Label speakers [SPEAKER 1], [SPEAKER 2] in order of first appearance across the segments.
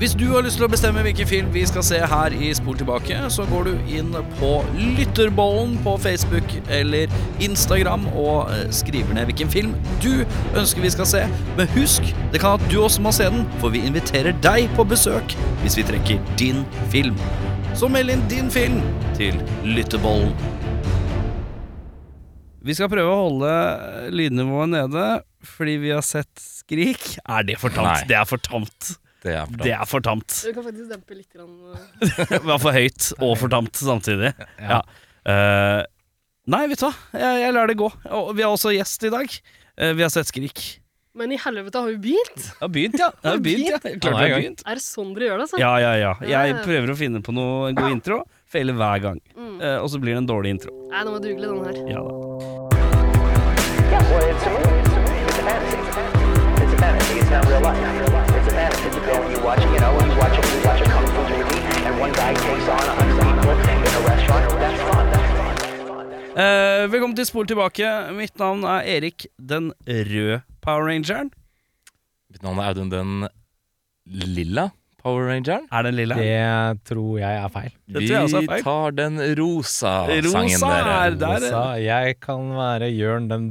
[SPEAKER 1] Hvis du har lyst til å bestemme hvilken film vi skal se her i Spol tilbake, så går du inn på Lytterbollen på Facebook eller Instagram og eh, skriver ned hvilken film du ønsker vi skal se. Men husk, det kan at du også må se den, for vi inviterer deg på besøk hvis vi trekker din film. Så meld inn din film til Lytterbollen.
[SPEAKER 2] Vi skal prøve å holde eh, lydnivået nede, fordi vi har sett Skrik. Er det for tamt?
[SPEAKER 3] Nei.
[SPEAKER 2] Det er for tamt.
[SPEAKER 3] Det er for
[SPEAKER 2] Det er for tamt.
[SPEAKER 4] Du kan faktisk dempe litt. Grann. eh.
[SPEAKER 2] Det var for høyt og for tamt samtidig. Ja. Eh, nei, vet du hva? Jeg, jeg lar det gå. Og vi har også gjest i dag. Eh, vi har sett Skrik.
[SPEAKER 4] Men i helvete, har vi begynt?
[SPEAKER 2] Jeg har begynt, ja. Jeg har begynt, ja. Klart jeg
[SPEAKER 3] Han er i
[SPEAKER 2] har
[SPEAKER 3] gang.
[SPEAKER 2] begynt.
[SPEAKER 4] Er det sånn dere gjør det? Altså?
[SPEAKER 2] Ja, ja, ja. Jeg
[SPEAKER 4] Ja, ja.
[SPEAKER 2] prøver å finne på noe, en god intro. Feiler hver gang.
[SPEAKER 4] Mm.
[SPEAKER 2] Eh, og så blir det en dårlig intro.
[SPEAKER 4] Nei, nå må du google den her.
[SPEAKER 2] Ja da.
[SPEAKER 5] Yes, well, it's a movie. It's a movie. It's a fantasy. It's a fantasy. It's not real life. It's a fantasy. It's a film. You watch, you know, you watch, you watch a kung fu movie, and one guy takes on a hundred people in a restaurant. That's fun. That's fun. That's fun. That's fun.
[SPEAKER 2] Eh, velkommen til Spol tilbake. Mitt navn er Erik den røde Power Rangeren.
[SPEAKER 3] Mitt navn er Audun den lilla Power Rangeren.
[SPEAKER 2] Er den lille?
[SPEAKER 6] Det tror jeg er feil.
[SPEAKER 2] Det
[SPEAKER 3] Vi
[SPEAKER 2] tror jeg også er feil.
[SPEAKER 3] tar den rosa, sangen
[SPEAKER 2] Rosa er
[SPEAKER 3] dere.
[SPEAKER 2] der.
[SPEAKER 6] Rosa, jeg kan være Jørn den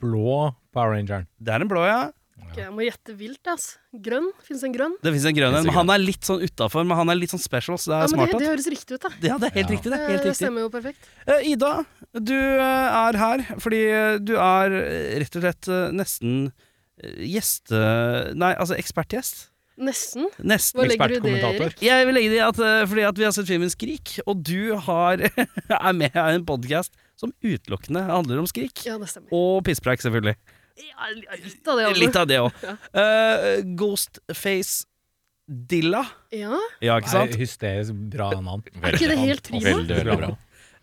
[SPEAKER 6] blå Power Rangeren.
[SPEAKER 2] Det er en blå, ja.
[SPEAKER 4] Ok, jeg må gjette vilt. ass. Grønn? Fins en grønn?
[SPEAKER 2] Det fins en grønn en. men Han er litt sånn utafor, men han er litt sånn special, så det
[SPEAKER 4] Ja,
[SPEAKER 2] er
[SPEAKER 4] men
[SPEAKER 2] smart.
[SPEAKER 4] det, det
[SPEAKER 2] at-
[SPEAKER 4] høres riktig ut, da.
[SPEAKER 2] Ja, det er helt
[SPEAKER 6] Ja.
[SPEAKER 2] riktig. Det er
[SPEAKER 4] Eh,
[SPEAKER 2] helt
[SPEAKER 4] Det
[SPEAKER 2] riktig.
[SPEAKER 4] stemmer jo perfekt.
[SPEAKER 2] Eh, Ida, du eh, er her fordi eh, du er eh, rett og slett eh, nesten eh, gjeste... Nei, altså ekspertgjest.
[SPEAKER 4] Nesten.
[SPEAKER 2] Nesten.
[SPEAKER 4] Hva legger du i det,
[SPEAKER 6] Ekspertkommentator.
[SPEAKER 4] Erik?
[SPEAKER 2] Jeg vil legge det i at eh, fordi at vi har sett filmen Skrik, og du har, er med i en podkast som utelukkende handler om skrik.
[SPEAKER 4] Ja, det stemmer.
[SPEAKER 2] Og pisspreik, selvfølgelig.
[SPEAKER 4] Ja, litt av det, altså.
[SPEAKER 2] Litt av det òg.
[SPEAKER 4] Ja.
[SPEAKER 2] Ghostface Dilla.
[SPEAKER 4] Ja,
[SPEAKER 2] Ja, ikke sant?
[SPEAKER 6] Nei, hysterisk bra navn.
[SPEAKER 4] Er ikke det helt
[SPEAKER 3] Veldig,
[SPEAKER 4] trivelig?
[SPEAKER 3] veldig, veldig bra.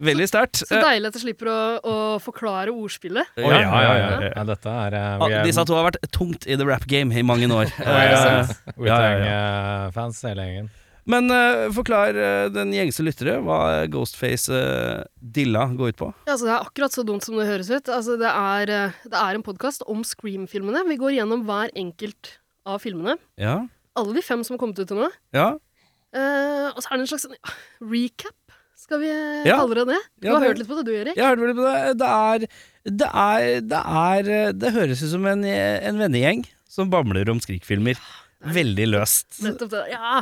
[SPEAKER 2] Veldig sterkt.
[SPEAKER 4] Så deilig at jeg slipper å, å forklare ordspillet.
[SPEAKER 2] Eh,
[SPEAKER 6] Å, ja, ja, ja,
[SPEAKER 2] ja.
[SPEAKER 6] ja. Dette er eh,
[SPEAKER 2] Ah,
[SPEAKER 6] vi er-
[SPEAKER 2] Disse to har vært tungt i the rap game i mange år.
[SPEAKER 6] ja,
[SPEAKER 2] Eh,
[SPEAKER 6] Wu-Tang,
[SPEAKER 2] Ja, ja,
[SPEAKER 6] eh, fans hele gjengen.
[SPEAKER 2] Men eh, forklar eh, den gjengse lyttere hva Ghostface eh, Dilla går ut på.
[SPEAKER 4] Ja, altså, det er akkurat så dumt som det høres ut. Altså, det, er, eh, det er en podkast om Scream-filmene. Vi går gjennom hver enkelt av filmene.
[SPEAKER 2] Ja.
[SPEAKER 4] Alle de fem som har kommet ut til nå.
[SPEAKER 2] Ja,
[SPEAKER 4] Eh, og så er det en slags sånn, ja, recap, skal vi eh,
[SPEAKER 2] Ja.
[SPEAKER 4] kalle det det? Du
[SPEAKER 2] Ja,
[SPEAKER 4] har
[SPEAKER 2] det-
[SPEAKER 4] hørt litt på det, du, Erik?
[SPEAKER 2] jeg hørte vel på det. Det er Det, er, det, er, eh, det høres ut som en, en vennegjeng som bamler om skrikfilmer. Veldig løst.
[SPEAKER 4] Nettopp det. Ja!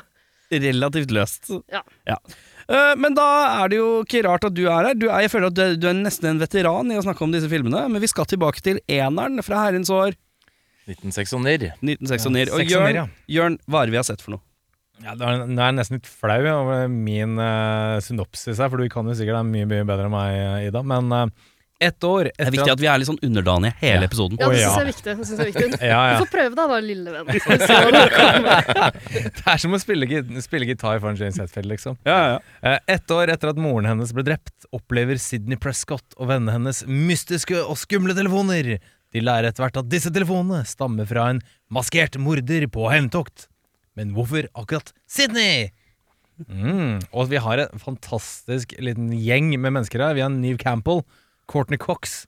[SPEAKER 2] Relativt løst.
[SPEAKER 4] Ja.
[SPEAKER 2] Eh, men da er det jo ikke rart at du er her. Du er, jeg føler at du er, du er nesten en veteran i å snakke om disse filmene, men vi skal tilbake til eneren fra herrens år
[SPEAKER 3] 1969.
[SPEAKER 2] 1969.
[SPEAKER 6] Ja,
[SPEAKER 2] og
[SPEAKER 6] 69, ja.
[SPEAKER 2] Jørn, Jørn, hva er det vi har sett for noe?
[SPEAKER 6] Ja, da er- Nå er jeg nesten litt flau over min eh, synopsis her, for du kan jo sikkert det mye, mye bedre enn meg, Ida. Men eh, ett år
[SPEAKER 2] Det
[SPEAKER 6] etter
[SPEAKER 2] er viktig at vi er litt sånn underdanige hele
[SPEAKER 6] Ja.
[SPEAKER 2] episoden.
[SPEAKER 4] ja
[SPEAKER 6] Å,
[SPEAKER 4] det
[SPEAKER 6] ja.
[SPEAKER 4] syns jeg er viktig. Det synes jeg er viktig.
[SPEAKER 6] ja, ja.
[SPEAKER 4] Du får prøve deg da, lille venn. Så da-
[SPEAKER 6] Det er som å spille, git- spille gitar foran James Hetfield, liksom.
[SPEAKER 2] Ja, ja.
[SPEAKER 6] Eh, Ett år etter at moren hennes ble drept, opplever Sidney Prescott og vennene hennes mystiske og skumle telefoner. De lærer etter hvert at disse telefonene stammer fra en maskert morder på hevntokt. Men hvorfor akkurat Sidney? Mm. Og vi har en fantastisk liten gjeng med mennesker her. Vi har Neve Campbell, Courtney Cox,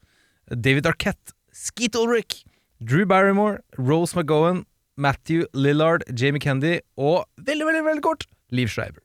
[SPEAKER 6] David Arquette, Skeet Ulrich, Drew Barrymore, Rose McGowan, Matthew Lillard, Jamie Candy og veldig, veldig, veldig kort Liv Schreiber.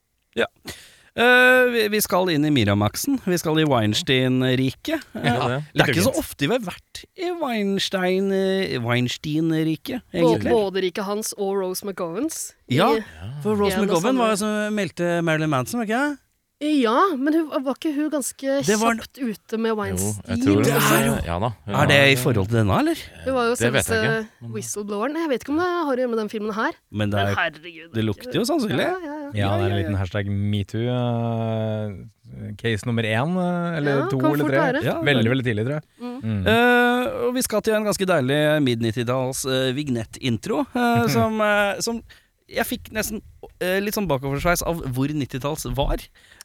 [SPEAKER 2] Eh, vi, vi skal inn i Miramaxen. Vi skal i Weinstein-riket. Eh,
[SPEAKER 3] Ja,
[SPEAKER 2] det
[SPEAKER 3] det.
[SPEAKER 2] er
[SPEAKER 6] Litt
[SPEAKER 2] ikke så
[SPEAKER 6] ugent.
[SPEAKER 2] ofte vi har vært i Weinstein, eh, Weinstein-riket,
[SPEAKER 4] Både
[SPEAKER 2] egentlig.
[SPEAKER 4] både riket hans og Rose McGovens. I-
[SPEAKER 2] Ja, for Rose
[SPEAKER 4] Ja, det er
[SPEAKER 2] McGowan
[SPEAKER 4] sånn
[SPEAKER 2] var jo
[SPEAKER 4] det-
[SPEAKER 2] som meldte Marilyn Manson, var ikke det?
[SPEAKER 4] ja, men hun, var ikke hun ganske
[SPEAKER 2] Det var-
[SPEAKER 4] kjapt ute med
[SPEAKER 3] Jo,
[SPEAKER 4] Weinstein?
[SPEAKER 3] jeg tror
[SPEAKER 2] Det
[SPEAKER 3] det.
[SPEAKER 2] er jo-
[SPEAKER 3] Ja da. hun
[SPEAKER 2] Er det
[SPEAKER 3] har-
[SPEAKER 2] i forhold til denne, eller?
[SPEAKER 4] Hun var jo
[SPEAKER 3] Det vet jeg
[SPEAKER 4] selveste
[SPEAKER 3] ikke,
[SPEAKER 2] Mm.
[SPEAKER 4] whistlebloweren. Jeg vet ikke om det har å gjøre med den filmen her.
[SPEAKER 2] Men det,
[SPEAKER 4] Men
[SPEAKER 2] er,
[SPEAKER 4] herregud.
[SPEAKER 2] det lukter jo sannsynlig.
[SPEAKER 4] Ja, ja, ja.
[SPEAKER 6] Ja, det er en liten hashtag metoo. eh, case nummer én, eh, eller
[SPEAKER 4] Ja,
[SPEAKER 6] to
[SPEAKER 4] kan
[SPEAKER 6] eller
[SPEAKER 4] fort
[SPEAKER 6] tre.
[SPEAKER 4] være.
[SPEAKER 2] Ja,
[SPEAKER 6] Veldig, veldig tidlig, tror jeg.
[SPEAKER 2] Eh, og vi skal til en ganske deilig mid-90-talls eh, vignettintro, eh, som, eh, som jeg fikk nesten eh, litt sånn bakoversveis av hvor 90-talls var.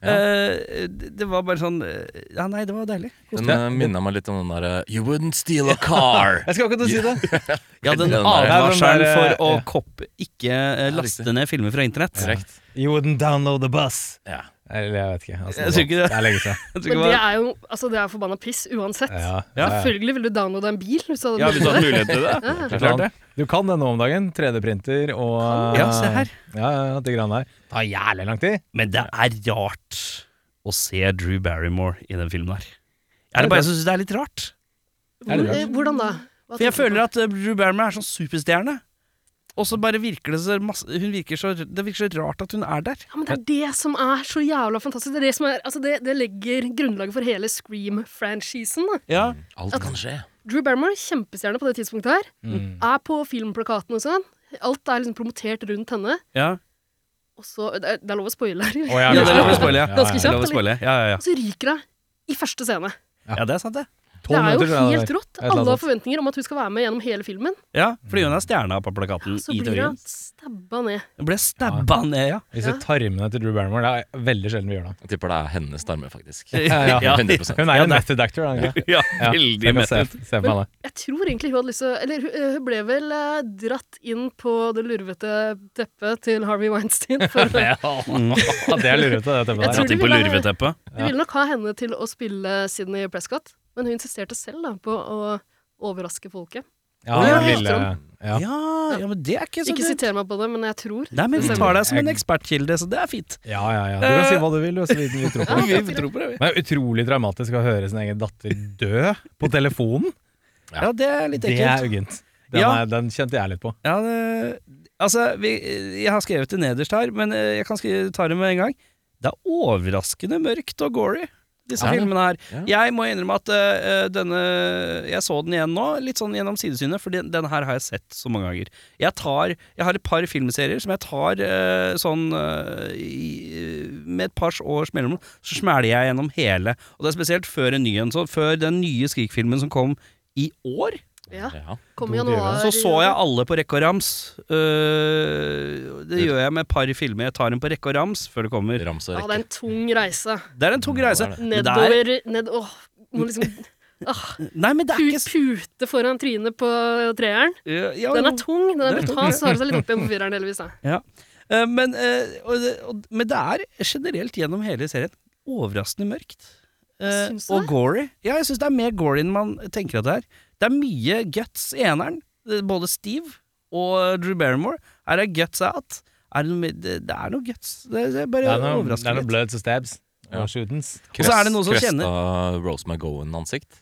[SPEAKER 3] Ja.
[SPEAKER 2] Eh, det, det var bare sånn eh, Ja, nei, det var deilig.
[SPEAKER 3] Den eh, minner meg litt om den derre You wouldn't steal a car.
[SPEAKER 6] Jeg skal akkurat si det.
[SPEAKER 2] Ja, den
[SPEAKER 3] den der-
[SPEAKER 2] advarselen
[SPEAKER 6] den der,
[SPEAKER 2] for å
[SPEAKER 6] ja.
[SPEAKER 2] kopp ikke eh,
[SPEAKER 3] Ja,
[SPEAKER 2] laste
[SPEAKER 3] riktig.
[SPEAKER 2] ned filmer fra internett.
[SPEAKER 3] Korrekt.
[SPEAKER 6] You wouldn't download the bus.
[SPEAKER 3] Ja.
[SPEAKER 6] Eller jeg vet ikke. Altså,
[SPEAKER 2] Jeg tror ikke det.
[SPEAKER 6] Det er lenge siden.
[SPEAKER 2] Jeg tror ikke
[SPEAKER 4] Men det
[SPEAKER 2] bare-
[SPEAKER 4] er jo altså det er forbanna piss uansett.
[SPEAKER 6] Ja, ja, ja.
[SPEAKER 4] Selvfølgelig ville du downloade en bil hvis du hadde
[SPEAKER 2] Ja, hvis du hadde mulighet til det.
[SPEAKER 4] Ja.
[SPEAKER 2] Det er klart det.
[SPEAKER 6] Du kan det nå om dagen. 3D-printer og
[SPEAKER 2] Ja, se her.
[SPEAKER 6] Ja, ja, de greiene der. Det tar jævlig lang tid.
[SPEAKER 2] Men det er rart å se Drew Barrymore i den filmen her. Er det bare jeg som syns det er litt rart?
[SPEAKER 6] Er det
[SPEAKER 4] Hvor- eh, Hvordan da? Hva
[SPEAKER 2] For jeg
[SPEAKER 4] tenker du på?
[SPEAKER 2] føler at eh, Drew Barrymore er sånn superstjerne. Og så bare virker det så masse hun virker så, Det virker så rart at hun er der.
[SPEAKER 4] Ja, men Det er det som er så jævla fantastisk. Det, er det, som er, altså det, det legger grunnlaget for hele Scream-franchisen. da.
[SPEAKER 2] Ja,
[SPEAKER 3] Alt kan skje.
[SPEAKER 4] Drew Barrymore, kjempestjerne på det tidspunktet her,
[SPEAKER 6] Mm.
[SPEAKER 4] er på filmplakaten og sånn. Alt er liksom promotert rundt henne.
[SPEAKER 2] ja.
[SPEAKER 4] Og så, det, er, det er lov å spoile her.
[SPEAKER 6] Å, ja,
[SPEAKER 2] ja det er lov å spoile, ja.
[SPEAKER 4] Ganske
[SPEAKER 2] Det er lov å
[SPEAKER 4] kjapt. eller?
[SPEAKER 2] spoile. Ja, ja, ja.
[SPEAKER 4] Og så ryker hun i første scene.
[SPEAKER 2] ja, det er sant, det.
[SPEAKER 4] Det er jo helt rått.
[SPEAKER 6] Et eller
[SPEAKER 4] Alle
[SPEAKER 6] annet
[SPEAKER 4] har forventninger om at hun skal være med gjennom hele filmen.
[SPEAKER 2] Ja, Fordi hun er stjerna på plakaten.
[SPEAKER 4] Så
[SPEAKER 2] i
[SPEAKER 4] blir
[SPEAKER 2] teorien.
[SPEAKER 4] hun stabba ned.
[SPEAKER 2] Hun ble stabba ned, ja.
[SPEAKER 6] Vi ser tarmene til Drew Barrymore. Det er veldig sjelden vi gjør det.
[SPEAKER 3] Jeg tipper det er hennes tarmer, faktisk.
[SPEAKER 6] Ja, ja.
[SPEAKER 3] 100
[SPEAKER 6] Hun er jo en method actor. er hun ikke?
[SPEAKER 2] Ja,
[SPEAKER 6] Ja,
[SPEAKER 2] veldig
[SPEAKER 6] jeg kan se, se på henne.
[SPEAKER 4] Jeg tror egentlig hun hadde lyst til å Eller hun- hun ble vel eh, dratt inn på det lurvete teppet til Harvey Weinstein. For hun
[SPEAKER 2] Mm.
[SPEAKER 6] Ja, det er lurete, det
[SPEAKER 4] Jeg tror
[SPEAKER 6] teppet der.
[SPEAKER 2] Dratt inn på
[SPEAKER 4] du ville-
[SPEAKER 2] lurveteppet.
[SPEAKER 4] ville nok ha henne til å spille Sydney Prescott, men hun insisterte selv da på å overraske folket.
[SPEAKER 6] Ja,
[SPEAKER 2] Ja,
[SPEAKER 6] den lille, ja.
[SPEAKER 2] Ja, ja, men det er ikke så
[SPEAKER 4] Ikke
[SPEAKER 2] dumt.
[SPEAKER 4] siter meg på det, men jeg tror
[SPEAKER 2] Nei, men vi tar deg som en ekspertkilde, så det er fint.
[SPEAKER 6] ja, ja, ja. Du kan si hva du vil, og så vidt vi tror på det.
[SPEAKER 2] Vi tror på det, vi.
[SPEAKER 6] Men det er utrolig traumatisk å høre sin egen datter dø på telefonen.
[SPEAKER 2] Ja, det er litt
[SPEAKER 6] Det
[SPEAKER 2] ekkelt.
[SPEAKER 6] er uggent. Den,
[SPEAKER 2] Ja.
[SPEAKER 6] er, den kjente jeg litt på.
[SPEAKER 2] Ja, det, altså, vi, jeg har skrevet det nederst her, men eh, jeg kan skri- ta det med en gang. Det er overraskende mørkt og gory, disse
[SPEAKER 3] Ja, ja.
[SPEAKER 2] filmene her. Jeg må innrømme at eh, denne Jeg så den igjen nå, litt sånn gjennom sidesynet, for den, den her har jeg sett så mange ganger. Jeg, tar, jeg har et par filmserier som jeg tar eh, sånn eh, i, Med et par års mellomrom, så smeller jeg gjennom hele. Og det er spesielt før en ny en. Så før den nye Skrik-filmen som kom i år,
[SPEAKER 4] Ja,
[SPEAKER 3] Ja.
[SPEAKER 4] kom i
[SPEAKER 6] God
[SPEAKER 4] januar.
[SPEAKER 2] så så jeg alle på rekke og rams. Øh, det gjør jeg med et par filmer. Jeg tar dem på rekke og rams før det kommer.
[SPEAKER 3] Rams og
[SPEAKER 4] Ja, det er
[SPEAKER 3] rekke.
[SPEAKER 4] en tung reise.
[SPEAKER 2] Det er en tung reise. Men det er-
[SPEAKER 4] Nedover ned, åh, Må liksom ah,
[SPEAKER 2] Nei, men det er
[SPEAKER 4] pu,
[SPEAKER 2] ikke s-
[SPEAKER 4] Pute foran trynet på treeren.
[SPEAKER 2] Ja, ja,
[SPEAKER 4] Den er tung, den er
[SPEAKER 2] Den er tung.
[SPEAKER 4] brutal, så har det seg litt opp igjen på fireren delvis. Da.
[SPEAKER 2] øh, men, øh, og, det- og, men det er generelt gjennom hele serien overraskende mørkt. Eh,
[SPEAKER 4] Syns du
[SPEAKER 2] og
[SPEAKER 4] det?
[SPEAKER 2] gory. Ja, jeg syns det er mer gory enn man tenker at det er. Det er mye guts i eneren. Eh, Både Steve og Drew Barrymore. Her er guts out. Er det, noe, med- det, det er noe guts. Det, det er bare
[SPEAKER 6] Det er noe, det er
[SPEAKER 2] overraskende.
[SPEAKER 6] noe bloods og stabs.
[SPEAKER 3] Ja.
[SPEAKER 6] Og shootings.
[SPEAKER 2] Og så er det noen som
[SPEAKER 3] Cresta Rose McGowan-ansikt.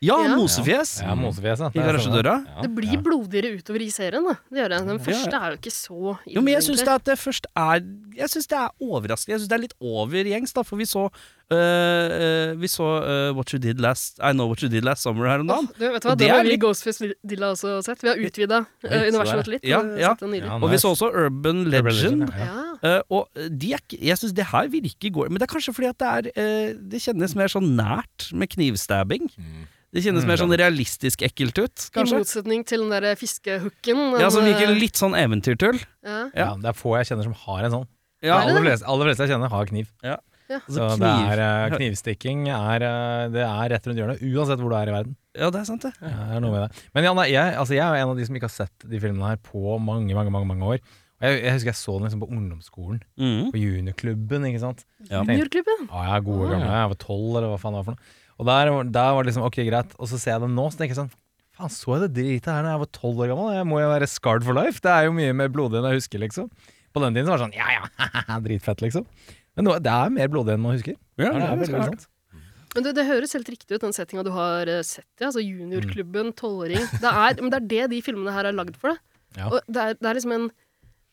[SPEAKER 2] Ja,
[SPEAKER 4] Ja.
[SPEAKER 2] mosefjes
[SPEAKER 6] Ja, mosefjes. ja.
[SPEAKER 2] i
[SPEAKER 6] Det er sånn,
[SPEAKER 2] garasjedøra.
[SPEAKER 3] Ja.
[SPEAKER 4] Det blir blodigere utover i serien, da. Det gjør det. Den første er jo ikke så ille,
[SPEAKER 2] Jo, men jeg syns
[SPEAKER 4] egentlig.
[SPEAKER 2] det, at det først er Jeg synes det er overraskende. Jeg syns det er litt overgjengs, da, for vi så øh, øh, Vi så øh, What You Did Last I Know What You Did Last Summer her om
[SPEAKER 4] Åh,
[SPEAKER 2] dagen.
[SPEAKER 4] du, vet du hva,
[SPEAKER 2] Og det
[SPEAKER 4] Den har
[SPEAKER 2] er
[SPEAKER 4] vi i
[SPEAKER 2] litt-
[SPEAKER 4] Ghostface Dilla også sett. Vi har utvida
[SPEAKER 3] Oi, så
[SPEAKER 4] universet
[SPEAKER 3] der,
[SPEAKER 4] vårt litt.
[SPEAKER 2] ja,
[SPEAKER 4] og
[SPEAKER 2] ja.
[SPEAKER 4] sett den nylig.
[SPEAKER 6] Ja,
[SPEAKER 2] Og vi
[SPEAKER 6] nice.
[SPEAKER 2] så også Urban
[SPEAKER 6] Urban
[SPEAKER 2] Legend.
[SPEAKER 6] Legend, ja.
[SPEAKER 4] ja.
[SPEAKER 2] øh, og de er, ikke- jeg syns det her virker går Men det er kanskje fordi at det er øh, Det kjennes mer sånn nært med knivstabbing. Det kjennes mer sånn realistisk ekkelt ut,
[SPEAKER 4] I
[SPEAKER 2] kanskje.
[SPEAKER 4] motsetning til den der fiskehooken.
[SPEAKER 2] Ja, Som
[SPEAKER 4] den,
[SPEAKER 2] virker
[SPEAKER 4] eh,
[SPEAKER 2] litt sånn eventyrtull.
[SPEAKER 4] ja.
[SPEAKER 6] Ja, det er få jeg kjenner som har en sånn.
[SPEAKER 2] Ja,
[SPEAKER 4] Er det
[SPEAKER 6] Aller
[SPEAKER 4] det?
[SPEAKER 6] fleste, aller fleste jeg kjenner, har kniv. Så
[SPEAKER 2] altså,
[SPEAKER 6] det
[SPEAKER 2] kniv.
[SPEAKER 6] er, eh, knivstikking er, eh, det er rett rundt hjørnet, uansett hvor du er i verden.
[SPEAKER 2] Ja, det er sant, det.
[SPEAKER 6] Det er noe med det. Men Janne, jeg, altså, jeg er jo en av de som ikke har sett de filmene her på mange mange, mange, mange år. Og jeg, jeg husker jeg så den liksom på ungdomsskolen,
[SPEAKER 2] Mhm.
[SPEAKER 6] på juniorklubben. ikke sant?
[SPEAKER 2] Ja.
[SPEAKER 4] Juniorklubben.
[SPEAKER 6] Ja, Ah, jeg er
[SPEAKER 2] Ah,
[SPEAKER 6] gode gamle, jeg var tolv, eller hva faen det var for noe. Og der, var- der var det liksom, ok, greit. Og så ser jeg den nå, så tenker jeg sånn Faen, så jeg det dritet her da jeg var tolv år gammel? Jeg må jo være scarred for life. Det er jo mye mer blodig enn jeg husker, liksom. På den tiden så var det sånn ja ja, dritfett, liksom. Men nå, det er mer blodig enn man husker.
[SPEAKER 2] Ja,
[SPEAKER 6] det er
[SPEAKER 2] det er
[SPEAKER 6] veldig
[SPEAKER 2] klart.
[SPEAKER 6] sant.
[SPEAKER 4] Men det, det høres helt riktig ut, den settinga du har eh, sett i. Altså juniorklubben, tolvåring. Det er, men det er det de filmene her er lagd for. Da.
[SPEAKER 6] Ja.
[SPEAKER 4] Og det er, det er liksom en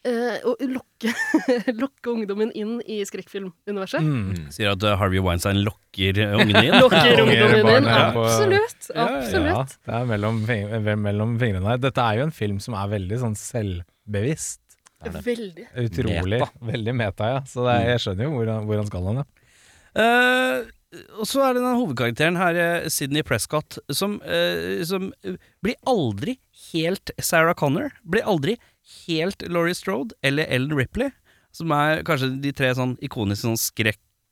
[SPEAKER 4] eh, Å lokke, lokke ungdommen inn i skrekkfilmuniverset.
[SPEAKER 6] Mm.
[SPEAKER 2] Sier at øh, Harvey Weinstein lokker øh, ungene inn.
[SPEAKER 4] Lokker
[SPEAKER 6] Unger,
[SPEAKER 4] ungdommen
[SPEAKER 6] barn,
[SPEAKER 4] inn.
[SPEAKER 6] ja, på-
[SPEAKER 4] Absolutt.
[SPEAKER 2] Ja, ja.
[SPEAKER 6] Ja,
[SPEAKER 4] absolutt.
[SPEAKER 6] det er mellom, fing- vel mellom fingrene her. Dette er jo en film som er veldig sånn selvbevisst.
[SPEAKER 4] Veldig.
[SPEAKER 6] Utrolig.
[SPEAKER 3] Meta.
[SPEAKER 6] Veldig meta, ja. Så
[SPEAKER 2] Mm.
[SPEAKER 6] det er, jeg skjønner jo hvor han, hvor han skal hen. ja.
[SPEAKER 2] Eh, og så er det den hovedkarakteren her, eh, Sydney Prescott, som, eh, som eh, blir aldri helt Sarah Connor. Blir aldri helt Laurie Strode eller Ellen Ripley, som er kanskje de tre sånn ikoniske sånn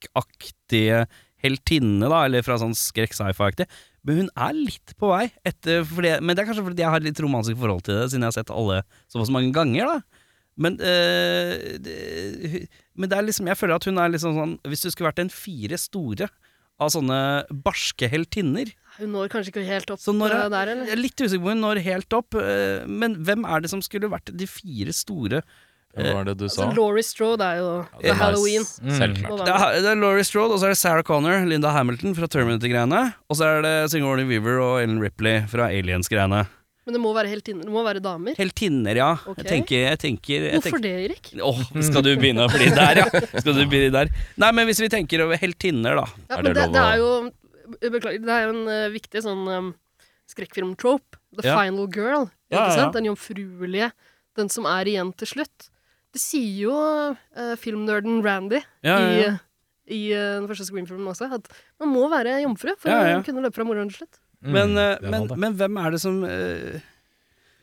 [SPEAKER 2] skrekkaktige heltinnene, da, eller fra sånn skrekk-sci-fi-aktig. Men hun er litt på vei, etter, fordi, men det er kanskje fordi jeg har litt romantisk forhold til det, siden jeg har sett alle såpass mange ganger, da. Men, eh, det, men det er liksom Jeg føler at hun er liksom sånn Hvis du skulle vært den fire store av sånne barske heltinner
[SPEAKER 4] Hun når kanskje ikke helt opp
[SPEAKER 2] Så når
[SPEAKER 4] eh,
[SPEAKER 2] jeg-
[SPEAKER 4] der, eller?
[SPEAKER 2] Jeg er litt usikker på om hun når helt opp, eh, men hvem er det som skulle vært de fire store
[SPEAKER 3] Hva var det du sa?
[SPEAKER 4] Altså, Laurie Strode er jo
[SPEAKER 3] Det er
[SPEAKER 4] Halloween.
[SPEAKER 3] nice. Selvklart.
[SPEAKER 4] November.
[SPEAKER 2] Det er, det er Laurie Strode, og så er det Sarah Connor, Linda Hamilton fra Terminator-greiene. Og så er det Sigourney Weaver og Ellen Ripley fra Aliens-greiene.
[SPEAKER 4] Men det må være heltinner. Det må være damer.
[SPEAKER 2] Heltinner, ja.
[SPEAKER 4] Ok.
[SPEAKER 2] Jeg tenker, jeg tenker, jeg
[SPEAKER 4] Hvorfor det, Erik?
[SPEAKER 2] tenker- Åh, skal du begynne å bli der, ja? Skal du bli der? Nei, men hvis vi tenker over heltinner, da.
[SPEAKER 4] Ja,
[SPEAKER 3] Er
[SPEAKER 4] men
[SPEAKER 3] det
[SPEAKER 4] det,
[SPEAKER 3] lov
[SPEAKER 4] det
[SPEAKER 3] å-
[SPEAKER 4] er jo Beklager, det er jo en eh, viktig sånn em, skrekkfilm-trope. The
[SPEAKER 2] Ja.
[SPEAKER 4] final girl.
[SPEAKER 2] Ja, ja,
[SPEAKER 4] ikke
[SPEAKER 2] ja.
[SPEAKER 4] sant? Den jomfruelige. Den som er igjen til slutt. Det sier jo eh, filmnerden Randy
[SPEAKER 2] Ja, ja, ja.
[SPEAKER 4] i, i eh, den første Scream-filmen også, at man må være jomfru for
[SPEAKER 2] Ja, ja.
[SPEAKER 4] å kunne løpe fra moroa til slutt.
[SPEAKER 2] Men, eh,
[SPEAKER 6] Mm. det er
[SPEAKER 2] men,
[SPEAKER 6] sant, da.
[SPEAKER 2] men hvem er det som eh,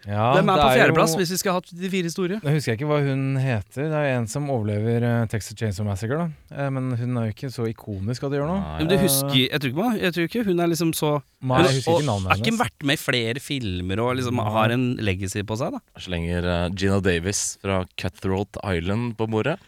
[SPEAKER 6] Ja,
[SPEAKER 2] Hvem er
[SPEAKER 6] det
[SPEAKER 2] på
[SPEAKER 6] jo-
[SPEAKER 2] fjerdeplass, hvis vi skal ha de fire store?
[SPEAKER 6] Nå husker jeg ikke hva hun heter. Det er jo en som overlever eh, Texas Chainsaw Massacre. Da. Eh, men hun er jo ikke så ikonisk at det gjør noe.
[SPEAKER 3] Nei.
[SPEAKER 2] Men du husker, jeg tror ikke, man- jeg tror ikke hun er liksom så
[SPEAKER 6] Nei, jeg husker
[SPEAKER 2] og,
[SPEAKER 6] ikke navnet
[SPEAKER 2] Er ikke hun
[SPEAKER 6] hennes.
[SPEAKER 2] vært med i flere filmer og liksom
[SPEAKER 6] Nei.
[SPEAKER 2] har en legacy på seg, da?
[SPEAKER 3] Slenger eh, Gina Davis fra Cutthroat Island på bordet.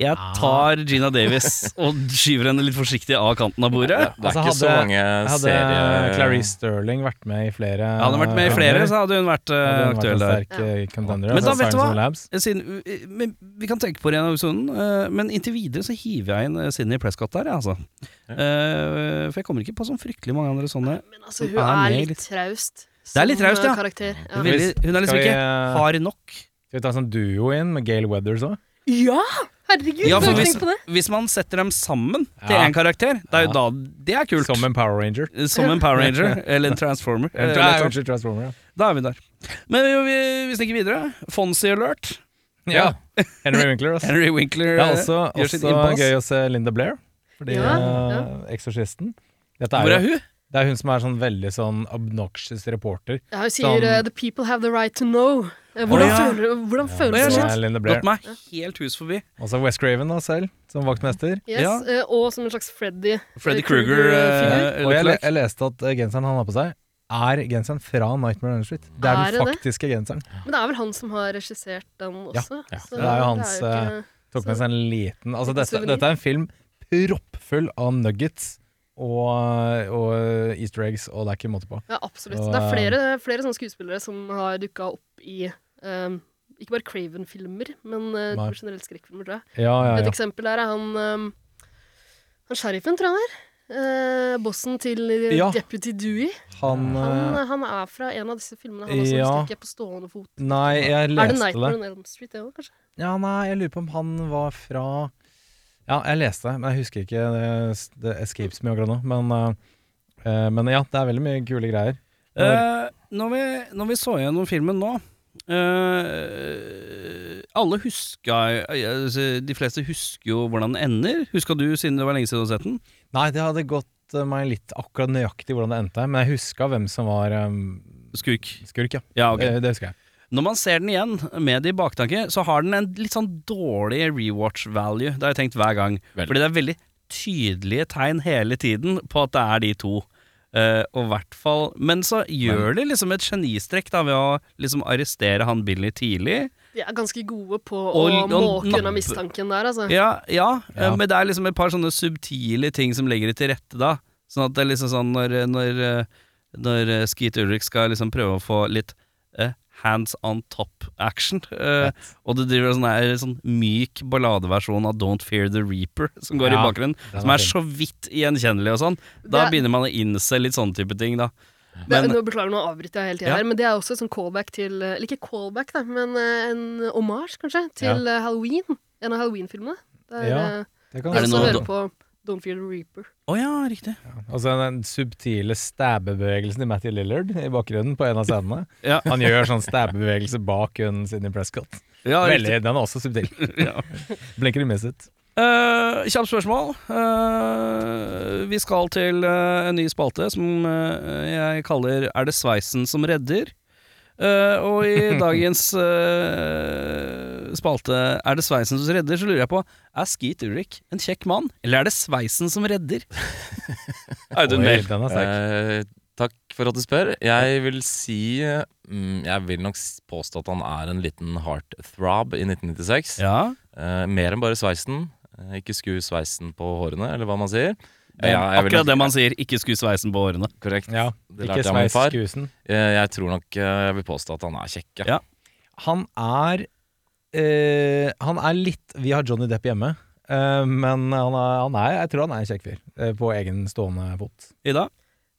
[SPEAKER 2] Jeg tar Gina Davis og skyver henne litt forsiktig av kanten av bordet.
[SPEAKER 3] Det er
[SPEAKER 6] Altså,
[SPEAKER 3] ikke så
[SPEAKER 6] hadde-
[SPEAKER 3] mange
[SPEAKER 6] Hadde eh,
[SPEAKER 3] serier
[SPEAKER 6] Clarice Sterling vært med i flere
[SPEAKER 2] Hadde hun vært med i flere, så hadde hun vært eh,
[SPEAKER 6] hadde hun vært
[SPEAKER 2] aktuell der.
[SPEAKER 6] en sterk eh, contender.
[SPEAKER 2] Men da
[SPEAKER 6] altså,
[SPEAKER 2] vet du
[SPEAKER 6] Science
[SPEAKER 2] hva?
[SPEAKER 6] Labs.
[SPEAKER 2] Siden, eh, men vi kan tenke på det igjen av episoden, eh, men inntil videre så hiver jeg inn eh, Sydney Prescott der, jeg, altså. Eh, For jeg kommer ikke på så fryktelig mange andre sånne.
[SPEAKER 4] Men altså,
[SPEAKER 2] Hun
[SPEAKER 4] hun
[SPEAKER 2] er
[SPEAKER 4] er
[SPEAKER 2] med
[SPEAKER 4] litt traust.
[SPEAKER 2] er litt
[SPEAKER 4] som,
[SPEAKER 2] traust,
[SPEAKER 4] eh,
[SPEAKER 2] ja.
[SPEAKER 4] Karakter. Ja.
[SPEAKER 2] Veldig, hun er
[SPEAKER 6] Skal
[SPEAKER 2] liksom
[SPEAKER 6] vi,
[SPEAKER 2] ikke
[SPEAKER 6] eh,
[SPEAKER 2] hard nok.
[SPEAKER 6] Skal vi ta en sånn duo inn med Gale Weathers òg?
[SPEAKER 4] ja! Herregud,
[SPEAKER 2] Ja,
[SPEAKER 4] ja,
[SPEAKER 2] for
[SPEAKER 4] tenk
[SPEAKER 2] hvis,
[SPEAKER 4] på det.
[SPEAKER 2] hvis man setter dem sammen til
[SPEAKER 6] Ja.
[SPEAKER 2] én karakter, det er jo da Det er kult. Eh,
[SPEAKER 6] Som en Power Ranger.
[SPEAKER 2] Som en Power Ranger eller en Transformer. eller
[SPEAKER 6] Eller
[SPEAKER 2] et eller annet.
[SPEAKER 6] kanskje Transformer, ja.
[SPEAKER 2] Da er vi der. Men vi, vi, vi snakker videre. Fonzie Alert.
[SPEAKER 6] Ja. Henry Winkler, altså.
[SPEAKER 2] Henry Winkler
[SPEAKER 6] Det er
[SPEAKER 2] eh,
[SPEAKER 6] også,
[SPEAKER 2] gjør sitt
[SPEAKER 6] også
[SPEAKER 2] innpass.
[SPEAKER 6] gøy å se Linda Blair, fordi
[SPEAKER 4] Ja,
[SPEAKER 6] eh, eksorsisten. Dette
[SPEAKER 2] Hvor er
[SPEAKER 6] jo,
[SPEAKER 2] hun?
[SPEAKER 6] det er hun som er sånn veldig sånn obnoxious reporter.
[SPEAKER 4] Ja, hun sier eh, 'the people have the right to know'. Eh, Hvordan
[SPEAKER 2] ja.
[SPEAKER 4] føler, hvordan føles det?
[SPEAKER 2] shit.
[SPEAKER 6] Som er Linda Blair.
[SPEAKER 2] Gått meg helt hus forbi.
[SPEAKER 6] Og så Wes Craven da, selv, som vaktmester.
[SPEAKER 4] Yes,
[SPEAKER 2] Ja.
[SPEAKER 4] eh, Og som en slags Freddy.
[SPEAKER 2] Freddy
[SPEAKER 4] Freddy
[SPEAKER 2] Krueger.
[SPEAKER 4] Krueger-figur.
[SPEAKER 2] eh,
[SPEAKER 6] Og jeg, le-
[SPEAKER 2] lookalike.
[SPEAKER 6] jeg leste at eh, genseren han har på seg, er genseren fra Nightmare on Elm Street. Det er,
[SPEAKER 4] Er
[SPEAKER 6] den
[SPEAKER 4] det det?
[SPEAKER 6] faktiske genseren.
[SPEAKER 4] Men det er vel han som har regissert den også?
[SPEAKER 3] ja.
[SPEAKER 4] så
[SPEAKER 6] Det er jo hans, eh,
[SPEAKER 4] ikke-
[SPEAKER 6] Tok med
[SPEAKER 4] Så-
[SPEAKER 6] seg en liten
[SPEAKER 4] Liten
[SPEAKER 6] Altså, dette,
[SPEAKER 4] souvenir.
[SPEAKER 6] dette er en film proppfull av nuggets og, og easter eggs, og det er ikke måte på.
[SPEAKER 4] ja, absolutt.
[SPEAKER 6] og, eh,
[SPEAKER 4] Det er flere, flere sånne skuespillere som har dukka opp i ehm, ikke bare Craven-filmer, men eh,
[SPEAKER 6] Nei.
[SPEAKER 4] generelt skrekkfilmer, tror jeg.
[SPEAKER 6] Ja, ja,
[SPEAKER 4] Et
[SPEAKER 6] ja.
[SPEAKER 4] eksempel her er han ehm, Han sheriffen, tror jeg han er. Eh, bossen til eh,
[SPEAKER 6] Ja.
[SPEAKER 4] Deputy Dewey.
[SPEAKER 6] Han
[SPEAKER 4] Han,
[SPEAKER 6] eh,
[SPEAKER 4] han er fra en av disse filmene. Han også
[SPEAKER 6] ja.
[SPEAKER 4] husker jeg ikke på stående fot.
[SPEAKER 6] Nei, jeg
[SPEAKER 4] Er det
[SPEAKER 6] leste det.
[SPEAKER 4] Nightmare on Elm Street, det òg, kanskje?
[SPEAKER 6] Ja, nei, jeg lurer på om han var fra Ja, jeg leste det, men jeg husker ikke. Det, det escapes me akkurat nå. Men, eh, eh, men ja, det er veldig mye kule greier.
[SPEAKER 2] Eh, når, vi, når vi så gjennom filmen nå eh, Alle huska eh, De fleste husker jo hvordan den ender. Huska du, siden det var lenge siden du hadde sett den?
[SPEAKER 6] Nei, det hadde gått eh, meg litt akkurat nøyaktig hvordan det endte, men jeg huska hvem som var eh,
[SPEAKER 2] Skurk.
[SPEAKER 6] skurk, ja.
[SPEAKER 2] Ja, ok.
[SPEAKER 6] Eh, Det husker jeg.
[SPEAKER 2] Når man ser den igjen med det i baktanke, så har den en litt sånn dårlig rewatch value. Det har jeg tenkt hver gang.
[SPEAKER 3] Veldig.
[SPEAKER 2] Fordi det er veldig tydelige tegn hele tiden på at det er de to. Eh, og hvert fall Men så gjør de liksom et genistrekk da ved å liksom arrestere han Billy tidlig.
[SPEAKER 4] De er ganske gode på å
[SPEAKER 2] Og- og
[SPEAKER 4] måke unna
[SPEAKER 2] nappe.
[SPEAKER 4] mistanken der, altså.
[SPEAKER 2] Ja, ja, eh,
[SPEAKER 6] Ja.
[SPEAKER 2] men det er liksom et par sånne subtile ting som legger det til rette da. Sånn at det er liksom sånn når, når, eh, når eh, Skeet Ulrik skal liksom prøve å få litt eh, hands on top action, eh, og det driver sånn her sånn myk balladeversjon av Don't Fear the Reaper som går i
[SPEAKER 6] Ja,
[SPEAKER 2] bakgrunnen,
[SPEAKER 6] den
[SPEAKER 2] som
[SPEAKER 6] er
[SPEAKER 2] er så vidt gjenkjennelig og sånn. Da
[SPEAKER 4] Det-
[SPEAKER 2] begynner man å innse litt sånne type ting, da.
[SPEAKER 4] Det-
[SPEAKER 2] Men
[SPEAKER 4] nå beklager, nå avbryter jeg hele tida
[SPEAKER 2] Ja.
[SPEAKER 4] her, men det er også et sånn callback til Eller ikke callback, da, men eh, en omasj, kanskje, til eh, Halloween. En av Halloween-filmene. Der
[SPEAKER 6] Ja,
[SPEAKER 4] eh,
[SPEAKER 6] Det kan
[SPEAKER 4] de
[SPEAKER 2] Er det
[SPEAKER 4] også
[SPEAKER 2] noe-
[SPEAKER 4] hører på Don't Fear the Reaper.
[SPEAKER 2] Å ja, riktig.
[SPEAKER 6] Altså den subtile stabbebevegelsen til Matty Lillard i bakgrunnen på en av scenene.
[SPEAKER 2] Ja.
[SPEAKER 6] Han gjør sånn stabbebevegelse bak hun Sidney Prescott.
[SPEAKER 2] Ja,
[SPEAKER 6] Veldig, den er også subtil.
[SPEAKER 2] riktig. Ja.
[SPEAKER 6] Blinker i misset.
[SPEAKER 2] Eh, kjapt spørsmål. Eh, vi skal til eh, en ny spalte som eh, jeg kaller Er det sveisen som redder? Eh, og i dagens eh, spalte Er det sveisen som redder, så lurer jeg på Er Skeet Ulrik en kjekk mann, eller er det sveisen som redder? Audun
[SPEAKER 6] Oi,
[SPEAKER 2] Mehl.
[SPEAKER 6] Den er sterk.
[SPEAKER 3] Eh, Takk for at du spør. Jeg vil si eh, mm, Jeg vil nok s- påstå at han er en liten heartthrob i 1996.
[SPEAKER 2] Ja.
[SPEAKER 3] Eh, mer enn bare sveisen. Eh, ikke sku sveisen på hårene, eller hva man sier.
[SPEAKER 2] Det er
[SPEAKER 3] Ja, jeg vil
[SPEAKER 2] akkurat
[SPEAKER 3] nok-
[SPEAKER 2] det man sier. Ikke sku sveisen på årene.
[SPEAKER 3] Korrekt.
[SPEAKER 6] Ja,
[SPEAKER 3] Det lærte
[SPEAKER 6] ikke
[SPEAKER 3] jeg av min
[SPEAKER 6] sveis
[SPEAKER 3] far.
[SPEAKER 6] skuesen.
[SPEAKER 3] Eh, jeg tror nok eh, jeg vil påstå at han er kjekk. ja.
[SPEAKER 2] Ja.
[SPEAKER 6] Han er eh, Han er litt Vi har Johnny Depp hjemme. eh, men han er, han er, jeg tror han er en kjekk fyr, eh, på egen stående fot.
[SPEAKER 2] Ida?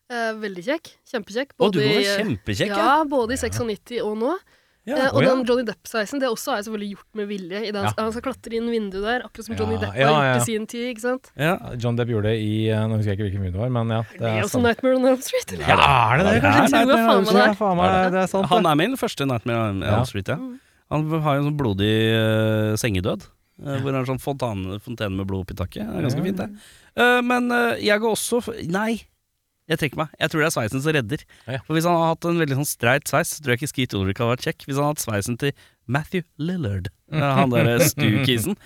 [SPEAKER 4] Eh, veldig kjekk. Kjempekjekk.
[SPEAKER 2] Å, du
[SPEAKER 4] både
[SPEAKER 2] var
[SPEAKER 4] i- eh,
[SPEAKER 2] kjempekjekk.
[SPEAKER 4] ja, både i 96 og nå.
[SPEAKER 2] Ja.
[SPEAKER 4] Eh, og
[SPEAKER 6] Å, ja.
[SPEAKER 4] den Johnny Depp-sveisen, det også er selvfølgelig gjort med vilje. I det,
[SPEAKER 6] Ja.
[SPEAKER 4] Han skal klatre inn vinduet der, akkurat som Johnny
[SPEAKER 6] Ja,
[SPEAKER 4] Depp har
[SPEAKER 6] ja, ja.
[SPEAKER 4] gjort i sin tid. ikke sant?
[SPEAKER 2] ja.
[SPEAKER 6] John Depp gjorde det i eh, Nå husker jeg ikke hvilken film det var, men ja.
[SPEAKER 4] Det sånn- er også
[SPEAKER 6] sant.
[SPEAKER 4] Nightmare on Elm Street. Eller?
[SPEAKER 6] Ja, er det det?
[SPEAKER 2] Ja,
[SPEAKER 4] det
[SPEAKER 6] Kanskje
[SPEAKER 4] er
[SPEAKER 6] Nightmare on
[SPEAKER 4] faen meg
[SPEAKER 6] Elm Street,
[SPEAKER 4] det.
[SPEAKER 6] ja, faen meg, det er sant.
[SPEAKER 2] Han
[SPEAKER 6] det.
[SPEAKER 2] er min første Nightmare on
[SPEAKER 6] Ja.
[SPEAKER 2] Elm Street. Ja. Han har jo en sånn blodig eh, sengedød. eh, Hvor han har sånn fontane, fontene med blod oppi taket. Det er ganske fint, det. Eh, men eh, jeg går også for Nei, jeg trekker meg. Jeg tror det er sveisen som redder.
[SPEAKER 3] Ja.
[SPEAKER 2] For Hvis han hadde hatt en veldig sånn streit sveis, så tror jeg ikke Skeet Ulrich hadde vært kjekk. Hvis han hadde hatt sveisen til Matthew Lillard, eh, han derre stukisen,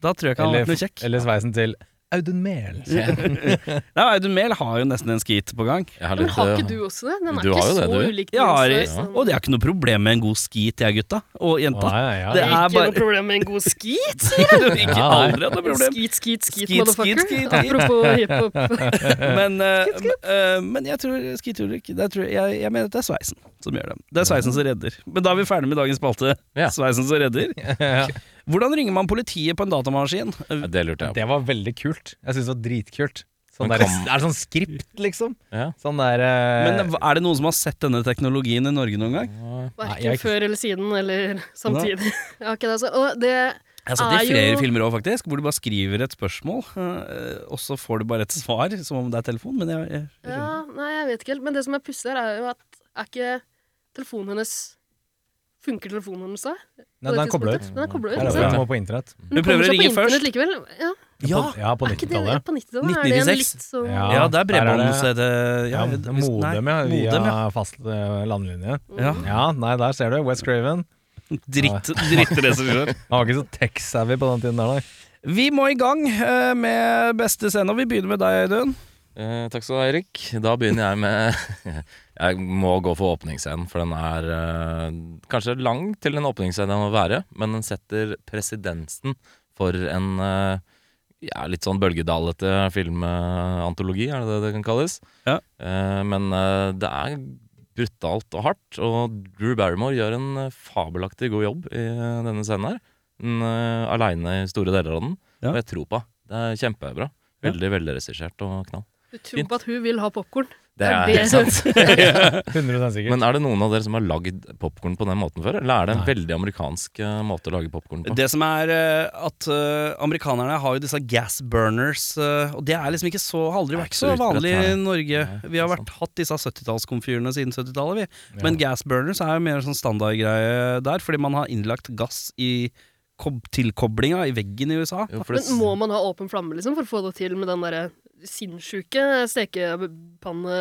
[SPEAKER 2] da tror jeg ikke han hadde vært noe
[SPEAKER 6] eller,
[SPEAKER 2] kjekk.
[SPEAKER 6] eller sveisen til Audun Mehl.
[SPEAKER 2] Nei, Audun Mehl har jo nesten en skeet på gang.
[SPEAKER 3] Jeg har
[SPEAKER 4] Men
[SPEAKER 3] litt,
[SPEAKER 4] har
[SPEAKER 3] eh,
[SPEAKER 4] ikke du også det? Den Sånn, er
[SPEAKER 3] Du har
[SPEAKER 4] ikke
[SPEAKER 3] jo det,
[SPEAKER 4] så
[SPEAKER 3] du.
[SPEAKER 4] ulik
[SPEAKER 2] Jeg
[SPEAKER 4] din
[SPEAKER 2] har,
[SPEAKER 4] sveis. den.
[SPEAKER 2] Og det er ikke noe problem med en god skeet, jeg, gutta. Og
[SPEAKER 6] Å,
[SPEAKER 2] jenta.
[SPEAKER 6] nei, ja,
[SPEAKER 2] Det
[SPEAKER 6] ja.
[SPEAKER 2] er
[SPEAKER 4] Ikke
[SPEAKER 2] bare-
[SPEAKER 4] noe problem med en god skit, sier jeg.
[SPEAKER 2] Ikke
[SPEAKER 6] Ja, nei.
[SPEAKER 2] aldri noe problem.
[SPEAKER 4] Skit, skit, skit,
[SPEAKER 2] Skit,
[SPEAKER 4] motherfucker.
[SPEAKER 2] skit, skit.
[SPEAKER 4] Apropos hiphop.
[SPEAKER 2] Men, eh, eh, men jeg tror Skeet Ulrik der tror jeg, jeg, jeg mener at det er sveisen som gjør det. Det er sveisen som redder. Men da er vi ferdig med dagens spalte.
[SPEAKER 3] Ja.
[SPEAKER 2] Sveisen som redder. Hvordan ringer man politiet på en datamaskin?
[SPEAKER 3] Det lurte jeg på.
[SPEAKER 6] Det var veldig kult. Jeg syns det var dritkult. Sånn
[SPEAKER 3] Men
[SPEAKER 6] der,
[SPEAKER 3] kom-
[SPEAKER 6] det er sånn skript, liksom.
[SPEAKER 3] Ja.
[SPEAKER 6] Sånn der eh,
[SPEAKER 2] Men er det noen som har sett denne teknologien i Norge noen gang?
[SPEAKER 6] Nei, jeg-
[SPEAKER 4] Verken før eller siden, eller samtidig. Jeg har ikke det, altså. Og det
[SPEAKER 2] Jeg har sett det i
[SPEAKER 4] Er
[SPEAKER 2] flere
[SPEAKER 4] jo-
[SPEAKER 2] filmer òg, faktisk, hvor du bare skriver et spørsmål, eh, og så får du bare et svar, som om det er telefon. Men jeg, jeg
[SPEAKER 4] Ja, nei, jeg vet ikke helt. Men det som er pussig her, er jo at er ikke telefonen hennes Funker telefonen hennes da?
[SPEAKER 6] Nei, den kobla ut.
[SPEAKER 4] Den er koblet ut,
[SPEAKER 6] Ja,
[SPEAKER 4] ikke
[SPEAKER 6] den
[SPEAKER 4] sant?
[SPEAKER 6] må på internett.
[SPEAKER 4] Men
[SPEAKER 2] Du prøver å
[SPEAKER 4] kommer seg på
[SPEAKER 2] ringe først?
[SPEAKER 4] internett Likevel. Ja,
[SPEAKER 2] ja.
[SPEAKER 6] På, ja, på
[SPEAKER 4] er ikke det
[SPEAKER 6] 90-tallet.
[SPEAKER 4] på 90-tallet? Er det en
[SPEAKER 2] 1996?
[SPEAKER 4] litt sånn- så
[SPEAKER 6] Ja.
[SPEAKER 2] ja, det er
[SPEAKER 6] der er
[SPEAKER 2] bredbånd.
[SPEAKER 6] det-
[SPEAKER 2] så det-
[SPEAKER 6] Ja,
[SPEAKER 2] ja, hvis- nei,
[SPEAKER 6] modem, ja. Via
[SPEAKER 2] modem, ja.
[SPEAKER 6] fast eh, landlinje.
[SPEAKER 2] ja.
[SPEAKER 6] Ja, nei, der ser du. West Craven.
[SPEAKER 2] Dritt, drittregissør.
[SPEAKER 6] Han var ikke så tech-savvy på den tiden der, nei.
[SPEAKER 2] Vi må i gang eh, med beste scene, og vi begynner med deg, Audun.
[SPEAKER 3] Eh, takk skal du ha, Erik. Da begynner jeg med Jeg må gå for åpningsscenen, for den er eh, kanskje lang til en åpningsscene må være, men den setter presedensen for en eh, ja, litt sånn bølgedalete filmantologi, er det det det kan kalles?
[SPEAKER 2] Ja.
[SPEAKER 3] Eh, men eh, det er brutalt og hardt, og Drew Barrymore gjør en eh, fabelaktig god jobb i eh, denne scenen her. Den, eh, Aleine i store deler av den,
[SPEAKER 2] Ja.
[SPEAKER 3] og jeg tror på henne. Det er kjempebra. Veldig velregissert og knall.
[SPEAKER 4] Du tror på at hun vil ha popkorn.
[SPEAKER 3] Det er
[SPEAKER 4] det.
[SPEAKER 3] helt sant.
[SPEAKER 6] 100 sikkert.
[SPEAKER 3] Men er det noen av dere som har lagd popkorn på den måten før? Eller er det en
[SPEAKER 6] Nei.
[SPEAKER 3] veldig amerikansk eh, måte å lage popkorn på?
[SPEAKER 2] Det som er eh, at eh, amerikanerne har jo disse gas burners, eh, og det er liksom ikke så, har aldri
[SPEAKER 3] Det er
[SPEAKER 2] vært
[SPEAKER 3] ikke
[SPEAKER 2] så
[SPEAKER 3] så utbredt
[SPEAKER 2] vanlig i
[SPEAKER 3] her.
[SPEAKER 2] Norge.
[SPEAKER 3] Nei,
[SPEAKER 2] Vi har
[SPEAKER 3] det er
[SPEAKER 2] vært, hatt disse 70-tallskomfyrene siden 70-tallet, vi. Men gas burners er jo mer sånn standardgreie der, fordi man har innlagt gass i kob- tilkoblinga i veggen i USA.
[SPEAKER 3] Jo, for det
[SPEAKER 4] Men må man ha åpen flamme liksom, for å få det til med den derre sinnssyke stekepanne...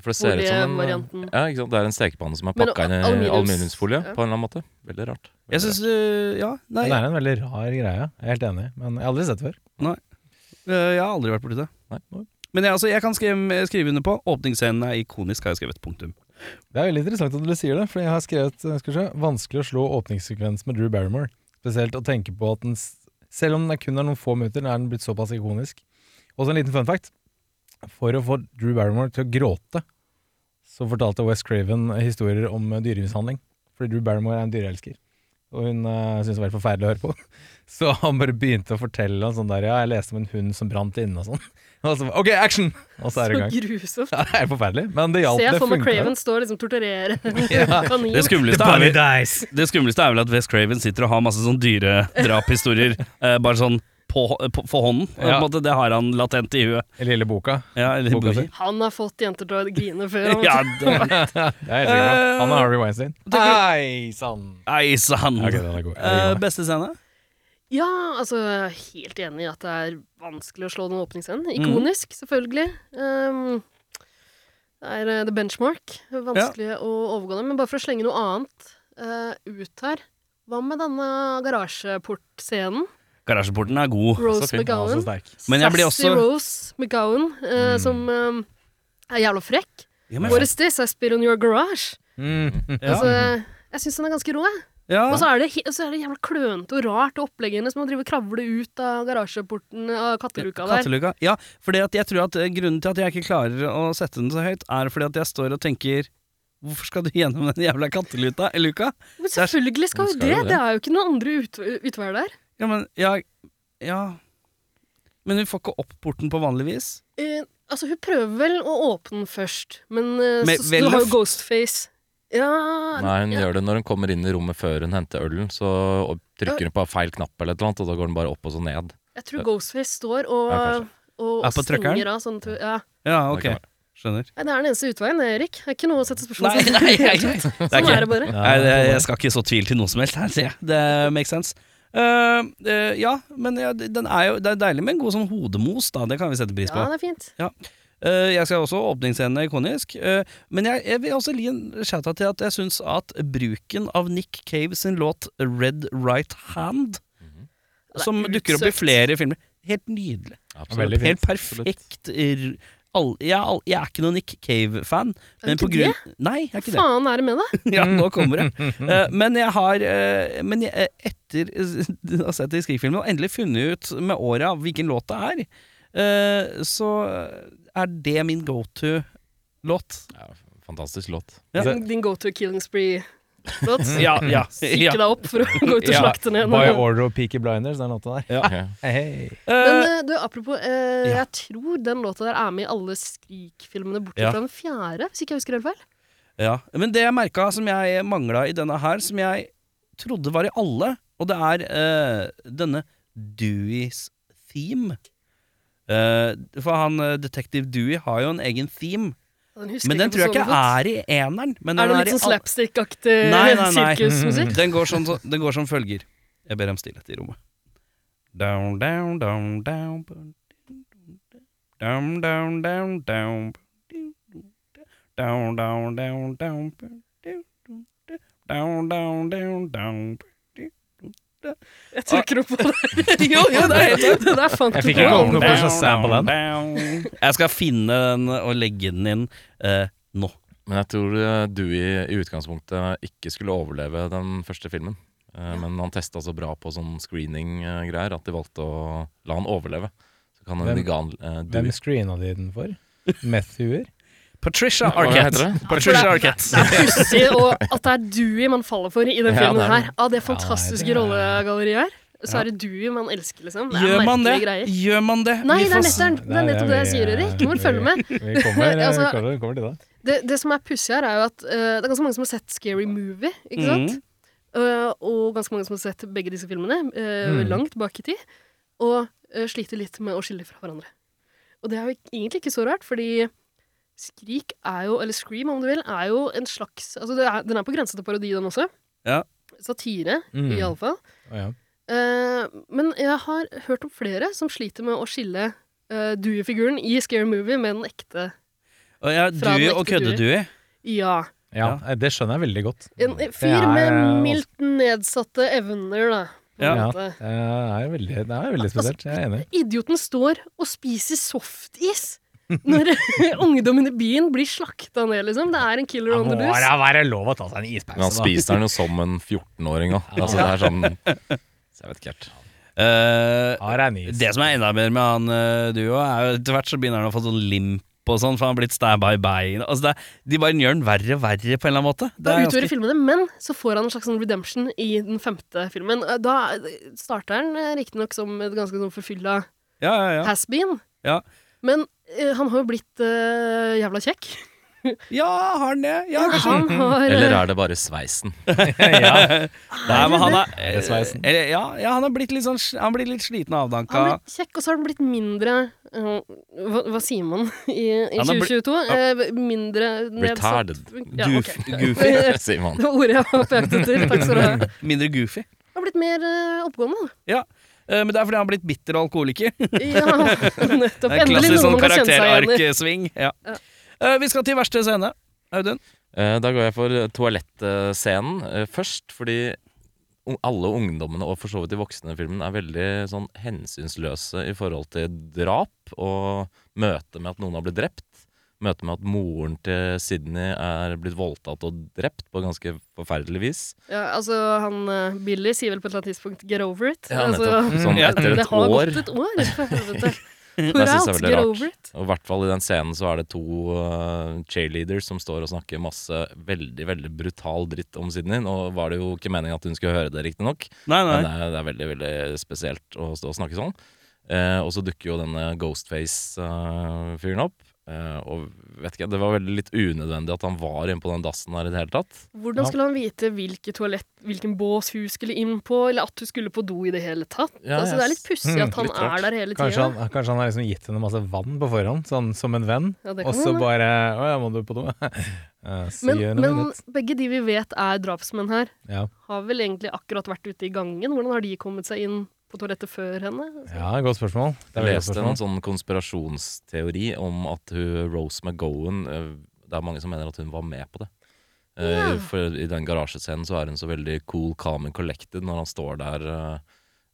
[SPEAKER 3] for det ser ut som en, eh,
[SPEAKER 4] Olievarianten.
[SPEAKER 3] ja, ikke sant? Det er en stekepanne som er
[SPEAKER 4] Men
[SPEAKER 3] pakka inn i
[SPEAKER 4] aluminiums-
[SPEAKER 3] aluminiumsfolie
[SPEAKER 4] ja.
[SPEAKER 3] på en eller annen måte. Veldig rart. Veldig
[SPEAKER 2] Jeg syns eh, Ja, nei,
[SPEAKER 6] Det er en veldig rar greie. Jeg er helt enig, men jeg har aldri sett det før.
[SPEAKER 2] eh, jeg har aldri vært borti det.
[SPEAKER 3] Nei.
[SPEAKER 2] Men jeg, altså, jeg kan skrive, skrive under på. Åpningsscenen er ikonisk, har jeg skrevet. Punktum.
[SPEAKER 6] Det er veldig interessant at dere sier det, for jeg har skrevet eh, skal vi se, vanskelig å slå åpningssekvens med Drew Barrymore. Spesielt å tenke på at den, s- selv om den kun er noen få minutter, den er den blitt såpass ikonisk. Og så en liten fun fact. For å få Drew Barrymore til å gråte, så fortalte West Craven historier om eh, dyremishandling. Fordi Drew Barrymore er en dyreelsker, og hun uh, syntes det var helt forferdelig å høre på. Så han bare begynte å fortelle om sånn der, ja, jeg leste om en hund som brant inne og sånn. Og så, OK, action! Og så er det
[SPEAKER 4] Så
[SPEAKER 6] i gang.
[SPEAKER 4] grusomt.
[SPEAKER 6] Ja, det er forferdelig, men det hjalp.
[SPEAKER 4] Se
[SPEAKER 6] det
[SPEAKER 4] for meg
[SPEAKER 6] funket.
[SPEAKER 4] Craven stå og liksom torturere
[SPEAKER 6] Ja.
[SPEAKER 4] kaninen.
[SPEAKER 2] Det skumleste er
[SPEAKER 6] Bunny
[SPEAKER 2] vel-
[SPEAKER 6] dies!
[SPEAKER 2] Det skumleste er vel at Wes Craven sitter og har masse sånn dyredraphistorier eh, bare sånn på, på, for hånden. På en
[SPEAKER 6] Ja.
[SPEAKER 2] måte, det har han latent i huet.
[SPEAKER 6] Eller lille boka.
[SPEAKER 2] Ja, eller
[SPEAKER 6] Boka
[SPEAKER 2] boi.
[SPEAKER 4] Han har fått jenter til å grine før. Han,
[SPEAKER 2] ja, det-
[SPEAKER 6] Jeg er helt sikker på det. Han er Harvey Weinstein. Hei Eh, sann!
[SPEAKER 2] Nei sann!
[SPEAKER 6] Ok, den er god.
[SPEAKER 2] Eh, beste scene?
[SPEAKER 4] Ja, altså, jeg er helt enig i at det er vanskelig å slå den åpningsscenen.
[SPEAKER 2] Mhm.
[SPEAKER 4] Ikonisk, selvfølgelig. Um, det er eh, the benchmark. Vanskelig å overgå den. Men bare for å slenge noe annet eh, ut her Hva med denne garasjeportscenen?
[SPEAKER 2] Garasjeporten er god.
[SPEAKER 4] Rose
[SPEAKER 3] fin.
[SPEAKER 6] Han er så
[SPEAKER 4] McGowan.
[SPEAKER 6] sterk.
[SPEAKER 2] Men jeg blir
[SPEAKER 4] Sassy
[SPEAKER 2] også
[SPEAKER 4] Rose McGowan, eh, som eh, er jævla frekk.
[SPEAKER 2] Ja, Mm. men,
[SPEAKER 4] What is this? I spit on your garage.
[SPEAKER 6] Mm.
[SPEAKER 2] Ja.
[SPEAKER 4] Altså, jeg syns den er ganske rå, jeg.
[SPEAKER 2] ja.
[SPEAKER 4] Og så er det, he- og så er det jævla klønete og rart, og opplegget hennes med å drive og kravle ut av garasjeporten eh, av katteluka der.
[SPEAKER 2] Katteluka. Ja, fordi at jeg tror at eh, grunnen til at jeg ikke klarer å sette den så høyt, er fordi at jeg står og tenker Hvorfor skal du gjennom den jævla katteluka? Luka?
[SPEAKER 4] Men selvfølgelig skal jo
[SPEAKER 3] Skal
[SPEAKER 4] det!
[SPEAKER 3] jo det.
[SPEAKER 4] Det er jo ikke noen andre ut, utveier der.
[SPEAKER 2] Ja, men ja, ja. Men hun får ikke opp porten på vanlig vis.
[SPEAKER 4] Eh, altså, hun prøver vel å åpne den først, men eh,
[SPEAKER 2] Med-
[SPEAKER 4] så,
[SPEAKER 2] ved
[SPEAKER 4] så, du har jo
[SPEAKER 2] løft?
[SPEAKER 4] Ghostface. Ja
[SPEAKER 3] Nei, hun gjør det når hun kommer inn i rommet før hun henter ølen. Så og trykker hun på feil knapp, eller et eller annet, og da går den bare opp og så ned.
[SPEAKER 4] Jeg tror Ghostface står og,
[SPEAKER 3] Ja, kanskje.
[SPEAKER 4] og, og
[SPEAKER 2] Er på trøkkeren?
[SPEAKER 4] stenger av sånn at hun- ja.
[SPEAKER 2] Ja,
[SPEAKER 3] Det
[SPEAKER 2] ok.
[SPEAKER 3] kan
[SPEAKER 2] Skjønner.
[SPEAKER 4] Nei, det er den eneste utveien, det, Erik. Det er ikke noe å sette
[SPEAKER 2] Nei,
[SPEAKER 4] spørsmål
[SPEAKER 2] nei, nei, nei.
[SPEAKER 4] Sånn er, det bare.
[SPEAKER 2] Nei, det, jeg skal ikke så tvil til noe som helst her, sier jeg. Det makes sense. Eh, eh, ja, men ja, den er jo, det er deilig med en god sånn hodemos, da. Det kan vi sette pris
[SPEAKER 4] Ja,
[SPEAKER 2] på.
[SPEAKER 4] det er fint.
[SPEAKER 2] Eh, jeg skal også åpningsscenen er ikonisk. eh, men jeg, jeg vil også gi en shout-out til at jeg syns at bruken av Nick Cave sin låt Red Right Hand,
[SPEAKER 4] Det er
[SPEAKER 2] som dukker opp i
[SPEAKER 4] utsøkt.
[SPEAKER 2] flere filmer Helt nydelig.
[SPEAKER 3] Absolutt.
[SPEAKER 6] Veldig fint.
[SPEAKER 2] Helt perfekt. r- all, jeg, er all, jeg er ikke noen Nick Cave-fan.
[SPEAKER 4] Er
[SPEAKER 2] men
[SPEAKER 4] du
[SPEAKER 2] på
[SPEAKER 4] ikke det?
[SPEAKER 2] grunn- Nei, jeg er ikke det.
[SPEAKER 4] Faen er det med deg?
[SPEAKER 2] Ja, nå kommer det. Eh, men jeg har eh, Men jeg, eh, etter eh, å ha sett det i Skrik-filmen, og endelig funnet ut med åra hvilken låt det er, eh, så er det min go to-låt.
[SPEAKER 3] Ja, fantastisk låt.
[SPEAKER 2] Ja.
[SPEAKER 4] Din- Din go to killing spree-låt.
[SPEAKER 2] Ja, ja,
[SPEAKER 4] Stikke deg opp for å gå ut og
[SPEAKER 2] Ja,
[SPEAKER 4] slakte ned.
[SPEAKER 6] By
[SPEAKER 4] noen.
[SPEAKER 6] order of Peaky Blinders, den låta der.
[SPEAKER 3] Ok.
[SPEAKER 6] Hei.
[SPEAKER 4] Men
[SPEAKER 2] Eh,
[SPEAKER 4] eh, du, apropos, eh, jeg tror den låta der er med i alle Skrik-filmene, bortsett
[SPEAKER 2] Ja.
[SPEAKER 4] fra den fjerde, hvis ikke jeg husker helt feil.
[SPEAKER 2] ja. Men det jeg merka som jeg mangla i denne her, som jeg trodde var i alle, og det er eh, denne Deweys theme. Eh, for han eh, detektiv Dewey har jo en egen theme,
[SPEAKER 4] husker
[SPEAKER 2] men den
[SPEAKER 4] på
[SPEAKER 2] tror jeg
[SPEAKER 4] så
[SPEAKER 2] ikke
[SPEAKER 4] godt.
[SPEAKER 2] er i eneren. Men
[SPEAKER 4] Er
[SPEAKER 2] den
[SPEAKER 4] det
[SPEAKER 2] i
[SPEAKER 4] litt sånn
[SPEAKER 2] alle-
[SPEAKER 4] slapstick-aktig eh,
[SPEAKER 2] Nei, nei, nei.
[SPEAKER 4] sirkusmusikk?
[SPEAKER 2] Den går, sånn, den går som følger. Jeg ber om stillhet i rommet. Down, down, down, down Down, down, down, down Down, down, down, down Down, down, down, down
[SPEAKER 4] Jeg
[SPEAKER 2] Ah.
[SPEAKER 4] trykker opp på det.
[SPEAKER 2] Jo, jo, det er helt sant.
[SPEAKER 4] Det der fant
[SPEAKER 6] Jeg
[SPEAKER 4] du
[SPEAKER 6] fikk
[SPEAKER 4] på.
[SPEAKER 6] ikke åpne
[SPEAKER 4] Alvor.
[SPEAKER 6] på den, så sample den.
[SPEAKER 2] down. Jeg skal finne den og legge den inn eh, nå.
[SPEAKER 3] Men jeg tror eh, Dewey i utgangspunktet ikke skulle overleve den første filmen. Eh, Men han testa så bra på sånn screening-greier at de valgte å la han overleve. Så kan en
[SPEAKER 6] Hvem-
[SPEAKER 3] vegan eh,
[SPEAKER 6] Hvem
[SPEAKER 3] Dewey
[SPEAKER 6] screena de den for? Matthewer?
[SPEAKER 2] Patricia
[SPEAKER 3] Hva heter
[SPEAKER 2] Arquette.
[SPEAKER 3] det?
[SPEAKER 2] Patricia Arquette.
[SPEAKER 4] Det er pussig og at det er Dewey man faller for i den
[SPEAKER 3] Ja,
[SPEAKER 4] filmen
[SPEAKER 3] det er det.
[SPEAKER 4] her. Av det fantastiske
[SPEAKER 6] Ja, det er-
[SPEAKER 4] rollegalleriet her, så er det Dewey man elsker, liksom. Det er
[SPEAKER 2] Gjør man det?
[SPEAKER 4] merkelige greier.
[SPEAKER 2] Gjør man det?
[SPEAKER 4] Nei,
[SPEAKER 2] Vi
[SPEAKER 4] det er
[SPEAKER 2] får
[SPEAKER 4] nettopp det, er nettopp det jeg sier, Erik. Du må følge med.
[SPEAKER 6] Vi kommer, eh,
[SPEAKER 4] Altså-
[SPEAKER 6] kommer, kommer til det.
[SPEAKER 4] Det, det som er pussig her, er jo at eh, det er ganske mange som har sett Scary Movie,
[SPEAKER 6] Mm.
[SPEAKER 4] ikke sant? Eh, og ganske mange som har sett begge disse filmene eh,
[SPEAKER 6] Mm.
[SPEAKER 4] langt bak i tid, og eh, sliter litt med å skille fra hverandre. Og det er jo ikke- egentlig ikke så rart, fordi Skrik er jo, eller Scream om du vil, er jo en slags altså det er, Den er på grensa til parodi, den også.
[SPEAKER 2] Ja.
[SPEAKER 4] Satire,
[SPEAKER 6] Mm.
[SPEAKER 4] iallfall.
[SPEAKER 6] Å, ja.
[SPEAKER 4] Eh, men jeg har hørt om flere som sliter med å skille uh, Dewey-figuren i Scary Movie med den ekte
[SPEAKER 2] Og ja,
[SPEAKER 4] Fra
[SPEAKER 2] Dewey
[SPEAKER 4] den
[SPEAKER 2] og
[SPEAKER 4] ekte
[SPEAKER 2] kødde-Dewey.
[SPEAKER 4] Ja.
[SPEAKER 6] Ja, eh, det skjønner jeg veldig godt.
[SPEAKER 4] En
[SPEAKER 6] Det
[SPEAKER 4] fyr
[SPEAKER 6] er eh, altså-
[SPEAKER 4] med
[SPEAKER 6] også-
[SPEAKER 4] mildt nedsatte evner, da. på en
[SPEAKER 6] Ja.
[SPEAKER 4] måte.
[SPEAKER 6] Det er veldig, det er veldig spesielt. Jeg er enig.
[SPEAKER 4] Idioten står og spiser softis når ungdommen i byen blir slakta ned, liksom. Det er en killer on the loose.
[SPEAKER 6] være lov å ta seg en ispause,
[SPEAKER 3] Men han spiser den jo som en 14-åring òg. Altså, det er sånn Så jeg vet ikke helt.
[SPEAKER 2] Eh,
[SPEAKER 6] Har en is.
[SPEAKER 2] det som er enda mer med han eh, Duo, er jo etter hvert så begynner han å få sånn limp og sånn, for han har blitt stabba i beinet. Altså, det er- de bare gjør han verre og verre på en eller annen måte. Det
[SPEAKER 4] Da
[SPEAKER 2] er
[SPEAKER 4] utgjør
[SPEAKER 2] ganske-
[SPEAKER 4] filmene, men så får han en slags sånn redemption i den femte filmen. Eh, Da starter han eh, riktignok som et ganske sånn forfylla
[SPEAKER 2] ja, ja, ja.
[SPEAKER 4] has-been,
[SPEAKER 2] Ja.
[SPEAKER 4] men eh, han har jo blitt eh, jævla kjekk.
[SPEAKER 2] ja, har han det? Ja, kanskje.
[SPEAKER 4] Han har eh,
[SPEAKER 3] Eller er det bare sveisen?
[SPEAKER 2] Nei, men han er, eh,
[SPEAKER 6] Er det sveisen?
[SPEAKER 2] eller, ja, ja, han har blitt litt, sånn, sl- han blir litt sliten og
[SPEAKER 4] Han
[SPEAKER 2] avdanka.
[SPEAKER 4] har blitt kjekk, og så har han blitt mindre øh, hva, hva sier man i, i
[SPEAKER 2] Han har blitt-
[SPEAKER 4] 2022? Eh, mindre nedsatt
[SPEAKER 3] Retarded.
[SPEAKER 4] ja,
[SPEAKER 2] Goof,
[SPEAKER 4] ok.
[SPEAKER 2] Goofy.
[SPEAKER 3] Sier man.
[SPEAKER 4] Det var ordet jeg var på jakt etter. Takk skal du ha.
[SPEAKER 2] Mindre goofy.
[SPEAKER 4] Han har blitt mer øh, oppegående.
[SPEAKER 2] Ja. Eh, men det er fordi han har blitt bitter alkoholiker.
[SPEAKER 4] Ja,
[SPEAKER 2] Det er
[SPEAKER 4] nettopp.
[SPEAKER 2] en
[SPEAKER 4] Endelig
[SPEAKER 2] klassisk
[SPEAKER 4] noen
[SPEAKER 2] sånn
[SPEAKER 4] man kan kjenne seg igjen i.
[SPEAKER 2] karakterarksving. Ja.
[SPEAKER 4] Ja.
[SPEAKER 2] Eh, vi skal til verste scene. Audun?
[SPEAKER 3] Eh, Da går jeg for toalettscenen eh, først, fordi un- alle ungdommene, og for så vidt de voksne i filmen, er veldig sånn hensynsløse i forhold til drap og møte med at noen har blitt drept. møte med at moren til Sydney er blitt voldtatt og drept på ganske forferdelig vis.
[SPEAKER 4] Ja, altså, han eh, Billy sier vel på et eller annet tidspunkt 'get over it'.
[SPEAKER 3] Ja,
[SPEAKER 4] altså,
[SPEAKER 3] nettopp. Sånn
[SPEAKER 4] ja,
[SPEAKER 3] etter
[SPEAKER 4] det
[SPEAKER 3] et
[SPEAKER 4] har
[SPEAKER 3] år.
[SPEAKER 4] gått et år, for helvete.
[SPEAKER 3] Det
[SPEAKER 4] Hurra,
[SPEAKER 3] synes jeg er veldig
[SPEAKER 4] get
[SPEAKER 3] rart.
[SPEAKER 4] over it.
[SPEAKER 3] Og i hvert fall i den scenen så er det to eh, cheerleaders som står og snakker masse veldig, veldig brutal dritt om Sydney. Nå var det jo ikke meningen at hun skulle høre det riktignok,
[SPEAKER 2] Nei,
[SPEAKER 3] men
[SPEAKER 2] nei.
[SPEAKER 3] det er, det er veldig, veldig spesielt å stå og snakke sånn. Eh, og så dukker jo denne Ghostface-fyren opp. eh, og vet ikke, det var veldig litt unødvendig at han var inne på den dassen her i det hele tatt.
[SPEAKER 4] Hvordan skulle han vite hvilke toalett, hvilken bås hun skulle inn på, eller at hun skulle på do i det hele tatt?
[SPEAKER 3] Ja, jeg
[SPEAKER 4] altså, det er litt
[SPEAKER 3] s-
[SPEAKER 4] pussig
[SPEAKER 6] Mm,
[SPEAKER 4] at han
[SPEAKER 3] litt rart.
[SPEAKER 4] er der hele
[SPEAKER 6] Kanskje
[SPEAKER 4] tida.
[SPEAKER 6] han, kanskje han har liksom gitt henne masse vann på forhånd, sånn som en venn.
[SPEAKER 4] Ja, det kan
[SPEAKER 6] Og så
[SPEAKER 4] hende.
[SPEAKER 6] bare Å ja, må du på do? Eh, See
[SPEAKER 4] Men,
[SPEAKER 6] you in a
[SPEAKER 4] men
[SPEAKER 6] minute.
[SPEAKER 4] begge de vi vet er drapsmenn her,
[SPEAKER 6] Ja.
[SPEAKER 4] har vel egentlig akkurat vært ute i gangen? Hvordan har de kommet seg inn på toalettet før henne?
[SPEAKER 6] ja, godt spørsmål.
[SPEAKER 3] Jeg
[SPEAKER 6] Det er veldig godt
[SPEAKER 3] leste en sånn
[SPEAKER 6] spørsmål.
[SPEAKER 3] konspirasjonsteori om at hun, Rose McGowan eh, Det er mange som mener at hun var med på det. Eh,
[SPEAKER 4] Ja.
[SPEAKER 3] For i den garasjescenen så er hun så veldig cool, calm and collected når han står der, eh,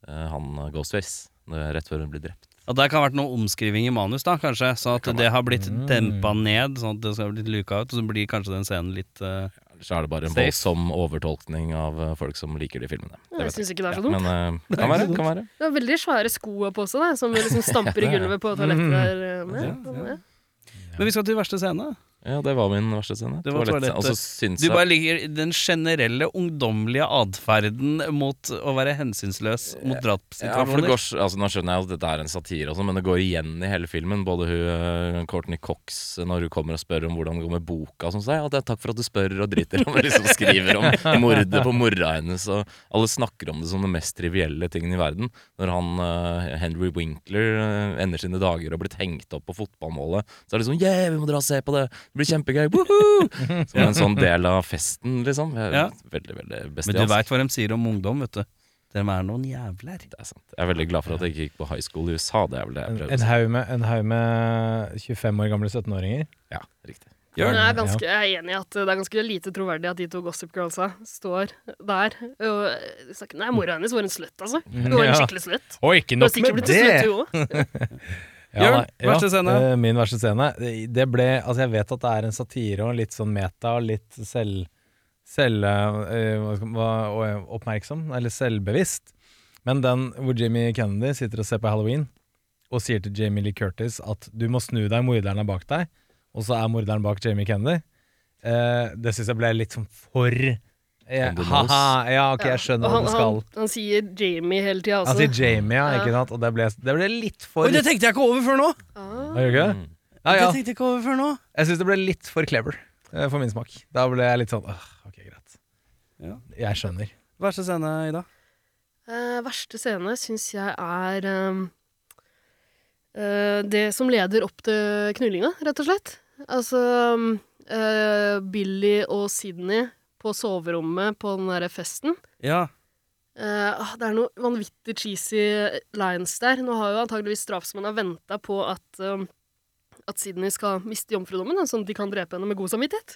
[SPEAKER 3] eh, han eh, Ghostface, når- rett før hun blir drept.
[SPEAKER 2] Og der kan ha vært noe omskriving i manus, da, kanskje. Så at det har blitt
[SPEAKER 6] Mm.
[SPEAKER 2] dempa ned, sånn at det skal bli litt luka ut. Og så blir kanskje den scenen litt eh,
[SPEAKER 3] Ellers er det bare en
[SPEAKER 2] Safe.
[SPEAKER 3] voldsom overtolkning av eh, folk som liker de filmene. Det
[SPEAKER 4] Jeg
[SPEAKER 3] vet jeg.
[SPEAKER 4] syns ikke det er så dumt.
[SPEAKER 3] Men eh, det kan være. Kan være.
[SPEAKER 4] Det var veldig svære sko på også, da, som liksom stamper i gulvet på toalettet der. eh, Med. Ja.
[SPEAKER 2] Men vi skal til verste scene.
[SPEAKER 3] Ja, det var min verste scene.
[SPEAKER 2] Det var
[SPEAKER 3] Toalettscene.
[SPEAKER 2] toalettet.
[SPEAKER 3] Og så
[SPEAKER 4] altså,
[SPEAKER 3] syns
[SPEAKER 2] Du
[SPEAKER 3] jeg
[SPEAKER 2] bare liker den generelle ungdommelige atferden mot å være hensynsløs mot
[SPEAKER 3] Ja, for det
[SPEAKER 2] drapssituasjoner.
[SPEAKER 3] går, s- altså, nå skjønner jeg at dette er en satire, og sånn, men det går igjen i hele filmen. Både hun, eh, Courtney Cox når hun kommer og spør om hvordan det går med boka. Sånn, så sier jeg at det er takk for at du spør og driter om det, liksom skriver om mordet på mora hennes. Og alle snakker om det som den mest trivielle tingen i verden. Når han, eh, Henry Winkler eh, ender sine dager og har blitt hengt opp på fotballmålet, så er det sånn Yeah, vi må dra og se på det! Det blir kjempegøy! Woohoo! Som en sånn del av festen, liksom. Jeg-
[SPEAKER 2] Ja.
[SPEAKER 3] Veldig, veldig
[SPEAKER 2] Men du
[SPEAKER 3] bestialsk.
[SPEAKER 2] veit hva de sier om ungdom, vet du. De er noen jævler.
[SPEAKER 3] Det er sant. Jeg er veldig glad for at jeg ikke gikk på high school i USA. Det er vel det jeg
[SPEAKER 6] En,
[SPEAKER 3] prøver å
[SPEAKER 6] en haug med, en haug med 25 år gamle 17-åringer.
[SPEAKER 3] Ja, riktig.
[SPEAKER 4] Men
[SPEAKER 2] Gjør
[SPEAKER 4] Jeg, er ganske, jeg er enig i at det er ganske lite troverdig at de to Gossip Girlsa står der og eh, snakker Nei, mora hennes var en slutt, altså. Hun var en
[SPEAKER 6] Ja.
[SPEAKER 4] skikkelig slutt.
[SPEAKER 6] Og ikke
[SPEAKER 4] Hun har sikkert blitt en slutt, hun òg.
[SPEAKER 2] Jørn, verste scene?
[SPEAKER 6] eh, min verste scene. Det- Det ble, altså jeg vet at det er en satire og litt sånn meta og litt selv, selv eh, hva skal- hva- og- oppmerksom, eller selvbevisst. Men den hvor Jimmy Kennedy sitter og ser på Halloween og sier til Jamie Lee Curtis at du må snu deg, morderen er bak deg, og så er morderen bak Jamie Kennedy, eh, det syns jeg ble litt sånn for eh,
[SPEAKER 3] On the nose.
[SPEAKER 6] Ha-ha, ja, ok, jeg
[SPEAKER 4] Og
[SPEAKER 6] skjønner hva
[SPEAKER 4] han, han,
[SPEAKER 6] du skal.
[SPEAKER 4] han sier Jamie hele altså. tida
[SPEAKER 6] Han
[SPEAKER 4] også.
[SPEAKER 6] sier Jamie, ja,
[SPEAKER 4] Ja.
[SPEAKER 6] ikke sant? Og det ble, det ble litt for
[SPEAKER 2] Oi, det tenkte jeg ikke over før nå!
[SPEAKER 4] Ah.
[SPEAKER 6] Har du ikke det?
[SPEAKER 3] Mm.
[SPEAKER 6] Ja, ja.
[SPEAKER 2] Det tenkte jeg ikke over før nå.
[SPEAKER 6] Jeg syns det ble litt for clever eh, for min smak. Da ble jeg litt sånn «Åh, Ok, greit.
[SPEAKER 2] Ja.
[SPEAKER 6] Jeg skjønner.
[SPEAKER 2] Verste scene, Ida.
[SPEAKER 4] Eh, verste scene syns jeg er ehm, eh, det som leder opp til knullinga, rett og slett. Altså ehm, eh, Billy og Sydney på soverommet på den derre festen.
[SPEAKER 2] Ja.
[SPEAKER 4] Eh, ah, det er noe vanvittig cheesy lines der. Nå har jo antageligvis drapsmennene venta på at, um, at Sydney skal miste jomfrudommen, da, sånn at de kan drepe henne med god samvittighet.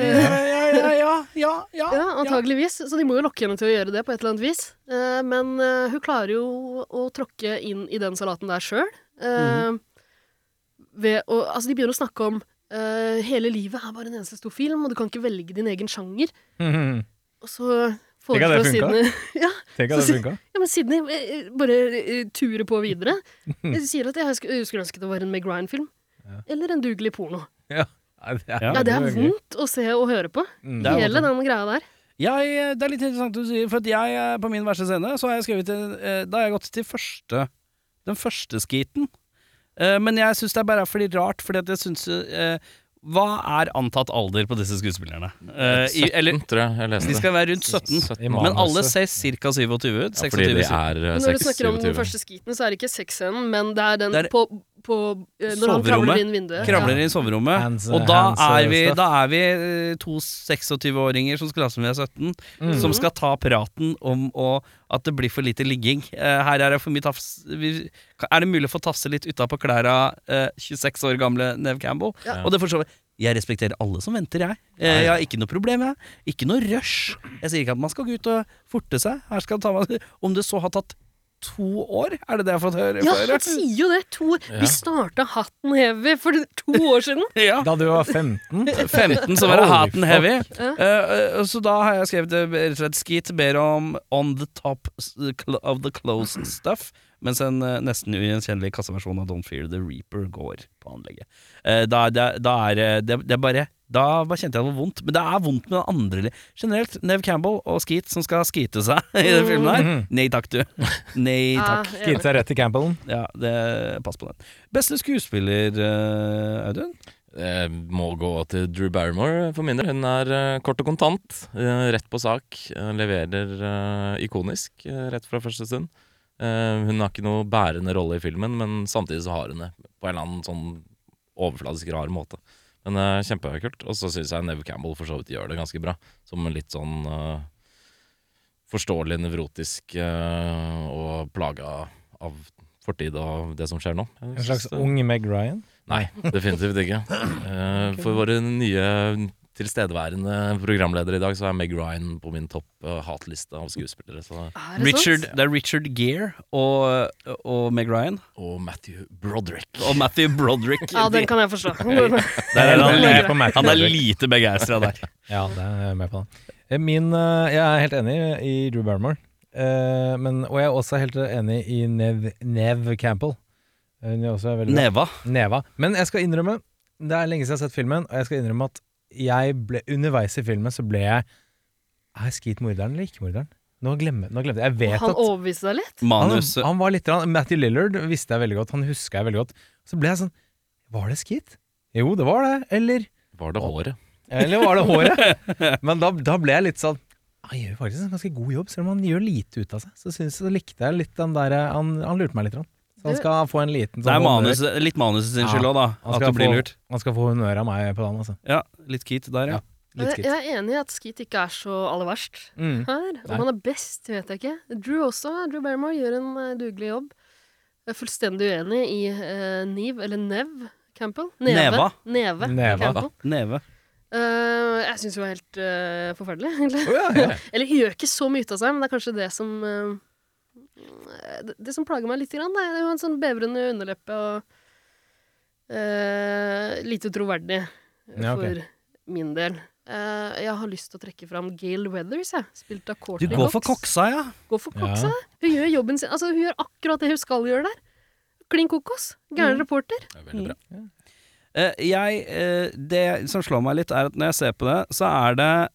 [SPEAKER 4] Eh,
[SPEAKER 2] ja, ja, ja,
[SPEAKER 4] ja, antageligvis. Så de må jo lokke henne til å gjøre det på et eller annet vis. Eh, men eh, hun klarer jo å tråkke inn i den salaten der sjøl. ved å Altså, de begynner å snakke om eh, hele livet er bare en eneste stor film, og du kan ikke velge din egen sjanger. Og så
[SPEAKER 6] Tenk at det
[SPEAKER 4] foreslår
[SPEAKER 6] funka.
[SPEAKER 4] Sydney Ja,
[SPEAKER 6] Tenk
[SPEAKER 4] Så
[SPEAKER 6] at det
[SPEAKER 4] si-
[SPEAKER 6] funka.
[SPEAKER 4] ja, men Sydney eh, eh, bare eh, turer på videre. Jeg sier at jeg sk- jeg skulle ønske det var en Meg Ryan-film. Eller en dugelig porno.
[SPEAKER 6] Nei, det er,
[SPEAKER 2] Ja.
[SPEAKER 4] Ja, Det er
[SPEAKER 6] veldig gøy.
[SPEAKER 4] vondt å se og høre på.
[SPEAKER 6] Mm.
[SPEAKER 2] Det er
[SPEAKER 4] Hele den greia der.
[SPEAKER 2] Jeg, det er litt interessant du sier, for at jeg eh, på min verste scene så har jeg skrevet eh, Da har jeg gått til første den første skiten. Eh, Men jeg syns det er bare fordi rart, fordi at jeg syns eh, Hva er antatt alder på disse skuespillerne? Eh, i-
[SPEAKER 3] 17,
[SPEAKER 2] eller
[SPEAKER 3] tror jeg jeg leste.
[SPEAKER 2] de skal være rundt 17,
[SPEAKER 6] I
[SPEAKER 2] men
[SPEAKER 6] manuset.
[SPEAKER 2] alle ser ca. 27 ut.
[SPEAKER 3] ja, fordi
[SPEAKER 2] 26,
[SPEAKER 3] de er eh,
[SPEAKER 4] Men når du snakker om den
[SPEAKER 3] 26.
[SPEAKER 4] første skiten, så er det ikke sexscenen, men det er den
[SPEAKER 2] Det er-
[SPEAKER 4] på, på eh, Når han
[SPEAKER 2] Soverommet.
[SPEAKER 4] kravler inn vinduet.
[SPEAKER 2] Kravler inn i soverommet,
[SPEAKER 6] Hands-
[SPEAKER 2] og da
[SPEAKER 6] hands,
[SPEAKER 2] er, vi,
[SPEAKER 6] stuff.
[SPEAKER 2] da er vi eh, to 26-åringer som skal late som vi er 17,
[SPEAKER 6] Mm.
[SPEAKER 2] som skal ta praten om å, at det blir for lite ligging. Eh, her er det for mye tafs vi, Er det mulig å få tafse litt utapå klæra eh, 26 år gamle Nev Campbell?
[SPEAKER 4] Ja.
[SPEAKER 2] Og det forstår vi. Jeg respekterer alle som venter, jeg. Eh, jeg har ikke noe problem, jeg. Ikke noe rush. Jeg sier ikke at man skal gå ut og forte seg. Her skal det ta meg Om det så har tatt to år? Er det det jeg har fått høre?
[SPEAKER 4] Ja,
[SPEAKER 2] før?
[SPEAKER 4] han sier jo det. To,
[SPEAKER 3] Ja.
[SPEAKER 4] Vi starta Hatten Heavy for to år siden.
[SPEAKER 2] Ja.
[SPEAKER 6] Da du var 15?
[SPEAKER 2] 15, så var det
[SPEAKER 6] Holy
[SPEAKER 2] Hat and
[SPEAKER 6] fuck.
[SPEAKER 2] Heavy.
[SPEAKER 4] Ja.
[SPEAKER 2] Eh, eh, så da har jeg skrevet eh, rett og slett Skeet ber om On the top s- cl- of the close stuff, mens en eh, nesten ugjenkjennelig kasseversjon av Don't Fear the Reaper går på anlegget. Eh, da, er det- da er eh, det, det er bare da bare kjente jeg noe vondt, men det er vondt med den andre li- Generelt, Nev Campbell og Skeet som skal skeete seg i den filmen
[SPEAKER 6] Mm.
[SPEAKER 2] her. Nei takk, du. Nei takk.
[SPEAKER 4] Ja, jeg-
[SPEAKER 6] Gitt seg rett til Campbellen?
[SPEAKER 2] Ja, det, pass på den. Beste skuespiller, eh, Audun?
[SPEAKER 3] Eh, må gå til Drew Barrymore for min del. Hun er eh, kort og kontant, eh, rett på sak. eh, leverer eh, ikonisk eh, rett fra første stund. Eh, hun har ikke noe bærende rolle i filmen, men samtidig så har hun det på en eller annen sånn overfladisk rar måte. Men eh, kjempekult. Og så syns jeg Nev Campbell for så vidt gjør det ganske bra, som en litt sånn eh, forståelig nevrotisk eh, og plaga av fortid og det som skjer nå. Jeg
[SPEAKER 6] En slags
[SPEAKER 3] synes det-
[SPEAKER 6] ung Meg Ryan?
[SPEAKER 3] Nei, definitivt ikke. Eh, for våre nye tilstedeværende programledere i dag, så er Meg Ryan på min topp eh, hatliste av skuespillere. Så.
[SPEAKER 4] Er det
[SPEAKER 2] Richard,
[SPEAKER 4] sant?
[SPEAKER 2] det er Richard Gere og, og Meg Ryan.
[SPEAKER 3] Og Matthew Broderick.
[SPEAKER 2] Og Matthew Broderick.
[SPEAKER 4] Ja, den kan jeg forstå. Den-
[SPEAKER 2] Der er
[SPEAKER 6] Jeg
[SPEAKER 2] han,
[SPEAKER 6] er på Matt
[SPEAKER 2] han er
[SPEAKER 6] Broderick.
[SPEAKER 2] lite begeistra der.
[SPEAKER 6] Ja, det er jeg med på den. Eh, Min, eh, jeg er helt enig i Drew Barrymore. Eh, men, og jeg er også helt enig i Nev, Nev Campbell. Hun er også veldig bra.
[SPEAKER 2] Neva.
[SPEAKER 6] Neva. Men jeg skal innrømme Det er lenge siden jeg har sett filmen, og jeg skal innrømme at jeg ble, underveis i filmen så ble jeg Er Skeet morderen eller ikke morderen? Nå glemmer, nå glemte jeg. Jeg vet
[SPEAKER 4] Han
[SPEAKER 6] at
[SPEAKER 4] overbeviste deg litt.
[SPEAKER 6] han,
[SPEAKER 2] Manus
[SPEAKER 6] han var litt rann- Matthew Lillard visste jeg veldig godt. Han huska jeg veldig godt. Så ble jeg sånn Var det Skeet? Jo, det var det. Eller
[SPEAKER 3] Var det håret?
[SPEAKER 6] eller var det håret? Men da, da ble jeg litt sånn Han gjør faktisk en ganske god jobb, selv om han gjør lite ut av seg. Så, synes, så likte jeg litt den der Han, han lurte meg litt. grann. Så han skal få en liten
[SPEAKER 2] Det er
[SPEAKER 6] sånn
[SPEAKER 2] manus, litt manus sin skyld òg, da. At
[SPEAKER 6] Han skal
[SPEAKER 2] du blir
[SPEAKER 6] få-
[SPEAKER 2] lurt.
[SPEAKER 6] Han skal få honnør av meg på den, altså.
[SPEAKER 2] Ja, Litt kit der, ja.
[SPEAKER 6] Litt
[SPEAKER 4] Jeg,
[SPEAKER 6] skritt.
[SPEAKER 4] jeg er enig i at Skeet ikke er så aller verst
[SPEAKER 6] Mm.
[SPEAKER 4] her. Om
[SPEAKER 6] Nei.
[SPEAKER 4] han er best, vet jeg ikke. Drew også. Drew Barrymore gjør en eh, dugelig jobb. Jeg er fullstendig uenig i eh, Neve, eller Nev Campbell.
[SPEAKER 2] Neva.
[SPEAKER 4] Neve.
[SPEAKER 6] Neva.
[SPEAKER 4] Campbell.
[SPEAKER 2] Neve.
[SPEAKER 4] Eh, jeg syns hun er helt eh, forferdelig, egentlig.
[SPEAKER 6] Å, ja, ja.
[SPEAKER 4] Eller hun gjør ikke så mye ut av seg, men det er kanskje det som eh, det, det som plager meg litt, grann, det er jo en sånn bevrende underleppe og eh, lite troverdig
[SPEAKER 6] Ja, ok.
[SPEAKER 4] for min del. Eh, jeg har lyst til å trekke fram Gail Weathers, jeg. Spilt av
[SPEAKER 2] Du
[SPEAKER 4] Courtney
[SPEAKER 2] går for koksa, ja.
[SPEAKER 4] Går for Cox,
[SPEAKER 6] Ja.
[SPEAKER 4] ja. Hun gjør jobben sin. Altså, hun gjør akkurat det hun skal gjøre der. Klin kokos.
[SPEAKER 2] Mm.
[SPEAKER 4] Gæren reporter.
[SPEAKER 3] Det er Veldig bra.
[SPEAKER 2] Eh, jeg, eh, det som slår meg litt, er at når jeg ser på det, så er det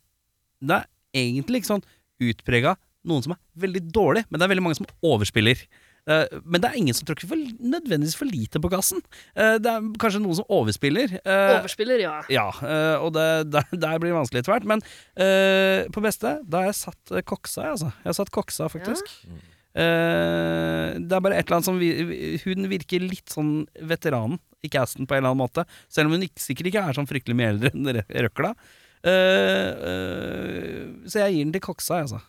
[SPEAKER 2] Det er egentlig ikke sånn utprega noen som er veldig dårlig, men det er veldig mange som overspiller. Eh, men det er ingen som tråkker for, nødvendigvis for lite på gassen. Eh, det er kanskje noen som overspiller. eh,
[SPEAKER 4] Overspiller, ja.
[SPEAKER 2] ja, eh, og det, der, der blir det vanskelig etter hvert. Men eh, på beste, da har jeg satt eh, koksa, jeg, altså. Jeg har satt koksa, faktisk. Eh, det er bare et eller annet som vi, vi- Hun virker litt sånn veteranen i casten på en eller annen måte. Selv om hun ikke, sikkert ikke er sånn fryktelig mye eldre enn rø- røkla. Eh, eh, så jeg gir den til koksa, jeg, altså.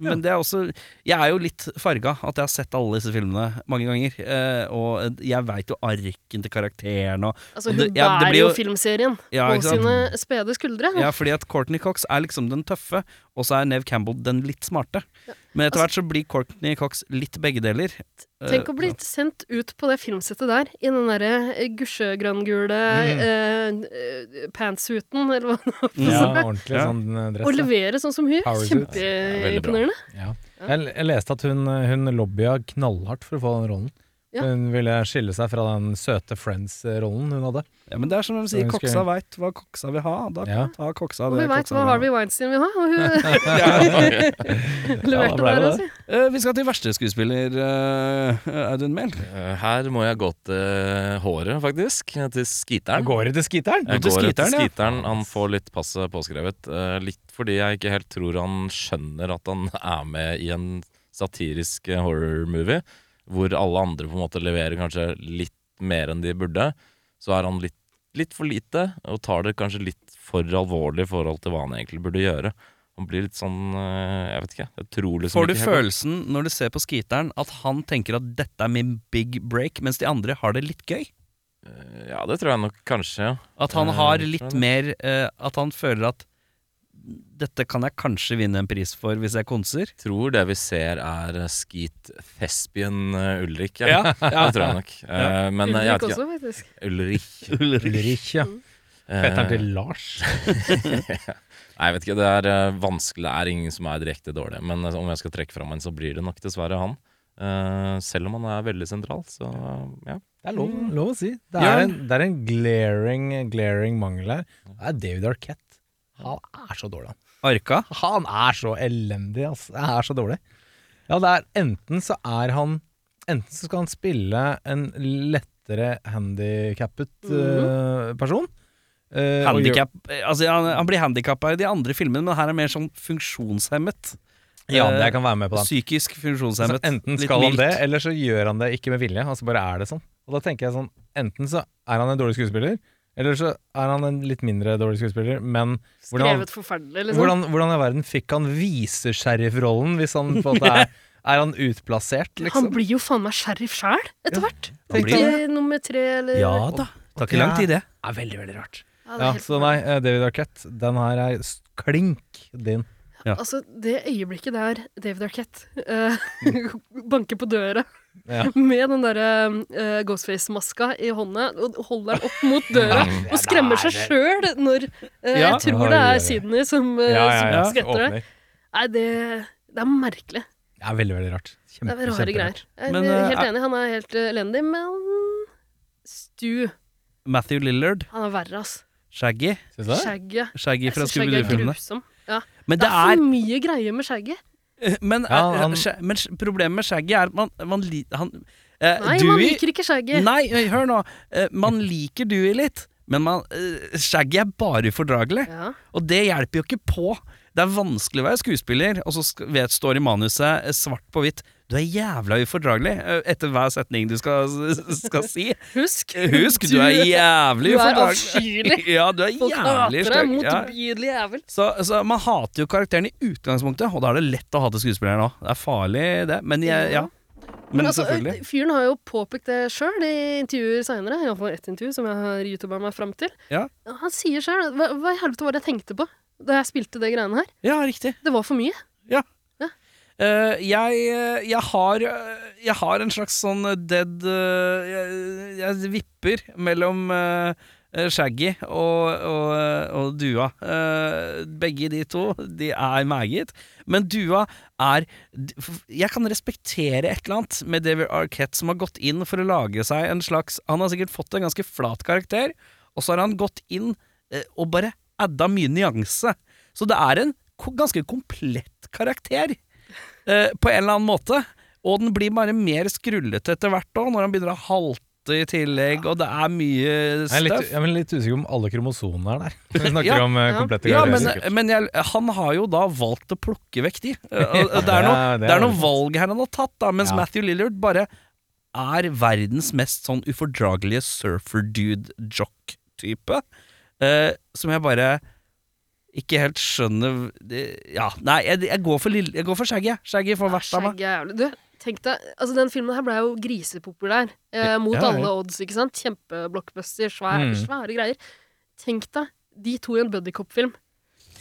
[SPEAKER 2] Men det er også Jeg er jo litt farga at jeg har sett alle disse filmene mange ganger. eh, og jeg veit jo arken til karakteren og
[SPEAKER 4] Altså,
[SPEAKER 2] Og
[SPEAKER 4] hun
[SPEAKER 2] det- ja, det
[SPEAKER 4] bærer
[SPEAKER 2] blir
[SPEAKER 4] jo
[SPEAKER 2] jo-
[SPEAKER 4] filmserien
[SPEAKER 2] Ja,
[SPEAKER 4] på
[SPEAKER 2] ikke sant?
[SPEAKER 4] sine spede skuldre.
[SPEAKER 2] Ja, fordi at Courtney Cox er liksom den tøffe, og så er Nev Campbell den litt smarte. Men etter hvert så blir Courtney Cox litt begge deler.
[SPEAKER 4] Altså-
[SPEAKER 2] Eh,
[SPEAKER 4] Tenk å bli sendt ut på det filmsettet der, i den derre eh, gusjegrønngule eh, eh, pantsuiten, eller hva det
[SPEAKER 6] ja,
[SPEAKER 4] var.
[SPEAKER 6] ordentlig
[SPEAKER 2] Ja.
[SPEAKER 6] sånn eh,
[SPEAKER 4] Å
[SPEAKER 6] dress. da.
[SPEAKER 4] levere sånn som hun.
[SPEAKER 6] Power suit.
[SPEAKER 3] Ja, veldig bra.
[SPEAKER 4] Kjempeimponerende.
[SPEAKER 6] Ja. Jeg, jeg leste at hun, eh, hun lobbya knallhardt for å få den rollen.
[SPEAKER 4] Ja.
[SPEAKER 6] Hun ville skille seg fra den søte Friends-rollen hun hadde.
[SPEAKER 2] Ja, men det er som de sier,
[SPEAKER 6] Jeg husker-
[SPEAKER 2] Koksa veit hva Koksa vil ha. Da
[SPEAKER 6] Ja.
[SPEAKER 2] tar Koksa
[SPEAKER 4] Og
[SPEAKER 2] det
[SPEAKER 4] vi veit
[SPEAKER 2] Koksa vil
[SPEAKER 4] hva
[SPEAKER 2] ha.
[SPEAKER 4] Harvey Weinstein vil ha, og hun leverte
[SPEAKER 6] ble det
[SPEAKER 4] der,
[SPEAKER 6] det.
[SPEAKER 4] altså.
[SPEAKER 2] Eh, vi skal til verste skuespiller, eh, Audun Mehl.
[SPEAKER 3] Eh, her må jeg gå til håret, faktisk. Til skiteren.
[SPEAKER 6] Går det til skiteren?
[SPEAKER 3] Jeg
[SPEAKER 2] til
[SPEAKER 3] går etter
[SPEAKER 2] skiteren, ja.
[SPEAKER 3] skiteren. Han får litt passet påskrevet. eh, litt fordi jeg ikke helt tror han skjønner at han er med i en satirisk eh, horror-movie, hvor alle andre på en måte leverer kanskje litt mer enn de burde. Så er han litt, litt for lite, og tar det kanskje litt for alvorlig i forhold til hva han egentlig burde gjøre. Han blir litt sånn eh, Jeg vet ikke. Jeg tror liksom
[SPEAKER 2] Får du
[SPEAKER 3] ikke helt-
[SPEAKER 2] følelsen når du ser på skiteren at han tenker at dette er min big break, mens de andre har det litt gøy?
[SPEAKER 3] Ja, det tror jeg nok kanskje. ja.
[SPEAKER 2] At han
[SPEAKER 3] Eh,
[SPEAKER 2] har
[SPEAKER 3] jeg
[SPEAKER 2] litt
[SPEAKER 3] tror det.
[SPEAKER 2] mer eh, At han føler at dette kan jeg kanskje vinne en pris for hvis jeg konser.
[SPEAKER 3] Tror det vi ser er skeet thespian eh, Ulrik.
[SPEAKER 2] Ja, ja.
[SPEAKER 3] Det tror jeg nok. Eh, Men eh, jeg
[SPEAKER 4] Ulrik
[SPEAKER 3] vet ikke
[SPEAKER 4] også, faktisk.
[SPEAKER 3] Ulrik.
[SPEAKER 6] Ulrik, ja.
[SPEAKER 3] eh,
[SPEAKER 6] Fetteren til Lars.
[SPEAKER 3] Nei, jeg vet ikke. Det er eh, vanskelig. Det er ingen som er direkte dårlig. Men eh, om jeg skal trekke fram en, så blir det nok dessverre han. Eh, selv om han er veldig sentral, så eh, ja.
[SPEAKER 6] Det er lov, lov å si. Det
[SPEAKER 2] Ja.
[SPEAKER 6] er en, det er en glaring, glaring mangel her. Det er David Arquette. Han er så dårlig, han.
[SPEAKER 2] Arka.
[SPEAKER 6] Han er så elendig, ass. Det er så dårlig. Ja, det er enten så er han Enten så skal han spille en lettere handikappet
[SPEAKER 4] Mhm.
[SPEAKER 6] person. eh, og gjør-
[SPEAKER 2] Handicap, altså, han, han blir handikappa i de andre filmene, men her er mer sånn funksjonshemmet. Eh,
[SPEAKER 6] Ja, jeg kan være med på den.
[SPEAKER 2] Psykisk
[SPEAKER 6] Så
[SPEAKER 2] funksjonshemmet.
[SPEAKER 6] enten
[SPEAKER 2] Eh, Litt
[SPEAKER 6] skal han
[SPEAKER 2] mildt.
[SPEAKER 6] det, eller så gjør han det ikke med vilje. Altså bare er det sånn. Og da tenker jeg sånn Enten så er han en dårlig skuespiller, eller så er han en litt mindre dårlig skuespiller, men hvordan han-
[SPEAKER 4] Skrevet forferdelig, liksom.
[SPEAKER 6] Hvordan, hvordan i verden fikk han visesheriffrollen hvis han på en måte er, er han utplassert, liksom?
[SPEAKER 4] Han blir jo faen meg sheriff sjæl, etter hvert.
[SPEAKER 6] Tenk
[SPEAKER 4] Tre,
[SPEAKER 6] deg det.
[SPEAKER 4] nummer tre, eller
[SPEAKER 2] Ja da. Tar ikke lang tid, det.
[SPEAKER 6] er veldig, veldig rart.
[SPEAKER 4] Ja, det er
[SPEAKER 6] Eh, Ja,
[SPEAKER 4] helt-
[SPEAKER 6] så nei, eh, David Arquette, den her er s- klink din.
[SPEAKER 4] Altså, det øyeblikket der David Arquette eh,
[SPEAKER 2] Mm.
[SPEAKER 4] banker på døra
[SPEAKER 6] Ja.
[SPEAKER 4] med den derre eh, Ghostface-maska i hånda og holder den opp mot døra og skremmer seg sjøl når eh,
[SPEAKER 2] Ja.
[SPEAKER 4] Jeg tror det
[SPEAKER 6] Oi, oi, oi.
[SPEAKER 4] er Sydney som, eh,
[SPEAKER 2] ja.
[SPEAKER 4] som skvetter det.
[SPEAKER 6] Åpner.
[SPEAKER 4] Nei, det, det er merkelig.
[SPEAKER 6] Det er veldig, veldig rart.
[SPEAKER 4] Det er rare greier. Jeg er
[SPEAKER 2] Men,
[SPEAKER 4] helt
[SPEAKER 2] eh,
[SPEAKER 4] enig, han er helt eh, elendig, men Stu,
[SPEAKER 2] Matthew Lillard,
[SPEAKER 4] han er verre, ass.
[SPEAKER 2] Shaggy.
[SPEAKER 6] Synes du det?
[SPEAKER 4] Shaggy.
[SPEAKER 2] Shaggy
[SPEAKER 4] Jeg
[SPEAKER 2] fra
[SPEAKER 4] synes Shaggy er
[SPEAKER 2] Scooby-Doo-filmene.
[SPEAKER 4] grusom. Ja.
[SPEAKER 2] Men
[SPEAKER 4] Det
[SPEAKER 2] det
[SPEAKER 4] er
[SPEAKER 2] er
[SPEAKER 4] for mye greier med Shaggy.
[SPEAKER 2] Men,
[SPEAKER 6] Ja,
[SPEAKER 2] eh,
[SPEAKER 6] han-
[SPEAKER 2] Sha- men sh- problemet med Shaggy er at man, man li- han, eh,
[SPEAKER 4] Nei,
[SPEAKER 2] Dewey,
[SPEAKER 4] man liker ikke Shaggy.
[SPEAKER 2] Nei, øy, hør nå. Eh, man liker Dewey litt, men man, eh, Shaggy er bare ufordragelig.
[SPEAKER 4] Ja.
[SPEAKER 2] Og det hjelper jo ikke på. Det er vanskelig å være skuespiller, og så sk- vet, står i manuset eh, svart på hvitt du er jævla ufordragelig eh, etter hver setning du skal, s- skal si.
[SPEAKER 4] Husk,
[SPEAKER 2] Husk, du er jævlig
[SPEAKER 4] du er
[SPEAKER 2] ufordragelig.
[SPEAKER 4] avskyelig.
[SPEAKER 2] Ja, du er
[SPEAKER 4] Folk
[SPEAKER 2] jævlig
[SPEAKER 4] hater deg,
[SPEAKER 2] stygg. Ja.
[SPEAKER 4] motbydelig jævel.
[SPEAKER 2] Så, så man hater jo karakteren i utgangspunktet, og da er det lett å hate skuespilleren òg. Det er farlig, det. Men jeg, ja. Men,
[SPEAKER 4] Men altså,
[SPEAKER 2] selvfølgelig.
[SPEAKER 4] Fyren har jo påpekt det sjøl i intervjuer seinere, iallfall ett intervju som jeg har youtuba meg fram til.
[SPEAKER 2] Ja.
[SPEAKER 4] Han sier sjøl hva, hva i helvete var det jeg tenkte på da jeg spilte det greiene her?
[SPEAKER 2] Ja, riktig.
[SPEAKER 4] Det var for mye.
[SPEAKER 2] Eh, jeg, eh, jeg, har, eh, jeg har en slags sånn eh, dead eh, jeg, jeg vipper mellom eh, eh, Shaggy og, og, eh, og Dua. Eh, begge de to de er meget. Men Dua er d- f- Jeg kan respektere et eller annet med David Arquette, som har gått inn for å lage seg en slags Han har sikkert fått en ganske flat karakter, og så har han gått inn eh, og bare adda mye nyanse. Så det er en ko- ganske komplett karakter eh, på en eller annen måte. Og den blir bare mer skrullete etter hvert òg, når han begynner å halte i tillegg, og det er mye
[SPEAKER 6] Jeg er, litt,
[SPEAKER 2] støff.
[SPEAKER 6] jeg er litt usikker om alle kromosonene er der. Vi snakker
[SPEAKER 2] Ja.
[SPEAKER 6] om eh,
[SPEAKER 4] Ja.
[SPEAKER 6] komplette
[SPEAKER 2] Ja, men,
[SPEAKER 6] karakterer.
[SPEAKER 2] men jeg, han har jo da valgt å plukke vekk de. Eh, og- og Det er noe,
[SPEAKER 6] Ja, det
[SPEAKER 2] det er
[SPEAKER 6] er
[SPEAKER 2] noe
[SPEAKER 6] sant.
[SPEAKER 2] valg her han har tatt, da, mens
[SPEAKER 6] Ja.
[SPEAKER 2] Matthew Lillard bare er verdens mest sånn ufordragelige surfer-dude-jock-type. eh, som jeg bare ikke helt skjønner det- Ja, nei, jeg, jeg, går, for Lill- jeg går for Shaggy. jeg. Shaggy får verst av meg.
[SPEAKER 4] Skjegg er jævlig. Du, tenk deg, altså Den filmen her ble jo grisepopulær eh, mot
[SPEAKER 2] Ja, ja.
[SPEAKER 4] alle odds. ikke sant? Kjempeblockbuster, svær,
[SPEAKER 6] Mm.
[SPEAKER 4] svære greier. Tenk deg de to i en buddycop-film.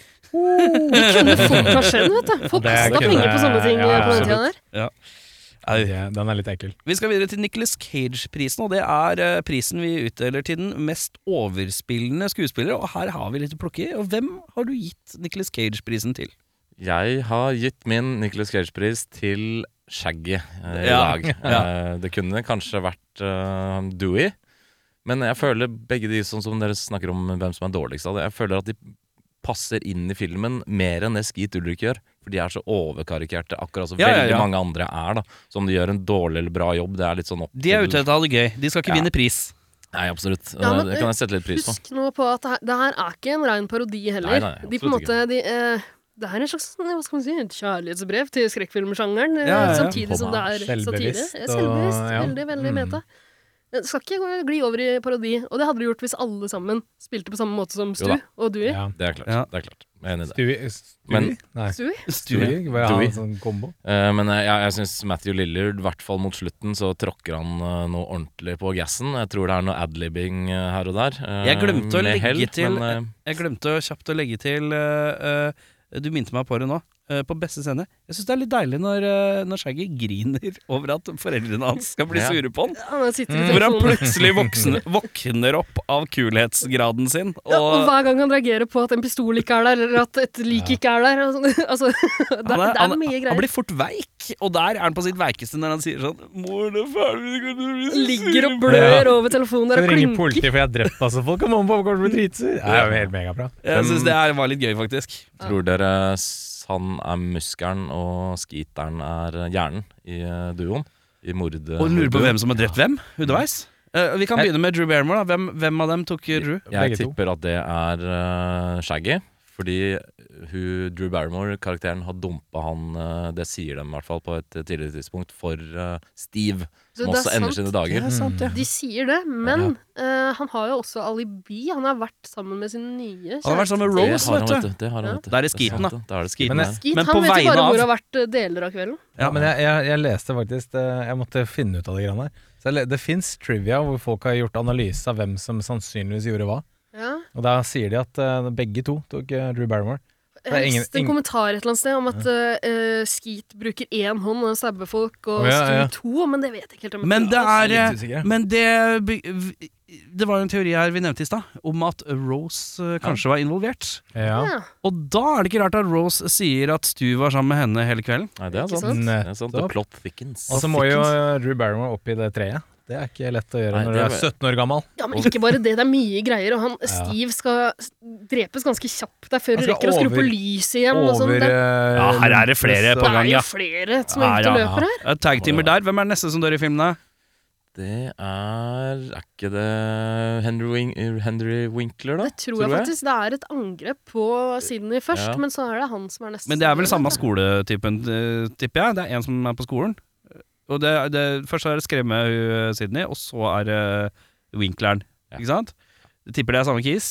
[SPEAKER 4] De kunne fått meg skjenn, vet du. Folk
[SPEAKER 6] Det
[SPEAKER 4] kasta
[SPEAKER 6] kunne-
[SPEAKER 4] penger på sånne ting
[SPEAKER 6] ja,
[SPEAKER 4] eh, på den tida der.
[SPEAKER 6] Ja, Den er litt ekkel.
[SPEAKER 2] Vi skal videre til Nicholas Cage-prisen, og det er eh, prisen vi utdeler til den mest overspillende skuespiller, og her har vi litt å plukke i. Og hvem har du gitt Nicholas Cage-prisen til?
[SPEAKER 3] Jeg har gitt min Nicholas Cage-pris til Shaggy eh, i
[SPEAKER 2] Ja,
[SPEAKER 3] dag. Eh, det kunne kanskje vært eh, Dewey, men jeg føler begge de sånn som dere snakker om hvem som er dårligst av det, jeg føler at de passer inn i filmen mer enn det Skeet Ulrik gjør. For de er så overkarikerte, akkurat som
[SPEAKER 2] Ja, ja,
[SPEAKER 3] veldig
[SPEAKER 2] ja.
[SPEAKER 3] mange andre er. da Så om de gjør en dårlig eller bra jobb, det er litt sånn opp
[SPEAKER 2] De er ute
[SPEAKER 3] til
[SPEAKER 2] etter å ha det gøy. De skal ikke
[SPEAKER 3] Ja.
[SPEAKER 2] vinne pris.
[SPEAKER 3] Nei, absolutt. Eh,
[SPEAKER 4] Ja, men, eh,
[SPEAKER 3] det kan jeg sette litt pris på.
[SPEAKER 4] Husk nå på at det her, det her er ikke en rein parodi heller.
[SPEAKER 3] Nei, nei,
[SPEAKER 4] de på en
[SPEAKER 3] absolutt
[SPEAKER 4] måte, de, eh, det her er en slags sånn, hva skal man si, et kjærlighetsbrev til skrekkfilmsjangeren, eh,
[SPEAKER 2] Ja, ja, ja.
[SPEAKER 4] samtidig som det er
[SPEAKER 6] Selvbevisst
[SPEAKER 4] satire.
[SPEAKER 6] og-
[SPEAKER 4] Selvbevisst.
[SPEAKER 6] ja.
[SPEAKER 4] Veldig, veldig
[SPEAKER 6] Mm.
[SPEAKER 4] meta. Det skal ikke gå- gli over i parodi. Og det hadde det gjort hvis alle sammen spilte på samme måte som Stu
[SPEAKER 3] Jo da.
[SPEAKER 4] og Dewey.
[SPEAKER 6] Ja.
[SPEAKER 3] Det er klart.
[SPEAKER 2] Ja.
[SPEAKER 3] det er klart. Jeg er enig i det.
[SPEAKER 6] Stewie
[SPEAKER 3] Men-
[SPEAKER 6] Stewie? Nei.
[SPEAKER 4] Stewie?
[SPEAKER 6] Stewie? Hva er
[SPEAKER 3] Stewie.
[SPEAKER 6] han sånn kombo?
[SPEAKER 3] Eh, men jeg, jeg syns Matthew Lillard, i hvert fall mot slutten, så tråkker han eh, noe ordentlig på gassen. Jeg tror det er noe adlibbing eh, her og der. eh,
[SPEAKER 2] Jeg glemte å
[SPEAKER 3] med
[SPEAKER 2] legge til-
[SPEAKER 3] men, eh,
[SPEAKER 2] Jeg glemte å kjapt å legge til eh, eh, Du minte meg på det nå. eh, på beste scene. Jeg syns det er litt deilig når, eh, når Shaggy griner over at foreldrene hans skal bli
[SPEAKER 3] Ja.
[SPEAKER 2] sure på han.
[SPEAKER 4] Han sitter i
[SPEAKER 2] Mm. Hvor han
[SPEAKER 4] telefonen.
[SPEAKER 2] plutselig voksne, våkner opp av kulhetsgraden sin.
[SPEAKER 4] Ja, og
[SPEAKER 2] Og
[SPEAKER 4] hver gang han reagerer på at en pistol ikke er der, eller at et lik ikke er der og sånn. altså, det,
[SPEAKER 2] han, er,
[SPEAKER 4] det er
[SPEAKER 2] han,
[SPEAKER 4] mye
[SPEAKER 2] han
[SPEAKER 4] greier.
[SPEAKER 2] blir fort veik, og der er han på sitt veikeste når han sier sånn Mor, det er ferdig, vi kan bli så
[SPEAKER 4] Ligger
[SPEAKER 2] sure
[SPEAKER 4] og
[SPEAKER 2] på
[SPEAKER 4] blør over telefonen der
[SPEAKER 6] Skal
[SPEAKER 4] og
[SPEAKER 6] vi
[SPEAKER 4] klinker.
[SPEAKER 6] ringe politiet, for jeg har drept masse folk? Kom an, pappa kommer til å bli dritsur! Det er jo helt megabra.
[SPEAKER 2] deg.» Jeg syns det her var litt gøy, faktisk.
[SPEAKER 3] Tror dere Sand er muskelen og Skeeteren er hjernen i eh, duoen? I mord... eh,
[SPEAKER 2] Og hun lurer på hvem som har drept hvem underveis. Eh, vi kan begynne med Drew Barrymore. Da. Hvem, hvem av dem tok eh, Drew?
[SPEAKER 3] Jeg
[SPEAKER 6] Begge to.
[SPEAKER 3] tipper at det er eh, Shaggy. Fordi hun, Drew Barrymore-karakteren har dumpa han, eh, det sier de i hvert fall, på et tidligere tidspunkt, for eh, Steve,
[SPEAKER 4] Så
[SPEAKER 3] som
[SPEAKER 4] det er
[SPEAKER 3] også ender
[SPEAKER 4] sant.
[SPEAKER 3] sine dager.
[SPEAKER 2] sant,
[SPEAKER 4] De sier det, men eh, han har jo også alibi. Han har vært sammen med sin nye
[SPEAKER 2] Han har vært sammen med Rose,
[SPEAKER 3] det har han,
[SPEAKER 2] vet du.
[SPEAKER 3] vet du. Det har han,
[SPEAKER 4] Ja.
[SPEAKER 3] vet du.
[SPEAKER 2] Da er det
[SPEAKER 3] sant,
[SPEAKER 2] Skeeten, da.
[SPEAKER 3] det. Da er
[SPEAKER 2] Skeeten.
[SPEAKER 3] det Skeeten.
[SPEAKER 6] Men
[SPEAKER 3] ja.
[SPEAKER 4] Skeet,
[SPEAKER 2] Men
[SPEAKER 4] han
[SPEAKER 2] på
[SPEAKER 4] vet jo
[SPEAKER 2] vegne
[SPEAKER 4] bare
[SPEAKER 2] av-
[SPEAKER 4] hvor det har vært eh, deler av kvelden.
[SPEAKER 6] Ja, men jeg, jeg, jeg leste faktisk det, Jeg måtte finne ut av de greiene her. Så jeg, le- det fins trivia hvor folk har gjort analyse av hvem som sannsynligvis gjorde hva.
[SPEAKER 4] Ja.
[SPEAKER 6] Og da sier de at eh, begge to tok eh, Drew Barrymore.
[SPEAKER 4] Jeg
[SPEAKER 6] Det er
[SPEAKER 4] har
[SPEAKER 6] ingen-
[SPEAKER 4] lest en
[SPEAKER 6] ingen-
[SPEAKER 4] kommentar et eller annet sted om at eh, Skeet bruker én hånd og stabber folk, og
[SPEAKER 6] Å, ja,
[SPEAKER 4] Stu
[SPEAKER 6] ja.
[SPEAKER 4] to, men det vet jeg ikke helt om.
[SPEAKER 2] Men det er
[SPEAKER 6] Jeg er
[SPEAKER 2] eh,
[SPEAKER 6] litt usikker.
[SPEAKER 2] Men det by- v- Det var en teori her vi nevnte i stad, om at Rose eh, kanskje var involvert.
[SPEAKER 6] Ja.
[SPEAKER 4] ja.
[SPEAKER 2] Og da er det ikke rart at Rose sier at Stu var sammen med henne hele kvelden.
[SPEAKER 3] Nei, det er
[SPEAKER 4] Ikke
[SPEAKER 3] sant.
[SPEAKER 4] sant?
[SPEAKER 3] Det er sant. The
[SPEAKER 6] Nettopp.
[SPEAKER 3] plot thickens.
[SPEAKER 6] Og så må jo eh, Drew Barrymore opp i det treet. Det er ikke lett å gjøre
[SPEAKER 3] Nei,
[SPEAKER 6] når du
[SPEAKER 3] det
[SPEAKER 6] er
[SPEAKER 3] var-
[SPEAKER 6] 17 år gammel.
[SPEAKER 4] ja, men ikke bare det. Det er mye greier, og han Steve skal s- drepes ganske kjapt der før du
[SPEAKER 6] Han skal
[SPEAKER 4] rekker å skru på
[SPEAKER 6] over-
[SPEAKER 4] lyset igjen. og sånn.
[SPEAKER 6] Over
[SPEAKER 4] Det er-
[SPEAKER 6] eh,
[SPEAKER 2] Ja, her er det flere
[SPEAKER 4] det
[SPEAKER 2] på gang,
[SPEAKER 4] er
[SPEAKER 2] ja.
[SPEAKER 4] jo flere som er
[SPEAKER 2] Ja,
[SPEAKER 4] ute og
[SPEAKER 2] ja,
[SPEAKER 4] løper her.
[SPEAKER 2] Eh, Tagteamer der. Hvem er den neste som dør i filmene?
[SPEAKER 3] Det er Er ikke det Henry, Win Henry Winkler, da?
[SPEAKER 4] Det tror jeg faktisk. Det er et angrep på Sydney først,
[SPEAKER 3] Ja.
[SPEAKER 4] men så er det han som er nesten
[SPEAKER 2] Men det er vel samme skoletypen, eh, tipper jeg. Det er en som er på skolen. Og det, det, først er det skremme eh, Sydney, og så er det Winkleren.
[SPEAKER 3] Ja. Mm.
[SPEAKER 2] Ikke sant? Tipper det er samme kis.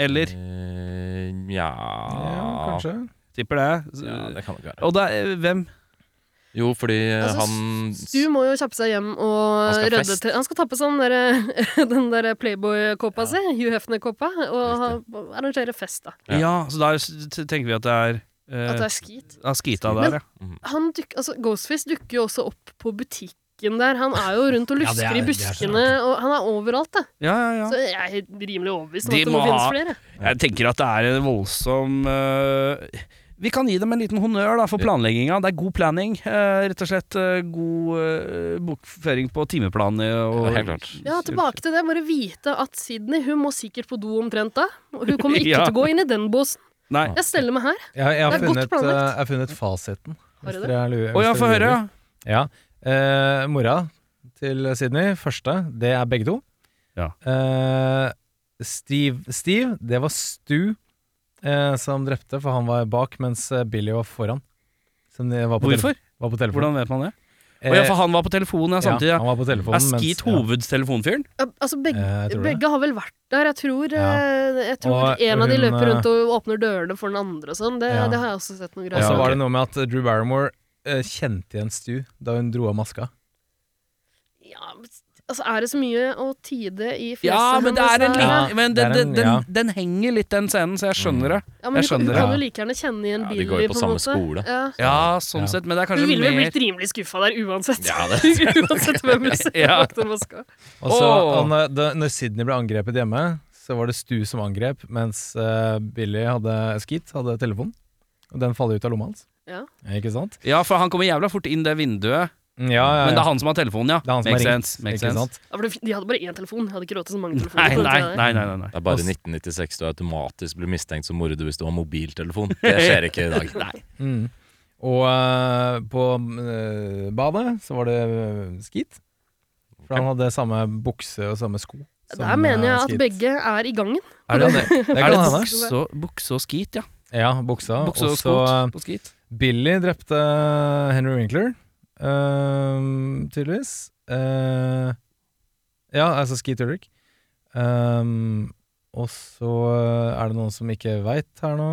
[SPEAKER 2] Eller
[SPEAKER 3] Eh, ja
[SPEAKER 6] Ja, kanskje.
[SPEAKER 2] tipper det.
[SPEAKER 3] Ja, det kan det ikke være.
[SPEAKER 2] Og det er eh, hvem?
[SPEAKER 3] Jo, fordi eh,
[SPEAKER 4] Altså,
[SPEAKER 3] han
[SPEAKER 4] Stu må jo kjappe seg hjem og
[SPEAKER 3] Han skal ha
[SPEAKER 4] redde
[SPEAKER 3] fest.
[SPEAKER 4] til Han skal ta på seg den der, den der Playboy-kåpa si, Hugh Hefner-kåpa, og ha- arrangere fest, da.
[SPEAKER 2] Ja.
[SPEAKER 3] Ja.
[SPEAKER 2] så da s- t- tenker vi at det er
[SPEAKER 4] At
[SPEAKER 2] eh,
[SPEAKER 4] det er skit.
[SPEAKER 2] ja, Skita
[SPEAKER 3] Men-
[SPEAKER 2] der, ja.
[SPEAKER 4] han duk, altså, Ghostface dukker jo også opp på butikken der. Han er jo rundt og
[SPEAKER 6] Ja, det
[SPEAKER 4] lusker
[SPEAKER 6] er-
[SPEAKER 4] i
[SPEAKER 6] det er så
[SPEAKER 4] buskene, og han er overalt, da.
[SPEAKER 2] Ja, ja,
[SPEAKER 4] Så
[SPEAKER 2] ja.
[SPEAKER 4] jeg er helt rimelig overbevist om
[SPEAKER 2] De
[SPEAKER 4] at det
[SPEAKER 2] må
[SPEAKER 4] må finnes
[SPEAKER 2] ha-
[SPEAKER 4] flere.
[SPEAKER 2] Jeg tenker at det er en voldsom eh, Vi kan gi dem en liten honnør da, for planlegginga. Det er god planning. eh, rett og slett eh, god eh, bokføring på timeplanet og
[SPEAKER 3] Ja, helt klart.
[SPEAKER 4] Ja, tilbake til det. Bare vite at Sydney hun må sikkert på do omtrent da. Og hun kommer ikke
[SPEAKER 2] Ja.
[SPEAKER 4] til å gå inn i den båsen.
[SPEAKER 2] Nei.
[SPEAKER 4] Jeg steller meg her.
[SPEAKER 6] Jeg, jeg, har
[SPEAKER 4] Det er godt
[SPEAKER 6] funnet, eh,
[SPEAKER 4] planlagt.
[SPEAKER 6] jeg har funnet fasiten.
[SPEAKER 4] Har du
[SPEAKER 6] Hvis
[SPEAKER 4] det?
[SPEAKER 6] dere lurer-
[SPEAKER 2] Å ja,
[SPEAKER 6] hvis
[SPEAKER 2] få
[SPEAKER 6] dere
[SPEAKER 2] høre.
[SPEAKER 6] lurer.
[SPEAKER 2] ja.
[SPEAKER 6] Ja. Eh, mora til Sydney, første, det er begge to.
[SPEAKER 2] Ja.
[SPEAKER 6] Eh, Steve, Steve, det var Stu eh, som drepte, for han var bak, mens eh, Billy var foran. Som de var på tele-
[SPEAKER 2] Hvorfor?
[SPEAKER 6] Var på telefonen.
[SPEAKER 2] Hvordan vet man det?
[SPEAKER 6] Eh,
[SPEAKER 2] Å ja, for han var på telefonen ja, samtidig.
[SPEAKER 6] ja,
[SPEAKER 2] Ja,
[SPEAKER 6] han var på telefonen,
[SPEAKER 2] er Skeet
[SPEAKER 6] mens-
[SPEAKER 2] hovedtelefonfyren?
[SPEAKER 4] Ja, Altså, begge,
[SPEAKER 6] Eh, jeg tror det.
[SPEAKER 4] begge har vel vært der. Jeg tror,
[SPEAKER 6] Ja.
[SPEAKER 4] eh, jeg tror
[SPEAKER 6] Og
[SPEAKER 4] en av de
[SPEAKER 6] hun,
[SPEAKER 4] løper rundt
[SPEAKER 6] eh,
[SPEAKER 4] og åpner dørene for den andre og sånn. Det,
[SPEAKER 6] Ja.
[SPEAKER 4] det har jeg også sett noen
[SPEAKER 6] Ja. Og
[SPEAKER 4] greier.
[SPEAKER 6] så
[SPEAKER 2] Ja,
[SPEAKER 6] var
[SPEAKER 2] ok.
[SPEAKER 6] det noe med at Drew Barrymore eh, kjente igjen Stu da hun dro av maska.
[SPEAKER 4] Ja, men altså, er det så mye å tide i fjeset
[SPEAKER 2] Ja, men det er en
[SPEAKER 4] hennes der, da?
[SPEAKER 2] liten Men
[SPEAKER 6] det
[SPEAKER 2] den,
[SPEAKER 6] er
[SPEAKER 2] den,
[SPEAKER 6] en-
[SPEAKER 2] den,
[SPEAKER 6] ja.
[SPEAKER 2] den henger litt, den scenen, så jeg skjønner det.
[SPEAKER 4] Ja, men
[SPEAKER 2] Jeg
[SPEAKER 4] hun, hun
[SPEAKER 2] skjønner
[SPEAKER 4] kan
[SPEAKER 6] det.
[SPEAKER 4] jo like gjerne kjenne igjen
[SPEAKER 3] Ja, de
[SPEAKER 4] Billy,
[SPEAKER 3] går jo på
[SPEAKER 4] en
[SPEAKER 3] samme
[SPEAKER 4] måte.
[SPEAKER 3] skole.
[SPEAKER 4] Ja.
[SPEAKER 2] Ja, sånn
[SPEAKER 6] Ja.
[SPEAKER 2] sett, men det er
[SPEAKER 4] Hun
[SPEAKER 2] kanskje
[SPEAKER 4] ville vel
[SPEAKER 2] mer
[SPEAKER 4] blitt rimelig skuffa der uansett.
[SPEAKER 3] Ja,
[SPEAKER 4] uansett hvem hun ser
[SPEAKER 2] Ja.
[SPEAKER 4] bak den maska.
[SPEAKER 6] Og så
[SPEAKER 2] Åh!
[SPEAKER 6] og når, da, når Sydney ble angrepet hjemme, så var det Stu som angrep, mens eh, Billy hadde Skeet hadde telefonen. Og den faller ut av lomma hans.
[SPEAKER 4] Ja.
[SPEAKER 6] Ikke sant? Mm,
[SPEAKER 2] Ja, for han kommer jævla fort inn det vinduet.
[SPEAKER 6] Ja, ja, ja.
[SPEAKER 2] Men det er han som har telefonen, ja.
[SPEAKER 6] Det er han som
[SPEAKER 2] Makes
[SPEAKER 6] har ringt,
[SPEAKER 2] sense. Makes
[SPEAKER 6] ikke
[SPEAKER 2] sense.
[SPEAKER 6] sant?
[SPEAKER 4] Ja, for de hadde bare én telefon. De hadde ikke råd til så mange
[SPEAKER 2] Nei,
[SPEAKER 4] telefoner. på den
[SPEAKER 2] nei,
[SPEAKER 4] tiden der.
[SPEAKER 2] nei. nei, nei, nei.
[SPEAKER 3] Det er bare i 1996 du automatisk blir mistenkt som morder hvis du har mobiltelefon. Det skjer ikke i dag.
[SPEAKER 6] Mm. Og eh, på eh, badet så var det eh, Skeet. For han hadde samme bukse og samme sko. som,
[SPEAKER 4] Der mener jeg
[SPEAKER 6] eh,
[SPEAKER 4] at
[SPEAKER 6] Skeet.
[SPEAKER 4] begge er i gangen.
[SPEAKER 6] Er det, det,
[SPEAKER 2] Er
[SPEAKER 6] kan
[SPEAKER 2] det
[SPEAKER 6] hende.
[SPEAKER 2] bukse og- bukse og skit, ja?
[SPEAKER 6] Ja, buksa.
[SPEAKER 2] Bukse og
[SPEAKER 6] og så eh,
[SPEAKER 2] skot på skit?
[SPEAKER 6] Billy drepte Henry Winkler, ehm, tydeligvis. Eh, Ja, altså Skeet Ulrich. Ehm, og så eh, er det noen som ikke veit her nå.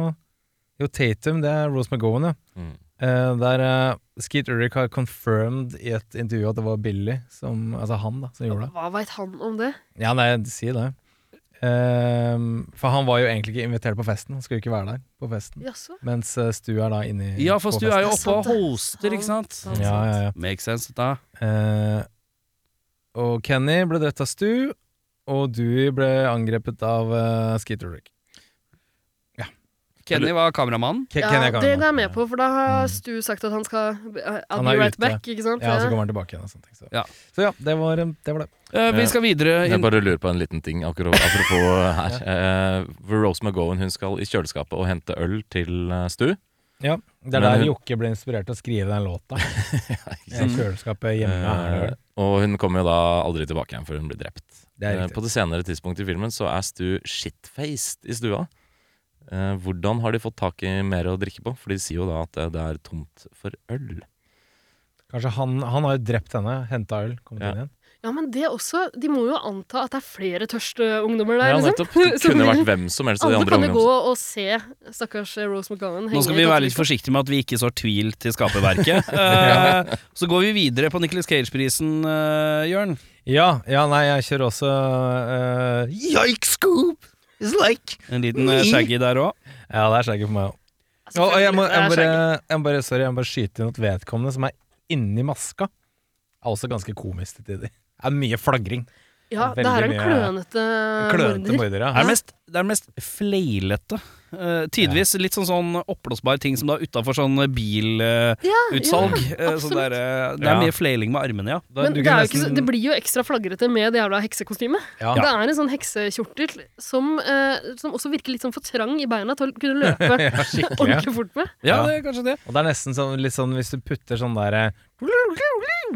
[SPEAKER 6] Jo, Tatum, det er Rose McGowan, ja.
[SPEAKER 3] Mm.
[SPEAKER 6] Eh, der eh, Skeet Ulrich har confirmed i et intervju at det var Billy, som, altså han, da, som gjorde det.
[SPEAKER 4] Hva veit han om det?
[SPEAKER 6] Ja, nei, si det. Ehm, for han var jo egentlig ikke invitert på festen, han skulle jo ikke være der på festen.
[SPEAKER 4] Jaså?
[SPEAKER 6] Mens eh, Stu er da inni
[SPEAKER 2] Ja, for
[SPEAKER 6] på
[SPEAKER 2] du er jo oppe
[SPEAKER 4] Det er
[SPEAKER 2] og
[SPEAKER 4] sant, det.
[SPEAKER 2] hoster, ikke sant?
[SPEAKER 4] Sant, sant.
[SPEAKER 6] Ja, ja, ja.
[SPEAKER 2] Makes sense, dette.
[SPEAKER 6] Eh, og Kenny ble drept av Stu, og Dewey ble angrepet av uh, Skeet Ulrich.
[SPEAKER 2] Kenny var kameramannen.
[SPEAKER 6] Ke-
[SPEAKER 4] Ja,
[SPEAKER 6] Kenny er
[SPEAKER 4] det
[SPEAKER 6] gammel.
[SPEAKER 4] går jeg med på, for da
[SPEAKER 6] Mm.
[SPEAKER 4] har Stu sagt at han skal eh, I'll
[SPEAKER 6] Han
[SPEAKER 4] be
[SPEAKER 6] er
[SPEAKER 4] right
[SPEAKER 6] ute.
[SPEAKER 4] back, ikke sant?
[SPEAKER 6] Ja, så kommer han tilbake igjen og sånne ting. Så
[SPEAKER 2] Ja.
[SPEAKER 6] ja, så ja det, var, eh, det var det.
[SPEAKER 2] Eh, vi
[SPEAKER 3] Ja.
[SPEAKER 2] skal videre
[SPEAKER 3] Jeg
[SPEAKER 2] inn
[SPEAKER 3] bare lurer på en liten ting akkurat, apropos her. Eh, for Rose McGowan hun skal i kjøleskapet og hente øl til eh, Stu.
[SPEAKER 6] Ja, det
[SPEAKER 3] Men
[SPEAKER 6] er der
[SPEAKER 3] hun-
[SPEAKER 6] Jokke ble inspirert til å skrive den låta. I
[SPEAKER 2] sant?
[SPEAKER 6] kjøleskapet hjemme. er det
[SPEAKER 3] Eh,
[SPEAKER 6] vel?
[SPEAKER 3] og hun kommer jo da aldri tilbake igjen før hun blir drept.
[SPEAKER 6] Det er
[SPEAKER 3] Eh, På
[SPEAKER 6] riktig.
[SPEAKER 3] det senere tidspunktet i filmen så er Stu shitfaced i stua. Eh, hvordan har de fått tak i mer å drikke på? For de sier jo da at det, det er tomt for øl.
[SPEAKER 6] Kanskje han, han har jo drept henne, henta øl, kommet
[SPEAKER 3] Ja.
[SPEAKER 6] inn igjen.
[SPEAKER 4] Ja, men det også De må jo anta at det er flere tørste ungdommer der,
[SPEAKER 3] Ja,
[SPEAKER 4] liksom.
[SPEAKER 3] nettopp. Det
[SPEAKER 4] Så
[SPEAKER 3] kunne
[SPEAKER 4] blir-
[SPEAKER 3] vært hvem som helst av de
[SPEAKER 4] Alle
[SPEAKER 3] andre
[SPEAKER 4] kan jo gå
[SPEAKER 3] ungdommene.
[SPEAKER 4] og se stakkars eh, Rose McGowan.
[SPEAKER 2] Nå skal vi være litt forsiktige med at vi ikke sår tvil til skaperverket. Eh, så går vi videre på Nicolas Cage-prisen, eh, Jørn.
[SPEAKER 6] Ja, ja, nei, jeg kjører også uh, Yikes scoop! It's like
[SPEAKER 2] En liten eh, shaggy der òg.
[SPEAKER 6] Ja, det er skjegget for meg òg.
[SPEAKER 4] Ja,
[SPEAKER 6] og jeg må, jeg må bare, jeg må bare, sorry, jeg må bare skyte inn at vedkommende som er inni maska, er også ganske komisk til tider. Det er mye flagring.
[SPEAKER 4] Ja, det
[SPEAKER 6] veldig
[SPEAKER 4] her er en
[SPEAKER 6] mye-
[SPEAKER 4] klønete
[SPEAKER 6] Klønete
[SPEAKER 4] morder.
[SPEAKER 6] mordere.
[SPEAKER 2] Det er mest, det er mest fleilete. Uh, tidvis litt sånn, sånn oppblåsbar ting som da utafor sånn bilutsalg.
[SPEAKER 4] Ja,
[SPEAKER 2] Uh, utsalg.
[SPEAKER 4] ja,
[SPEAKER 2] Eh, så det,
[SPEAKER 4] absolutt.
[SPEAKER 2] er, eh, det er
[SPEAKER 6] Ja.
[SPEAKER 2] mye flailing med armene, ja.
[SPEAKER 6] Da-
[SPEAKER 4] Men
[SPEAKER 6] du
[SPEAKER 4] det,
[SPEAKER 6] kan
[SPEAKER 4] er jo ikke, så-
[SPEAKER 6] nesten-
[SPEAKER 4] det blir jo ekstra flagrete med det jævla heksekostymet.
[SPEAKER 6] Ja.
[SPEAKER 4] Det er en sånn heksekjortel som, eh, som også virker litt sånn for trang i beina til å kunne løpe ordentlig fort med.
[SPEAKER 2] Ja,
[SPEAKER 6] Ja.
[SPEAKER 2] det er kanskje det.
[SPEAKER 6] Og det er nesten sånn, litt sånn hvis du putter sånn derre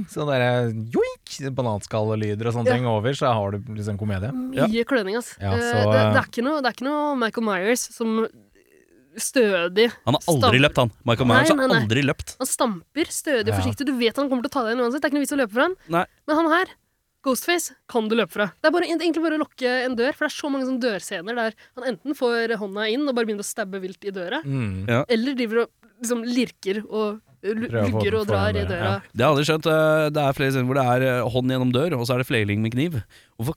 [SPEAKER 6] Sånn derre joik, bananskallelyder og sånne
[SPEAKER 4] Ja. Mm.
[SPEAKER 6] ting over, så har du liksom komedie.
[SPEAKER 4] Mye
[SPEAKER 2] Ja.
[SPEAKER 4] kløning, ass.
[SPEAKER 6] Ja,
[SPEAKER 4] Eh,
[SPEAKER 6] så,
[SPEAKER 4] det, det,
[SPEAKER 6] eh,
[SPEAKER 4] er ikke noe, det er ikke noe Michael Myers som stødig
[SPEAKER 2] Han har aldri
[SPEAKER 4] Stamp-
[SPEAKER 2] løpt, han. Michael
[SPEAKER 4] Nei,
[SPEAKER 2] Myers har altså
[SPEAKER 4] nei, nei.
[SPEAKER 2] aldri løpt.
[SPEAKER 4] Han stamper stødig og
[SPEAKER 6] Ja.
[SPEAKER 4] forsiktig. Du vet han kommer til å ta deg igjen uansett. Det er ikke noe vits å løpe fra han.
[SPEAKER 2] Nei.
[SPEAKER 4] Men han her, Ghostface, kan du løpe fra. Det er bare, egentlig bare å lukke en dør, for det er så mange sånne dørscener der han enten får hånda inn og bare begynner å stabbe vilt i døra,
[SPEAKER 6] Mm.
[SPEAKER 4] eller driver og liksom lirker og lu-
[SPEAKER 6] Prøver å få den
[SPEAKER 4] lugger og
[SPEAKER 6] foran
[SPEAKER 4] drar i
[SPEAKER 6] døra,
[SPEAKER 4] døra.
[SPEAKER 6] ja.
[SPEAKER 2] Det har jeg aldri skjønt. eh, Det er flere scener hvor det er eh, hånd gjennom dør, og så er det flailing med kniv. Hvorfor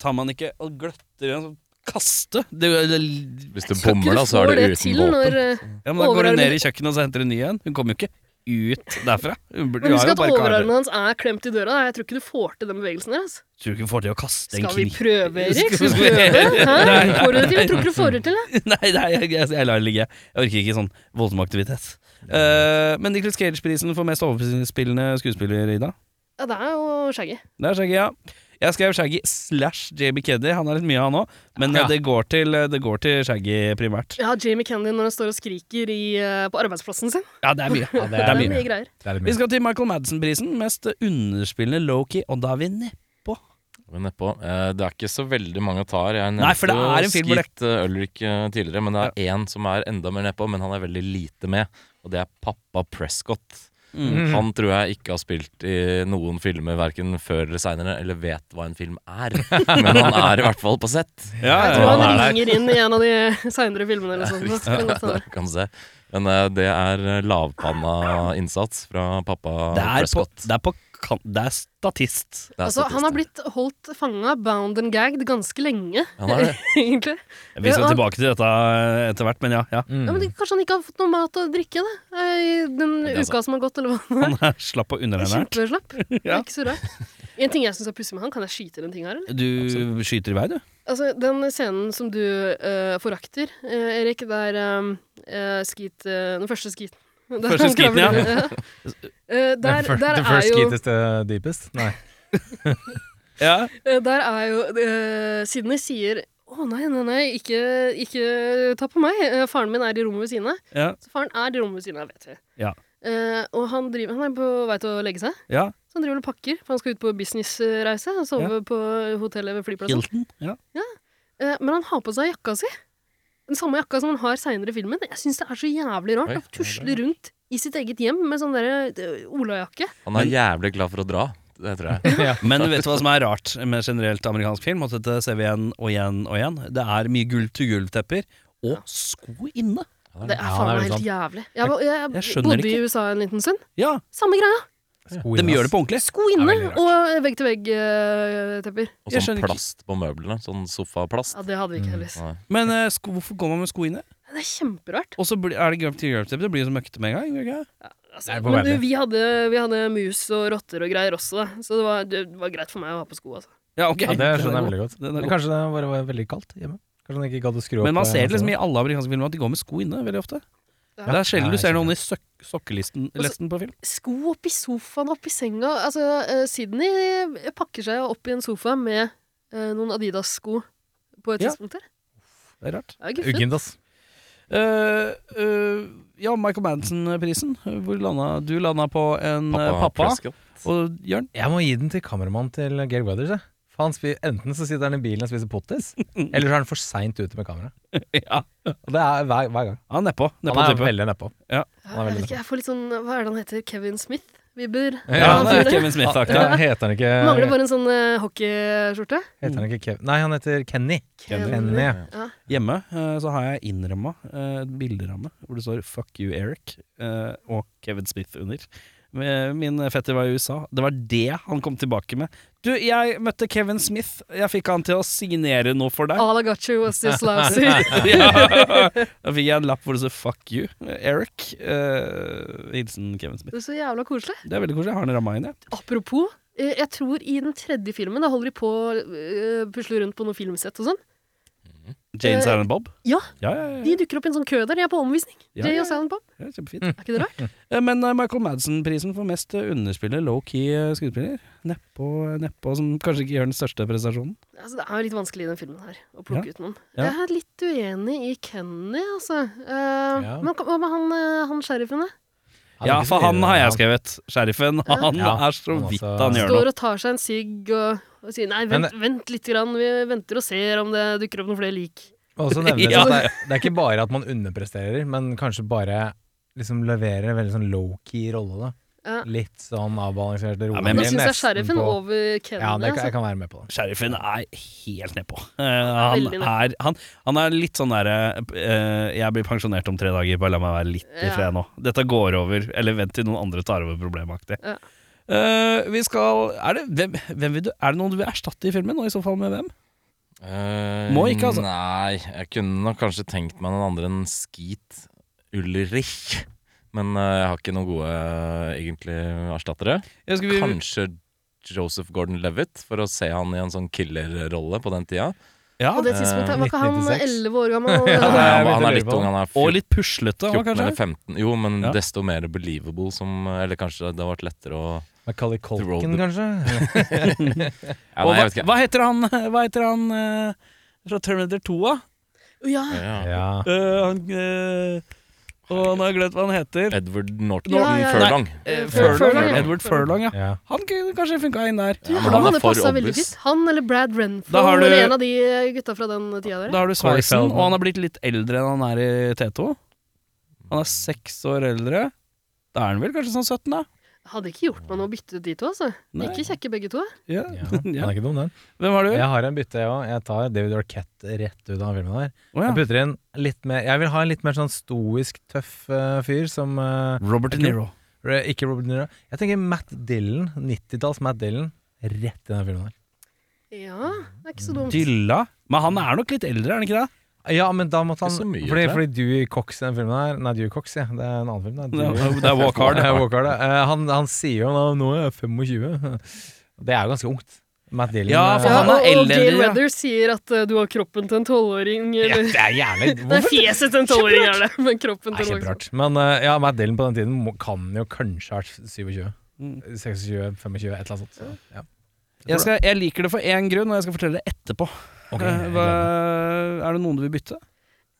[SPEAKER 2] tar man ikke og gløtter i en sånn kaste? Det, det,
[SPEAKER 3] Hvis du
[SPEAKER 4] Skal ikke
[SPEAKER 3] bommer,
[SPEAKER 4] du
[SPEAKER 3] da, så
[SPEAKER 4] få
[SPEAKER 3] er det
[SPEAKER 4] det
[SPEAKER 3] uten
[SPEAKER 4] til
[SPEAKER 3] våpen.
[SPEAKER 4] når, eh,
[SPEAKER 2] ja, men da går hun
[SPEAKER 4] Overarmen-
[SPEAKER 2] ned i kjøkkenet og så henter hun ny en. Hun kommer jo ikke ut derfra. Hun burde- hun
[SPEAKER 4] Men husk
[SPEAKER 2] har jo
[SPEAKER 4] at
[SPEAKER 2] bare karer.
[SPEAKER 4] overarmen hans er klemt i døra. da. Jeg tror ikke du får til den bevegelsen der. Altså.
[SPEAKER 2] Tror du ikke hun får til å kaste en
[SPEAKER 4] Skal vi
[SPEAKER 2] kniv?
[SPEAKER 4] prøve, Erik?
[SPEAKER 2] Skal
[SPEAKER 4] Skal vi
[SPEAKER 2] vi-
[SPEAKER 4] prøve? Hæ? Får du det til? Jeg tror ikke du får det til. jeg.
[SPEAKER 2] Nei, nei jeg, jeg, jeg lar det ligge. Jeg orker ikke sånn voldsom aktivitet. Eh, men Nicholas Cage-prisen for mest overspillende skuespiller, Ida?
[SPEAKER 4] Ja, det er jo Shaggy.
[SPEAKER 2] Det er Shaggy, ja. Jeg skrev Shaggy slash JB Keddy. Han er litt mye, han òg. Men eh,
[SPEAKER 6] Ja.
[SPEAKER 2] det, går til, det går til Shaggy primært.
[SPEAKER 4] Ja, Jamie Kennedy når han står og skriker i, eh, på arbeidsplassen sin.
[SPEAKER 2] Ja, det er mye.
[SPEAKER 6] Ja,
[SPEAKER 2] Det er mye.
[SPEAKER 4] greier.
[SPEAKER 6] Det er litt
[SPEAKER 2] Vi
[SPEAKER 6] mye.
[SPEAKER 2] skal til Michael Madsen-prisen. Mest underspillende Loki, og da er vi nedpå.
[SPEAKER 3] Vi er nedpå. Eh, Det er ikke så veldig mange å ta her. Jeg
[SPEAKER 2] Nei, for det
[SPEAKER 3] nevnte jo
[SPEAKER 2] er en film hvor det-
[SPEAKER 3] Skeet eh, Ulrich eh, tidligere, men det er én som er enda mer nedpå, men han er veldig lite med, og det er pappa Prescott.
[SPEAKER 2] Mm.
[SPEAKER 3] Han tror jeg ikke har spilt i noen filmer verken før eller seinere, eller vet hva en film er, men han er i hvert fall på sett.
[SPEAKER 4] Jeg
[SPEAKER 3] ja,
[SPEAKER 4] tror han
[SPEAKER 3] han er der.
[SPEAKER 4] ringer inn i en av de seinere filmene eller sånt. Så kan det godt
[SPEAKER 3] Der
[SPEAKER 4] hende.
[SPEAKER 3] kan du se. Men eh, det er eh, lavpanna innsats fra pappa
[SPEAKER 2] Det er, på,
[SPEAKER 3] Prescott.
[SPEAKER 2] det, er på, kan- det er statist.
[SPEAKER 3] Det er
[SPEAKER 4] Altså, han
[SPEAKER 3] statist.
[SPEAKER 4] har blitt holdt fanga, bound and gagged, ganske lenge,
[SPEAKER 3] Han har det.
[SPEAKER 4] egentlig.
[SPEAKER 2] Vi skal
[SPEAKER 4] Ja, han- Mm.
[SPEAKER 2] tilbake til dette eh, etter hvert, men ja. ja.
[SPEAKER 4] Ja, men det, kanskje han ikke har fått noe mat og drikke da, Eh, i den
[SPEAKER 3] Det er sant.
[SPEAKER 4] uka som har gått, eller hva?
[SPEAKER 2] Han er slapp og underernært.
[SPEAKER 4] Kjempeslapp. Det
[SPEAKER 2] Ja.
[SPEAKER 4] er ikke så rart. En ting jeg syns er pussig med han, kan jeg skyte inn en ting her, eller?
[SPEAKER 2] Du skyter i vei, du.
[SPEAKER 4] Altså, den scenen som du eh, forakter, eh, Erik, der um, skit, eh, Den første skiten.
[SPEAKER 2] Første skiten, ja.
[SPEAKER 4] Eh, der,
[SPEAKER 6] The
[SPEAKER 4] der
[SPEAKER 6] fir- the
[SPEAKER 4] er
[SPEAKER 6] first
[SPEAKER 4] jo
[SPEAKER 6] skit is the deepest? Nei.
[SPEAKER 2] Ja.
[SPEAKER 4] Eh, Der er jo eh, Sydney sier å nei, nei, nei, ikke, ikke ta på meg. Eh, faren min er i rommet ved siden av.
[SPEAKER 2] Ja.
[SPEAKER 4] Så faren er i rommet ved siden av, vet vi.
[SPEAKER 2] Ja.
[SPEAKER 4] Eh, og han, driver, han er på vei til å legge seg,
[SPEAKER 2] ja.
[SPEAKER 4] så han driver og pakker. For han skal ut på businessreise og sove på hotellet ved flyplassen.
[SPEAKER 2] Hilton. Ja.
[SPEAKER 4] Eh, men han har på seg jakka si. Den samme jakka som han har seinere i filmen. Jeg syns det er så jævlig rart
[SPEAKER 3] Oi,
[SPEAKER 4] å tusle rundt i sitt eget hjem med sånn derre eh, olajakke.
[SPEAKER 3] Han er jævlig glad for å dra. det tror jeg.
[SPEAKER 2] Men vet du hva som er rart med generelt amerikansk film? At dette ser vi igjen og igjen og igjen. Det er mye gulv-til-gulv-tepper. Og sko inne!
[SPEAKER 4] Det er faen
[SPEAKER 6] det er
[SPEAKER 4] meg
[SPEAKER 6] veldig
[SPEAKER 4] helt jævlig. Jeg, var- jeg,
[SPEAKER 2] Jeg skjønner
[SPEAKER 4] bodde
[SPEAKER 2] ikke.
[SPEAKER 4] i USA en liten stund.
[SPEAKER 2] Ja,
[SPEAKER 4] Samme greia.
[SPEAKER 6] Sko
[SPEAKER 2] De
[SPEAKER 6] inn,
[SPEAKER 2] gjør
[SPEAKER 6] ass.
[SPEAKER 2] det på ordentlig.
[SPEAKER 4] Sko inne og vegg-til-vegg-tepper.
[SPEAKER 3] Og
[SPEAKER 2] Jeg
[SPEAKER 3] sånn
[SPEAKER 2] skjønner ikke.
[SPEAKER 3] plast på møblene. Sånn sofaplast.
[SPEAKER 4] eh, Ja, det hadde vi ikke heldigvis.
[SPEAKER 3] Nei.
[SPEAKER 2] Men eh, sko, hvorfor går man med sko inne?
[SPEAKER 4] Det er kjemperart.
[SPEAKER 2] Og så blir- er det gulv-til-gulv-tepper. Det blir jo så møkkete med en gang. gjør det Ikke?
[SPEAKER 4] Altså,
[SPEAKER 6] Det er
[SPEAKER 4] men
[SPEAKER 6] forferdelig.
[SPEAKER 4] du, vi hadde, vi hadde mus og rotter og greier også, da. så det var, det var greit for meg å ha på sko. Altså.
[SPEAKER 2] Ja, ok.
[SPEAKER 6] Ja, det skjønner jeg veldig godt.
[SPEAKER 2] Den er
[SPEAKER 6] Men
[SPEAKER 2] god.
[SPEAKER 6] kanskje det bare var veldig kaldt hjemme? Kanskje den ikke gadd å skru opp
[SPEAKER 2] Men man
[SPEAKER 6] eh,
[SPEAKER 2] ser det liksom i alle amerikanske filmer at de går med sko inne veldig ofte.
[SPEAKER 4] Ja.
[SPEAKER 2] Det er sjelden du
[SPEAKER 6] Nei,
[SPEAKER 2] ser noen i søk sokkelisten lesten på film.
[SPEAKER 4] Sko oppi sofaen, oppi senga. Altså, eh, Sydney pakker seg opp i en sofa med eh, noen Adidas-sko på et
[SPEAKER 2] Ja.
[SPEAKER 4] tidspunkt her.
[SPEAKER 2] Det er rart.
[SPEAKER 4] Det er guffent.
[SPEAKER 6] Uggent, ass.
[SPEAKER 2] Eh, eh, ja, Michael Manson-prisen. Hvor landa du? Landa på en eh,
[SPEAKER 3] Pappa,
[SPEAKER 2] pappa.
[SPEAKER 3] Prescott.
[SPEAKER 2] Og Jørn?
[SPEAKER 6] Jeg må gi den til kameramannen til Geir Weathers. jeg. For han spi- Enten så sitter han i bilen og spiser pottis, eller så er han for seint ute med kamera.
[SPEAKER 2] Ja,
[SPEAKER 6] Og det er hver, hver gang.
[SPEAKER 2] ja nedpå.
[SPEAKER 6] Han
[SPEAKER 2] nedpå
[SPEAKER 6] er
[SPEAKER 2] type.
[SPEAKER 6] veldig nedpå.
[SPEAKER 4] Ja, jeg, vet ikke, jeg får litt sånn Hva er det han heter? Kevin Smith? Vibber?
[SPEAKER 2] Ja,
[SPEAKER 6] Ja,
[SPEAKER 2] han er Kevin Smith-aktig.
[SPEAKER 6] Ja, heter han
[SPEAKER 4] Mangler
[SPEAKER 6] ikke,
[SPEAKER 4] bare en sånn eh, hockeyskjorte.
[SPEAKER 6] heter han ikke Kev... Nei, han heter Kenny.
[SPEAKER 4] Kenny.
[SPEAKER 6] ja.
[SPEAKER 2] Hjemme eh, så har jeg innramma eh, et bilderamme hvor det står 'fuck you, Eric' eh, og Kevin Smith under. Men Min fetter var i USA. Det var det han kom tilbake med. 'Du, jeg møtte Kevin Smith. Jeg fikk han til å signere noe for deg.'
[SPEAKER 4] All I got you was this lousy.
[SPEAKER 2] ja. Da fikk jeg en lapp hvor det står 'fuck you, Eric'. Eh, hilsen Kevin Smith.
[SPEAKER 4] Det er så jævla koselig.
[SPEAKER 2] Det er veldig koselig. Jeg har den ramma inn, jeg.
[SPEAKER 4] Apropos, eh, jeg tror i den tredje filmen da holder de på å eh, pusle rundt på noe filmsett og sånn.
[SPEAKER 2] Jane
[SPEAKER 4] Eh,
[SPEAKER 2] Silent Bob.
[SPEAKER 4] ja.
[SPEAKER 2] ja, ja, ja.
[SPEAKER 4] De dukker opp i en sånn kø der, de er på omvisning.
[SPEAKER 2] Ja,
[SPEAKER 4] Jay
[SPEAKER 2] ja.
[SPEAKER 4] og Silent Bob.
[SPEAKER 2] ja kjempefint.
[SPEAKER 4] Er ikke det rart?
[SPEAKER 2] Eh, Men eh, Michael Madsen-prisen for mest eh, underspiller, low-key eh, skuespiller. Nedpå, nedpå som kanskje ikke gjør den største prestasjonen.
[SPEAKER 4] Altså, det er jo litt vanskelig i den filmen her å plukke ut noen.
[SPEAKER 2] Ja.
[SPEAKER 4] Jeg er litt uenig i Kenny, altså. Eh,
[SPEAKER 6] Ja.
[SPEAKER 4] Men hva med han, eh, han sheriffen, da?
[SPEAKER 6] Han er
[SPEAKER 2] Ja,
[SPEAKER 6] ikke så
[SPEAKER 2] for han
[SPEAKER 6] ille,
[SPEAKER 2] har jeg skrevet. Sheriffen. Han
[SPEAKER 6] Ja,
[SPEAKER 2] er så
[SPEAKER 6] han også-
[SPEAKER 2] vidt han gjør
[SPEAKER 4] Står
[SPEAKER 2] noe.
[SPEAKER 4] og tar seg en sigg og, og sier nei, vent,
[SPEAKER 6] Men-
[SPEAKER 2] eh,
[SPEAKER 4] vent litt, grann. vi venter og ser om det dukker opp noen flere lik.
[SPEAKER 6] Og så nevnes
[SPEAKER 2] Ja.
[SPEAKER 6] at det, er- det er ikke bare at man underpresterer, men kanskje bare liksom leverer en veldig sånn low-key rolle. da
[SPEAKER 4] Ja.
[SPEAKER 6] Litt sånn avbalansert og rolig.
[SPEAKER 2] Ja, men
[SPEAKER 4] Men da
[SPEAKER 2] jeg
[SPEAKER 4] syns jeg
[SPEAKER 6] Nesten
[SPEAKER 4] sheriffen
[SPEAKER 6] på-
[SPEAKER 4] over Kenny.
[SPEAKER 6] Ja, det kan, jeg
[SPEAKER 4] altså.
[SPEAKER 6] kan være med på det.
[SPEAKER 2] Sheriffen er helt nedpå. Eh, han,
[SPEAKER 4] Veldig
[SPEAKER 2] er, han, han er litt sånn derre eh, Jeg blir pensjonert om tre dager, bare la meg være litt i
[SPEAKER 4] Ja.
[SPEAKER 2] fred nå. Dette går over. Eller vent til noen andre tar over problemaktig.
[SPEAKER 4] Ja.
[SPEAKER 2] Eh, vi skal er det, hvem, hvem vil du, er det noen du vil erstatte i filmen, og i så fall med hvem?
[SPEAKER 3] Eh,
[SPEAKER 2] Må ikke, altså.
[SPEAKER 3] Nei, jeg kunne nok kanskje tenkt meg noen andre enn Skeet Ulrich. Men eh, jeg har ikke noen gode eh, egentlig erstattere.
[SPEAKER 2] Jeg husker vi-
[SPEAKER 3] Kanskje Joseph Gordon-Levitt, for å se han i en sånn killerrolle på den tida.
[SPEAKER 2] Ja,
[SPEAKER 4] På det tidspunktet var ikke han
[SPEAKER 6] 1996.
[SPEAKER 4] 11 år gammel?
[SPEAKER 3] Nei,
[SPEAKER 6] jeg
[SPEAKER 3] han,
[SPEAKER 6] begynte
[SPEAKER 3] han
[SPEAKER 6] å
[SPEAKER 3] er
[SPEAKER 6] lure
[SPEAKER 3] litt
[SPEAKER 6] på
[SPEAKER 3] ung,
[SPEAKER 6] han.
[SPEAKER 3] han er
[SPEAKER 2] og
[SPEAKER 3] fjorten-
[SPEAKER 2] litt puslete òg,
[SPEAKER 3] 14
[SPEAKER 2] kanskje?
[SPEAKER 3] eller 15. Jo, men
[SPEAKER 2] Ja.
[SPEAKER 3] desto mer believable som Eller kanskje det har vært lettere å
[SPEAKER 6] Macaulay Culkin,
[SPEAKER 3] Road-
[SPEAKER 6] kanskje?
[SPEAKER 3] ja,
[SPEAKER 2] og hva,
[SPEAKER 3] nei, jeg vet ikke.
[SPEAKER 2] hva heter han, hva heter han eh, fra Terminator 2, da?
[SPEAKER 4] Ja,
[SPEAKER 3] Ja.
[SPEAKER 6] ja.
[SPEAKER 2] Eh, han eh, Å, nå har jeg glemt hva han heter.
[SPEAKER 3] Edward Norton
[SPEAKER 4] Ja, ja, ja.
[SPEAKER 3] Furlong.
[SPEAKER 2] Eh,
[SPEAKER 4] Furlong, ja.
[SPEAKER 2] Edward Furlong, ja.
[SPEAKER 6] ja.
[SPEAKER 2] Han kunne kanskje funka inn der.
[SPEAKER 4] du,
[SPEAKER 3] Ja, men
[SPEAKER 4] han
[SPEAKER 3] han er
[SPEAKER 4] hadde
[SPEAKER 3] for
[SPEAKER 4] passa veldig
[SPEAKER 3] obvious.
[SPEAKER 4] fint. Han eller Brad Renfro,
[SPEAKER 2] Da har du-
[SPEAKER 4] eller en av de eh, gutta fra den tida der.
[SPEAKER 2] Da har du
[SPEAKER 6] Corey
[SPEAKER 2] sveisen, og
[SPEAKER 6] Feldman.
[SPEAKER 2] han har blitt litt eldre enn han er i T2. Han er seks år eldre. Da er han vel kanskje sånn 17, da?
[SPEAKER 4] Hadde ikke gjort meg noe å bytte ut de to, altså.
[SPEAKER 2] Nei.
[SPEAKER 4] Ikke kjekke begge to.
[SPEAKER 2] Ja.
[SPEAKER 6] Ja, han
[SPEAKER 2] Ja.
[SPEAKER 6] er ikke dum, den.
[SPEAKER 2] Hvem har du?
[SPEAKER 6] Jeg har en bytte, jeg òg. Jeg tar David Arquette rett ut av filmen her.
[SPEAKER 2] Å, ja.
[SPEAKER 6] Jeg putter inn litt mer Jeg vil ha en litt mer sånn stoisk, tøff eh, fyr som eh,
[SPEAKER 2] Robert De Niro.
[SPEAKER 6] Re- Ikke Robert De Niro. Jeg tenker Matt Dillon. 90-talls Matt Dillon. Rett i den filmen her.
[SPEAKER 4] Ja, det er ikke så dumt.
[SPEAKER 2] Dylla. Men han er nok litt eldre, er han ikke det?
[SPEAKER 6] Ja, men da måtte han
[SPEAKER 3] Ikke så mye,
[SPEAKER 6] fordi,
[SPEAKER 3] tror
[SPEAKER 6] fordi Dewey Cox i den filmen her Nei, Dewey Cox, ja. Det er en annen film. Det er
[SPEAKER 2] Det
[SPEAKER 6] Dewey.
[SPEAKER 2] er- det er Walk Hard.
[SPEAKER 6] Ja, Walk Hard, ja. Eh, han, han sier jo nå, nå er jeg 25. Det er jo ganske ungt. Matt Dillon.
[SPEAKER 2] Ja,
[SPEAKER 6] eh,
[SPEAKER 2] for han
[SPEAKER 4] og-
[SPEAKER 2] er
[SPEAKER 4] og
[SPEAKER 2] eldre,
[SPEAKER 4] Gail
[SPEAKER 2] ja.
[SPEAKER 4] Weathers sier at eh, du har kroppen til en tolvåring.
[SPEAKER 6] ja,
[SPEAKER 4] Eller
[SPEAKER 6] Det er gjerne
[SPEAKER 4] Nei,
[SPEAKER 6] Hvorfor?
[SPEAKER 4] fjeset til en tolvåring er det, men kroppen
[SPEAKER 6] Det er
[SPEAKER 4] til en voksen.
[SPEAKER 6] kjemperart. Men eh, ja, Matt Dillon på den tiden må, kan jo kanskje ha vært 27.
[SPEAKER 2] Mm.
[SPEAKER 6] 26-25, et eller annet sånt. Så, ja.
[SPEAKER 2] Jeg, skal, jeg liker det for én grunn, og jeg skal fortelle det etterpå.
[SPEAKER 6] Ok,
[SPEAKER 2] Eh,
[SPEAKER 6] jeg
[SPEAKER 2] Hva,
[SPEAKER 6] gleder meg.
[SPEAKER 2] er det noen du vil bytte?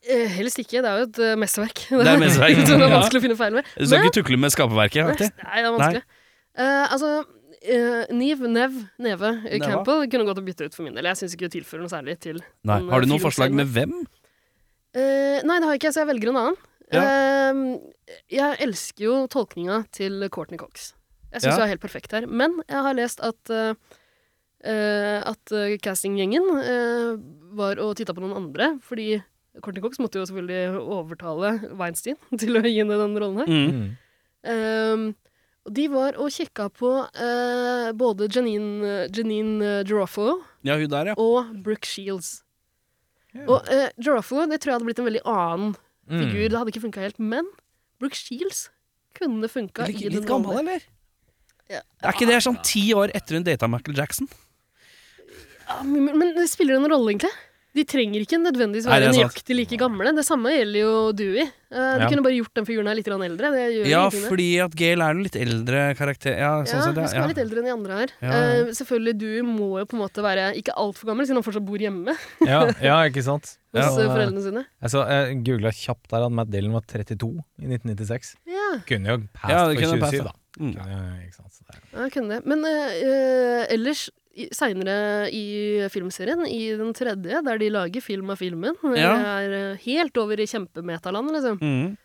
[SPEAKER 4] Eh, Helst ikke. Det er jo et eh, mesterverk.
[SPEAKER 2] er et mesterverk.
[SPEAKER 4] Så det er
[SPEAKER 2] Ja.
[SPEAKER 4] vanskelig å finne feil med.
[SPEAKER 2] Du skal ikke tukle med skaperverket.
[SPEAKER 4] Nei,
[SPEAKER 2] Aktig.
[SPEAKER 4] det er vanskelig. Eh, altså, eh, Niv, Nev, Neve eh,
[SPEAKER 2] Neva.
[SPEAKER 4] Campbell kunne gått og bytte ut for min del. Jeg syns ikke det tilfører noe særlig til
[SPEAKER 2] Nei.
[SPEAKER 4] den, eh,
[SPEAKER 2] Har du noen
[SPEAKER 4] filmscenen.
[SPEAKER 2] forslag med hvem?
[SPEAKER 4] Eh, Nei, det har jeg ikke, så jeg velger en annen. Ehm,
[SPEAKER 2] Ja.
[SPEAKER 4] Eh, jeg elsker jo tolkninga til Courtney Cox. Jeg Jeg syns
[SPEAKER 2] Ja.
[SPEAKER 4] du er helt perfekt her. Men jeg har lest at eh, eh, At eh, castinggjengen eh, var og titta på noen andre, fordi Courtney Cox måtte jo selvfølgelig overtale Weinstein til å gi henne denne rollen her.
[SPEAKER 2] Mm.
[SPEAKER 6] Mm.
[SPEAKER 4] Ehm, og de var og kikka på eh, både Janine, Janine Girofalo
[SPEAKER 2] Ja, hun der, ja.
[SPEAKER 4] og Brooke Shields. Og eh, Girofalo det tror jeg hadde blitt en veldig annen
[SPEAKER 2] Mm.
[SPEAKER 4] figur. Det hadde ikke funka helt. Men Brooke Shields kunne funka
[SPEAKER 2] Litt,
[SPEAKER 4] i den
[SPEAKER 2] litt gammel,
[SPEAKER 4] rollen.
[SPEAKER 2] eller?
[SPEAKER 4] Ja.
[SPEAKER 2] Er ikke det sånn ti år etter hun data Michael Jackson?
[SPEAKER 4] Ja, men, men det spiller det noen rolle, egentlig? De trenger ikke nødvendigvis
[SPEAKER 2] Nei,
[SPEAKER 4] være
[SPEAKER 2] det er sant.
[SPEAKER 4] nøyaktig like gamle. Det samme gjelder jo Dewey. Eh, du
[SPEAKER 6] Ja.
[SPEAKER 4] kunne bare gjort den figuren her litt grann eldre. Det gjør
[SPEAKER 2] Ja,
[SPEAKER 4] ingenting, det.
[SPEAKER 2] fordi at Gail er en litt eldre karakter. Ja,
[SPEAKER 4] Ja,
[SPEAKER 2] sånn sett,
[SPEAKER 4] hun skal
[SPEAKER 2] ja.
[SPEAKER 4] være litt eldre enn de andre her.
[SPEAKER 2] Ja, ja.
[SPEAKER 4] Eh, selvfølgelig, du må jo på en måte være ikke altfor gammel, siden han fortsatt bor hjemme hos
[SPEAKER 6] Mm. Ja, ja, ikke sant? Ja.
[SPEAKER 4] eh, foreldrene sine.
[SPEAKER 6] Jeg, så, jeg googla kjapt der at Matt Dillon var 32 i 1996.
[SPEAKER 4] Ja,
[SPEAKER 6] Kunne jo past
[SPEAKER 2] Ja, det
[SPEAKER 6] for
[SPEAKER 2] kunne
[SPEAKER 6] 27,
[SPEAKER 2] passet.
[SPEAKER 6] da.
[SPEAKER 2] Mm.
[SPEAKER 6] Ja, ikke sant? Så det er-
[SPEAKER 4] jeg kunne det. Men eh, eh, ellers, seinere i filmserien, i den tredje, der de lager film av filmen, eh,
[SPEAKER 2] Ja.
[SPEAKER 4] er eh, helt over i kjempemetaland, liksom.
[SPEAKER 2] Mm.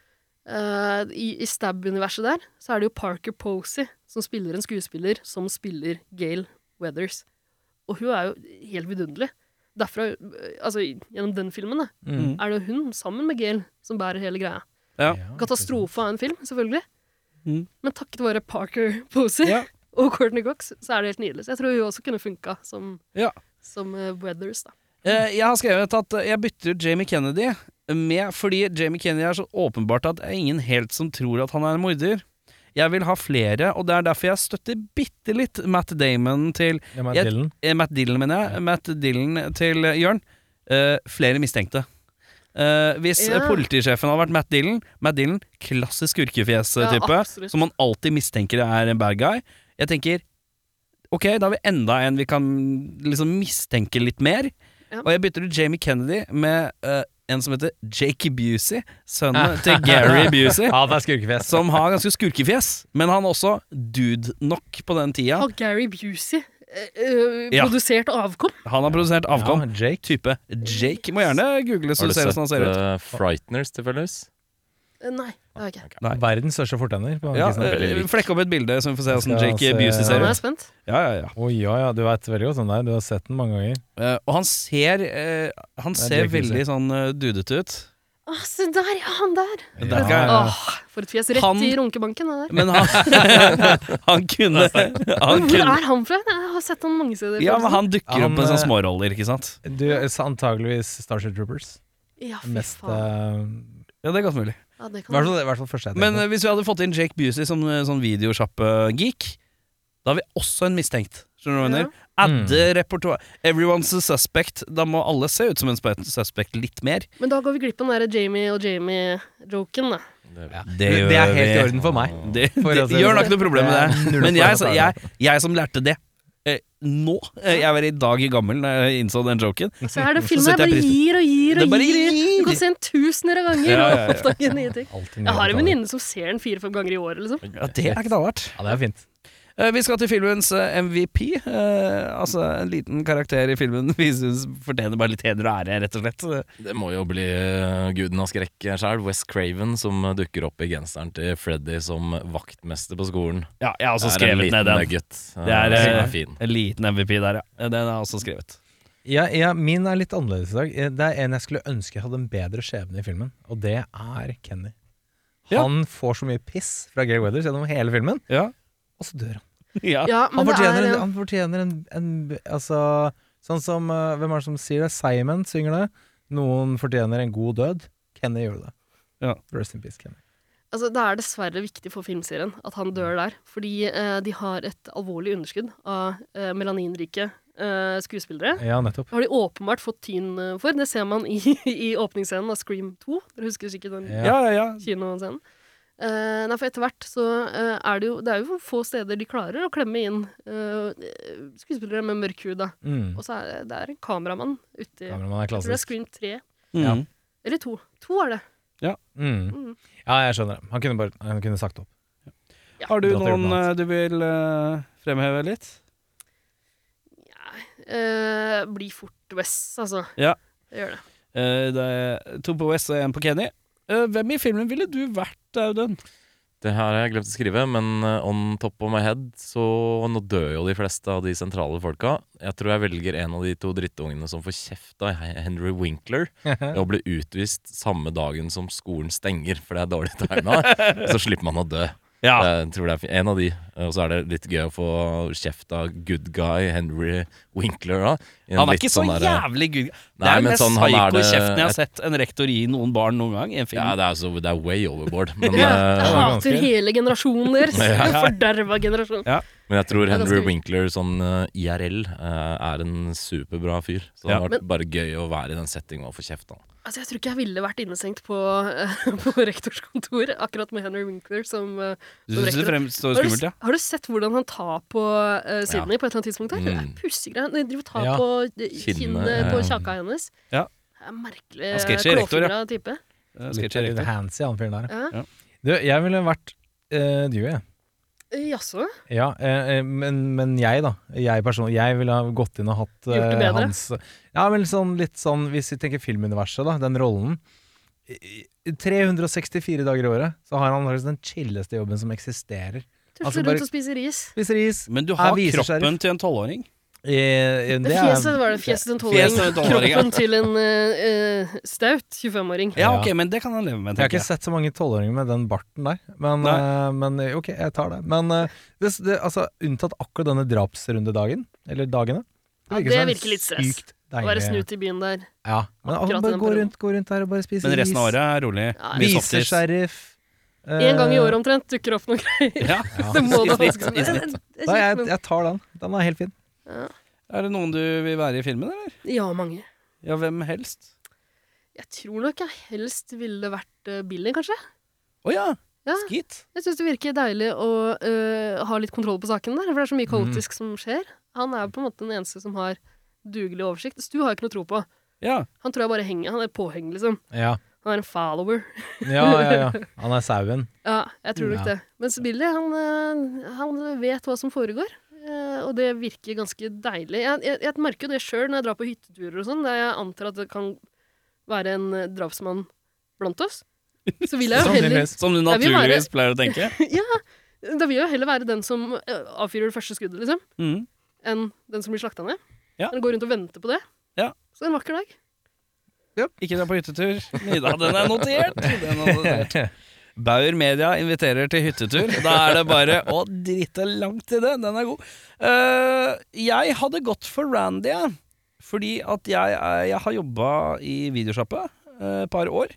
[SPEAKER 4] Eh, I i Stab-universet der, så er det jo Parker Posey som spiller en skuespiller som spiller Gail Weathers. Og hun er jo helt vidunderlig. Derfra, eh, altså gjennom den filmen, da,
[SPEAKER 6] Mm.
[SPEAKER 4] er det hun sammen med Gail som bærer hele greia.
[SPEAKER 2] Ja.
[SPEAKER 6] Ja,
[SPEAKER 4] Katastrofe av en film, selvfølgelig.
[SPEAKER 2] Mm.
[SPEAKER 4] Men takket være Parker Posey
[SPEAKER 2] Ja.
[SPEAKER 4] og Courtney Cox, så er det helt nydelig. Så jeg tror hun også kunne funka som,
[SPEAKER 2] Ja.
[SPEAKER 4] som eh, Weathers, da.
[SPEAKER 2] Eh, Jeg har skrevet at eh, jeg bytter ut Jamie Kennedy med Fordi Jamie Kennedy er så åpenbart at det er ingen helt som tror at han er en morder. Jeg vil ha flere, og det er derfor jeg støtter bitte litt Matt Damon til
[SPEAKER 6] Ja, Matt
[SPEAKER 2] Jeg-
[SPEAKER 6] Dillon.
[SPEAKER 2] eh, Matt Dillon, mener jeg. Matt Dillon til eh, Jørn. Eh, flere mistenkte. Eh, hvis
[SPEAKER 4] Ja.
[SPEAKER 2] eh, politisjefen hadde vært Matt Dillon Matt Dillon, klassisk skurkefjes-type.
[SPEAKER 4] Ja, absolutt.
[SPEAKER 2] som man alltid mistenker er en bad guy. Jeg tenker Ok, da har vi enda en vi kan liksom mistenke litt mer.
[SPEAKER 4] Ja.
[SPEAKER 2] Og jeg bytter ut Jamie Kennedy med eh, en som heter Jakey Busey, sønnen til Gary Busey.
[SPEAKER 6] Ja, det er skurkefjes.
[SPEAKER 2] Som har ganske skurkefjes, men han er også dude nok på den tida.
[SPEAKER 4] Har Gary Busey eh, eh,
[SPEAKER 2] Ja.
[SPEAKER 4] produsert avkom?
[SPEAKER 2] Han har produsert avkom.
[SPEAKER 6] Ja, Jake.
[SPEAKER 2] Type Jake. Må gjerne google så
[SPEAKER 3] Har
[SPEAKER 2] du
[SPEAKER 3] du
[SPEAKER 2] ser
[SPEAKER 3] sett
[SPEAKER 2] hvordan han ser ut.
[SPEAKER 3] eh, Frighteners, tilfeldigvis?
[SPEAKER 4] Eh, nei, det har jeg ikke.
[SPEAKER 2] Nei.
[SPEAKER 6] Verdens største fortenner. På
[SPEAKER 2] Ja,
[SPEAKER 6] Ankersen.
[SPEAKER 3] veldig
[SPEAKER 2] eh,
[SPEAKER 3] lik.
[SPEAKER 2] Flekk opp et bilde, så vi får se
[SPEAKER 6] Jeg
[SPEAKER 2] hvordan
[SPEAKER 6] skal
[SPEAKER 2] Jakey
[SPEAKER 6] se-
[SPEAKER 2] Busey
[SPEAKER 4] Ja,
[SPEAKER 2] ser
[SPEAKER 4] nå er
[SPEAKER 2] ut.
[SPEAKER 4] jeg spent.
[SPEAKER 2] Ja, ja, ja.
[SPEAKER 6] Å ja, ja, du veit veldig godt den der. Du har sett den mange ganger.
[SPEAKER 2] Eh, og han ser, eh, han
[SPEAKER 6] Det er
[SPEAKER 2] ser
[SPEAKER 6] Jake Busey.
[SPEAKER 2] veldig sånn eh, dudete ut.
[SPEAKER 4] Å, se der, ja, han der!
[SPEAKER 2] Det
[SPEAKER 6] Ja,
[SPEAKER 2] er ikke-
[SPEAKER 6] ja.
[SPEAKER 4] Åh, for et fjes. Rett
[SPEAKER 2] Han-
[SPEAKER 4] i runkebanken, det der.
[SPEAKER 2] Men han, han kunne, han
[SPEAKER 4] Hvor
[SPEAKER 2] kunne
[SPEAKER 4] er han fra? Jeg har sett han mange steder.
[SPEAKER 2] Ja, men han dukker opp
[SPEAKER 6] Han,
[SPEAKER 2] med sånne
[SPEAKER 6] eh,
[SPEAKER 2] småroller, ikke sant?
[SPEAKER 6] Du, så antageligvis Starship Troopers.
[SPEAKER 4] Ja, fy
[SPEAKER 6] Mest
[SPEAKER 4] faen.
[SPEAKER 6] eh,
[SPEAKER 2] Ja, det er godt mulig.
[SPEAKER 4] Ja, det
[SPEAKER 6] I
[SPEAKER 4] kan
[SPEAKER 6] hvert fall- i hvert fall første jeg
[SPEAKER 2] Men
[SPEAKER 6] tenkte
[SPEAKER 2] eh, hvis vi hadde fått inn Jake Busey som eh, sånn videosjappe-geek, da har vi også en mistenkt. Skjønner du hva jeg
[SPEAKER 4] Ja.
[SPEAKER 2] mener? Adde repertoar. Everyone's a suspect. Da må alle se ut som en spe- suspect litt mer.
[SPEAKER 4] Men da går vi glipp av den der Jamie og Jamie-joken, da.
[SPEAKER 3] Det er-
[SPEAKER 6] på. Det, det er helt i orden for meg.
[SPEAKER 2] Det,
[SPEAKER 6] For å si
[SPEAKER 2] det gjør
[SPEAKER 6] det
[SPEAKER 2] nok noe problem
[SPEAKER 6] Det
[SPEAKER 2] med
[SPEAKER 6] er
[SPEAKER 2] det.
[SPEAKER 6] null
[SPEAKER 2] Men
[SPEAKER 6] poeng
[SPEAKER 2] jeg,
[SPEAKER 6] å
[SPEAKER 2] så,
[SPEAKER 6] ta det.
[SPEAKER 2] jeg, jeg som lærte det eh, nå eh, Jeg var i dag gammel da jeg innså den joken.
[SPEAKER 4] Så er det filmen
[SPEAKER 2] setter jeg
[SPEAKER 4] her bare
[SPEAKER 2] pris på-
[SPEAKER 4] gir og gir
[SPEAKER 2] Det
[SPEAKER 4] og
[SPEAKER 2] bare
[SPEAKER 4] gir. og gir.
[SPEAKER 2] gir.
[SPEAKER 4] Du kan se den tusener av ganger
[SPEAKER 2] Ja, ja, ja.
[SPEAKER 4] og oppdage nye ting.
[SPEAKER 6] Alltid
[SPEAKER 4] eh, Jeg har en
[SPEAKER 6] nydelige
[SPEAKER 4] venninne som ser den fire-fem ganger i året, liksom.
[SPEAKER 2] Ja, det er ikke dallert.
[SPEAKER 6] taler. Ja, det er fint.
[SPEAKER 2] Eh, Vi skal til filmens eh, MVP. eh, altså en liten karakter i filmen vi syns fortjener bare litt heder og ære, rett og slett.
[SPEAKER 3] Det må jo bli eh, guden av skrekk sjøl. West Craven som eh, dukker opp i genseren til Freddy som vaktmester på skolen.
[SPEAKER 2] Ja, jeg har også
[SPEAKER 3] Det er en
[SPEAKER 2] skrevet
[SPEAKER 3] liten
[SPEAKER 2] ned den.
[SPEAKER 3] Nugget, eh,
[SPEAKER 2] Det er,
[SPEAKER 3] som
[SPEAKER 2] eh,
[SPEAKER 3] er fin.
[SPEAKER 2] En liten MVP der, ja. Eh, Den er også skrevet.
[SPEAKER 6] Ja, ja, min er litt annerledes i dag. Eh, Det er en jeg skulle ønske hadde en bedre skjebne i filmen, og det er Kenny.
[SPEAKER 2] Ja.
[SPEAKER 6] Han får så mye piss fra Gary Weathers gjennom hele filmen,
[SPEAKER 2] Ja.
[SPEAKER 6] og så dør han.
[SPEAKER 2] ja.
[SPEAKER 4] Ja, men
[SPEAKER 6] Han
[SPEAKER 4] det
[SPEAKER 6] fortjener,
[SPEAKER 4] er
[SPEAKER 6] en,
[SPEAKER 4] en-
[SPEAKER 6] han fortjener en, en Altså, sånn som eh, Hvem er det som sier det? Simon synger det. Noen fortjener en god død. Kenny gjør det.
[SPEAKER 2] Ja.
[SPEAKER 6] Rest in peace, Kenny.
[SPEAKER 4] altså, Det er dessverre viktig for filmserien at han dør der, fordi eh, de har et alvorlig underskudd av eh, melaninrike eh, skuespillere.
[SPEAKER 6] Ja, nettopp.
[SPEAKER 4] Det har de åpenbart fått tyn eh, for. Det ser man i, i åpningsscenen av Scream 2. Dere husker sikkert den
[SPEAKER 6] Ja.
[SPEAKER 2] ja, ja, ja.
[SPEAKER 4] kinoscenen. Eh, nei, for etter hvert så eh, er det jo Det er jo få steder de klarer å klemme inn eh, skuespillere med mørk hud, da.
[SPEAKER 6] Mm.
[SPEAKER 4] Og så er det- det er en kameramann uti Jeg
[SPEAKER 6] Kameramann er
[SPEAKER 4] tror det er
[SPEAKER 6] klassisk.
[SPEAKER 4] Scream 3.
[SPEAKER 2] Ja.
[SPEAKER 4] Eller 2. 2 er det.
[SPEAKER 6] Mm.
[SPEAKER 4] Mm.
[SPEAKER 6] Ja, jeg skjønner det. Han kunne bare han kunne sagt opp.
[SPEAKER 2] Har du
[SPEAKER 6] Da tror jeg
[SPEAKER 2] noen
[SPEAKER 6] på
[SPEAKER 2] eh, du vil eh, fremheve litt?
[SPEAKER 4] Eh, blir fort West, altså.
[SPEAKER 2] Ja.
[SPEAKER 4] Det gjør det.
[SPEAKER 2] Eh, det er to på West og én på Kenny. Eh, hvem i filmen ville du vært, Audun?
[SPEAKER 3] Det her har jeg glemt å skrive, men eh, on top of my head så Nå dør jo de fleste av de sentrale folka. Jeg tror jeg velger en av de to drittungene som får kjeft av Henry Winkler ved å bli utvist samme dagen som skolen stenger, for det er dårlig tegna. Så slipper man å dø.
[SPEAKER 2] Ja.
[SPEAKER 3] Jeg tror det er fi- en av de. Eh, Og så er det litt gøy å få kjeft av good guy Henry Winkler, da. I en
[SPEAKER 2] Han er
[SPEAKER 3] litt
[SPEAKER 2] ikke så
[SPEAKER 3] sånn derre-
[SPEAKER 2] jævlig gud. Det
[SPEAKER 3] Nei,
[SPEAKER 2] er den
[SPEAKER 3] men
[SPEAKER 2] mest
[SPEAKER 3] sånn, han er det-
[SPEAKER 2] psyko-kjeften jeg har sett en rektor gi noen barn noen gang i en film.
[SPEAKER 3] Ja, det er, så, det er way overboard. Men,
[SPEAKER 4] Jeg
[SPEAKER 3] eh,
[SPEAKER 4] hater hele generasjonen deres.
[SPEAKER 3] Ja.
[SPEAKER 4] En forderva generasjon.
[SPEAKER 3] men jeg tror
[SPEAKER 4] Ja, det
[SPEAKER 3] Henry
[SPEAKER 4] skal vi-
[SPEAKER 3] Winkler sånn eh, IRL eh, er en superbra fyr. Så det
[SPEAKER 2] Ja.
[SPEAKER 3] har vært bare gøy å være i den settingen og få kjeft av.
[SPEAKER 4] Altså, jeg tror ikke jeg ville vært innestengt på, eh, på rektors kontor, akkurat med Henry Winkler som, eh,
[SPEAKER 2] Du
[SPEAKER 4] som
[SPEAKER 2] synes det
[SPEAKER 4] rektor.
[SPEAKER 2] fremstår
[SPEAKER 4] Har du,
[SPEAKER 2] skummelt, ja?
[SPEAKER 4] har du sett hvordan han tar på uh, Sydney på et eller annet tidspunkt? her? Det er
[SPEAKER 3] Mm.
[SPEAKER 4] pussegreier. De driver og tar
[SPEAKER 6] Ja.
[SPEAKER 4] på eh,
[SPEAKER 3] Kinnet,
[SPEAKER 4] kinnet på
[SPEAKER 3] ja.
[SPEAKER 4] kjaka hennes.
[SPEAKER 2] Ja.
[SPEAKER 4] Det er en merkelig
[SPEAKER 2] Han sketsjer rektor, ja.
[SPEAKER 4] klåfingra type.
[SPEAKER 2] Eh,
[SPEAKER 6] Litt,
[SPEAKER 2] sketsjer
[SPEAKER 6] litt
[SPEAKER 2] rektor.
[SPEAKER 6] handsy, han fyren der.
[SPEAKER 4] Ja.
[SPEAKER 2] Ja.
[SPEAKER 6] Du, jeg ville vært eh, du, jeg.
[SPEAKER 4] Eh, Jaså?
[SPEAKER 6] Ja, eh, eh, men, men jeg, da. Jeg personlig. Jeg ville ha gått inn og hatt
[SPEAKER 4] Gjort det
[SPEAKER 6] eh,
[SPEAKER 4] bedre?
[SPEAKER 6] hans Ja, men sånn litt sånn, hvis vi tenker filmuniverset, da. Den rollen. I- i 364 dager i året så har han faktisk den chilleste jobben som eksisterer.
[SPEAKER 4] Tusler
[SPEAKER 6] Altså, bare-
[SPEAKER 4] rundt og spiser ris.
[SPEAKER 6] Hvis ris
[SPEAKER 2] Men du
[SPEAKER 6] Jeg
[SPEAKER 2] har
[SPEAKER 6] viser
[SPEAKER 2] kroppen til en tolvåring.
[SPEAKER 6] eh, eh,
[SPEAKER 4] Det
[SPEAKER 6] Det er
[SPEAKER 4] fjeset var det fjeset til en
[SPEAKER 2] Fjeset til en
[SPEAKER 4] tolvåring.
[SPEAKER 2] tolvåring, ja.
[SPEAKER 4] Kroppen til en eh, eh, staut 25-åring.
[SPEAKER 2] Ja,
[SPEAKER 6] Ja.
[SPEAKER 2] ok, men det kan han leve med.
[SPEAKER 6] Jeg har
[SPEAKER 2] tenker
[SPEAKER 6] ikke
[SPEAKER 2] jeg.
[SPEAKER 6] sett så mange tolvåringer med den barten der, men, eh, men eh, ok, jeg tar det. Men eh, det, det, altså, unntatt akkurat denne drapsrundedagen, eller dagene
[SPEAKER 4] Ja,
[SPEAKER 6] som
[SPEAKER 4] det
[SPEAKER 6] en
[SPEAKER 4] virker litt stress.
[SPEAKER 6] Sykt
[SPEAKER 4] Å
[SPEAKER 6] deilig.
[SPEAKER 4] være snut i byen der.
[SPEAKER 6] Ja, men altså,
[SPEAKER 4] akkurat i
[SPEAKER 6] bare
[SPEAKER 4] den
[SPEAKER 6] gå
[SPEAKER 4] perioden.
[SPEAKER 6] rundt, gå rundt der og bare spise
[SPEAKER 2] Men resten av året er rolig.
[SPEAKER 4] Ja,
[SPEAKER 2] Mye
[SPEAKER 6] Vise
[SPEAKER 2] softis.
[SPEAKER 6] sheriff.
[SPEAKER 4] En gang i
[SPEAKER 6] eh,
[SPEAKER 4] året omtrent dukker opp noen greier.
[SPEAKER 2] Ja.
[SPEAKER 4] Så må det
[SPEAKER 2] I snitt,
[SPEAKER 4] faktisk
[SPEAKER 2] i snitt.
[SPEAKER 4] Det
[SPEAKER 6] Nei,
[SPEAKER 4] er
[SPEAKER 6] jeg,
[SPEAKER 4] kjipt, men-
[SPEAKER 6] jeg tar den. Den er helt fin.
[SPEAKER 2] Er det noen du vil være i filmen, eller?
[SPEAKER 4] Ja, mange.
[SPEAKER 2] Ja, hvem helst?
[SPEAKER 4] Jeg tror nok jeg helst ville vært eh, Billy, kanskje.
[SPEAKER 2] Å ja.
[SPEAKER 4] Ja.
[SPEAKER 2] Skeet.
[SPEAKER 4] Jeg syns det virker deilig å eh, ha litt kontroll på saken der, for det er så mye kaotisk som skjer. Han er på en måte den eneste som har dugelig oversikt. Stu har jeg ikke noe tro på.
[SPEAKER 2] Ja.
[SPEAKER 4] Han tror jeg bare henger. Han er påheng, liksom.
[SPEAKER 6] Ja.
[SPEAKER 4] Han er en follower.
[SPEAKER 6] ja, ja, ja. Han er sauen.
[SPEAKER 4] Ja, jeg tror nok
[SPEAKER 6] Ja.
[SPEAKER 4] det. Mens Billy, han, eh, han vet hva som foregår. eh, Og det virker ganske deilig. Jeg, jeg, jeg merker jo det sjøl når jeg drar på hytteturer og sånn, der jeg antar at det kan være en eh, drapsmann blant oss. Så vil jeg jo heller
[SPEAKER 6] Sannsynligvis.
[SPEAKER 2] Som du
[SPEAKER 4] Jeg vil være-
[SPEAKER 2] naturligvis pleier å tenke.
[SPEAKER 4] Da vil jeg jo heller være den som eh, avfyrer det første skuddet, liksom,
[SPEAKER 2] Mm.
[SPEAKER 4] enn den som blir slakta ned.
[SPEAKER 2] Ja.
[SPEAKER 4] Eller går rundt og venter på det.
[SPEAKER 2] Ja.
[SPEAKER 4] Så en vakker dag.
[SPEAKER 2] Ikke dra på hyttetur. Nida, den er notert! Den er notert. Bauer Media inviterer til hyttetur. Da er det bare å drite langt i det. Den er god. Eh, jeg hadde gått for Randy, jeg. fordi at jeg, er- jeg har jobba i videosjappe eh, et par år.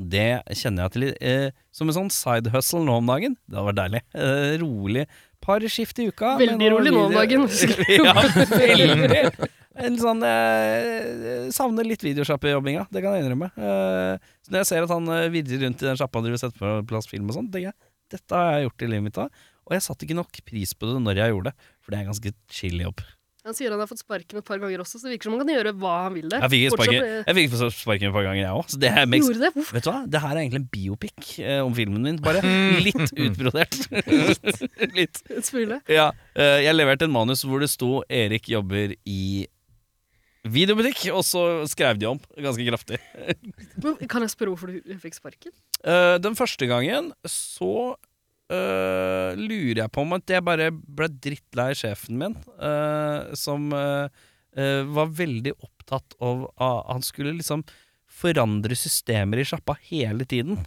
[SPEAKER 2] Det kjenner jeg til eh, som en sånn side hustle nå om dagen. Det hadde vært deilig. Eh, rolig par skift i uka.
[SPEAKER 4] Veldig
[SPEAKER 2] men
[SPEAKER 4] rolig nå om
[SPEAKER 2] video-
[SPEAKER 4] dagen.
[SPEAKER 2] ja, veldig. En sånn eh, Savner litt videosjappejobbinga, det kan jeg innrømme. Eh, så når jeg ser at han eh, virrer rundt i den sjappa og driver og setter på plass film og sånn, tenker jeg dette har jeg gjort i livet mitt da. Og jeg satte ikke nok pris på det når jeg gjorde det, for det er en ganske chill jobb.
[SPEAKER 4] Han sier han har fått sparken et par ganger også, så det virker som han kan gjøre hva han vil der.
[SPEAKER 2] Jeg fikk
[SPEAKER 4] Fortsatt,
[SPEAKER 2] sparken,
[SPEAKER 4] eh,
[SPEAKER 2] jeg fikk sparken et par ganger, jeg òg. Så det her makes
[SPEAKER 4] Gjorde det? Hvorfor?
[SPEAKER 2] Vet du hva, det her er egentlig en biopic eh, om filmen min, bare litt utbrodert. litt.
[SPEAKER 4] En smule.
[SPEAKER 2] Ja, eh, jeg leverte en manus hvor det sto 'Erik jobber i videobutikk', og så skrev de om ganske kraftig.
[SPEAKER 4] Men kan jeg spørre hvorfor du fikk sparken?
[SPEAKER 2] Eh, den første gangen så eh, lurer jeg på om at jeg bare ble drittlei sjefen min, eh, som eh, eh, var veldig opptatt av av- Han skulle liksom forandre systemer i sjappa hele tiden.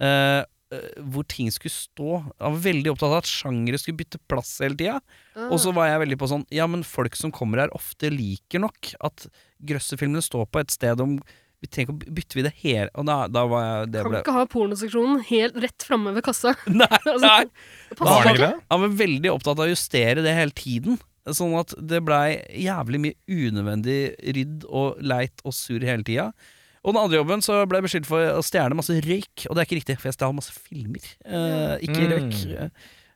[SPEAKER 2] Eh, eh, hvor ting skulle stå. Han var veldig opptatt av at sjangere skulle bytte plass hele tida.
[SPEAKER 4] Ah.
[SPEAKER 2] Og så var jeg veldig på sånn Ja, men folk som kommer her ofte liker nok at grøsserfilmene står på et sted om vi trenger ikke å bytte vi det hele Og da, da var jeg det
[SPEAKER 4] Kan
[SPEAKER 2] ble,
[SPEAKER 4] ikke ha pornoseksjonen helt rett framme ved kassa.
[SPEAKER 2] Nei, nei.
[SPEAKER 4] Altså, det passer
[SPEAKER 2] Barnegre?
[SPEAKER 4] ikke.
[SPEAKER 2] Han var veldig opptatt av å justere det hele tiden. Sånn at det blei jævlig mye unødvendig rydd og leit og surr hele tida. Og den andre jobben så ble jeg beskyldt for å stjele masse røyk, og det er ikke riktig, for jeg stjal masse filmer, eh, ikke
[SPEAKER 6] Mm.
[SPEAKER 2] røyk.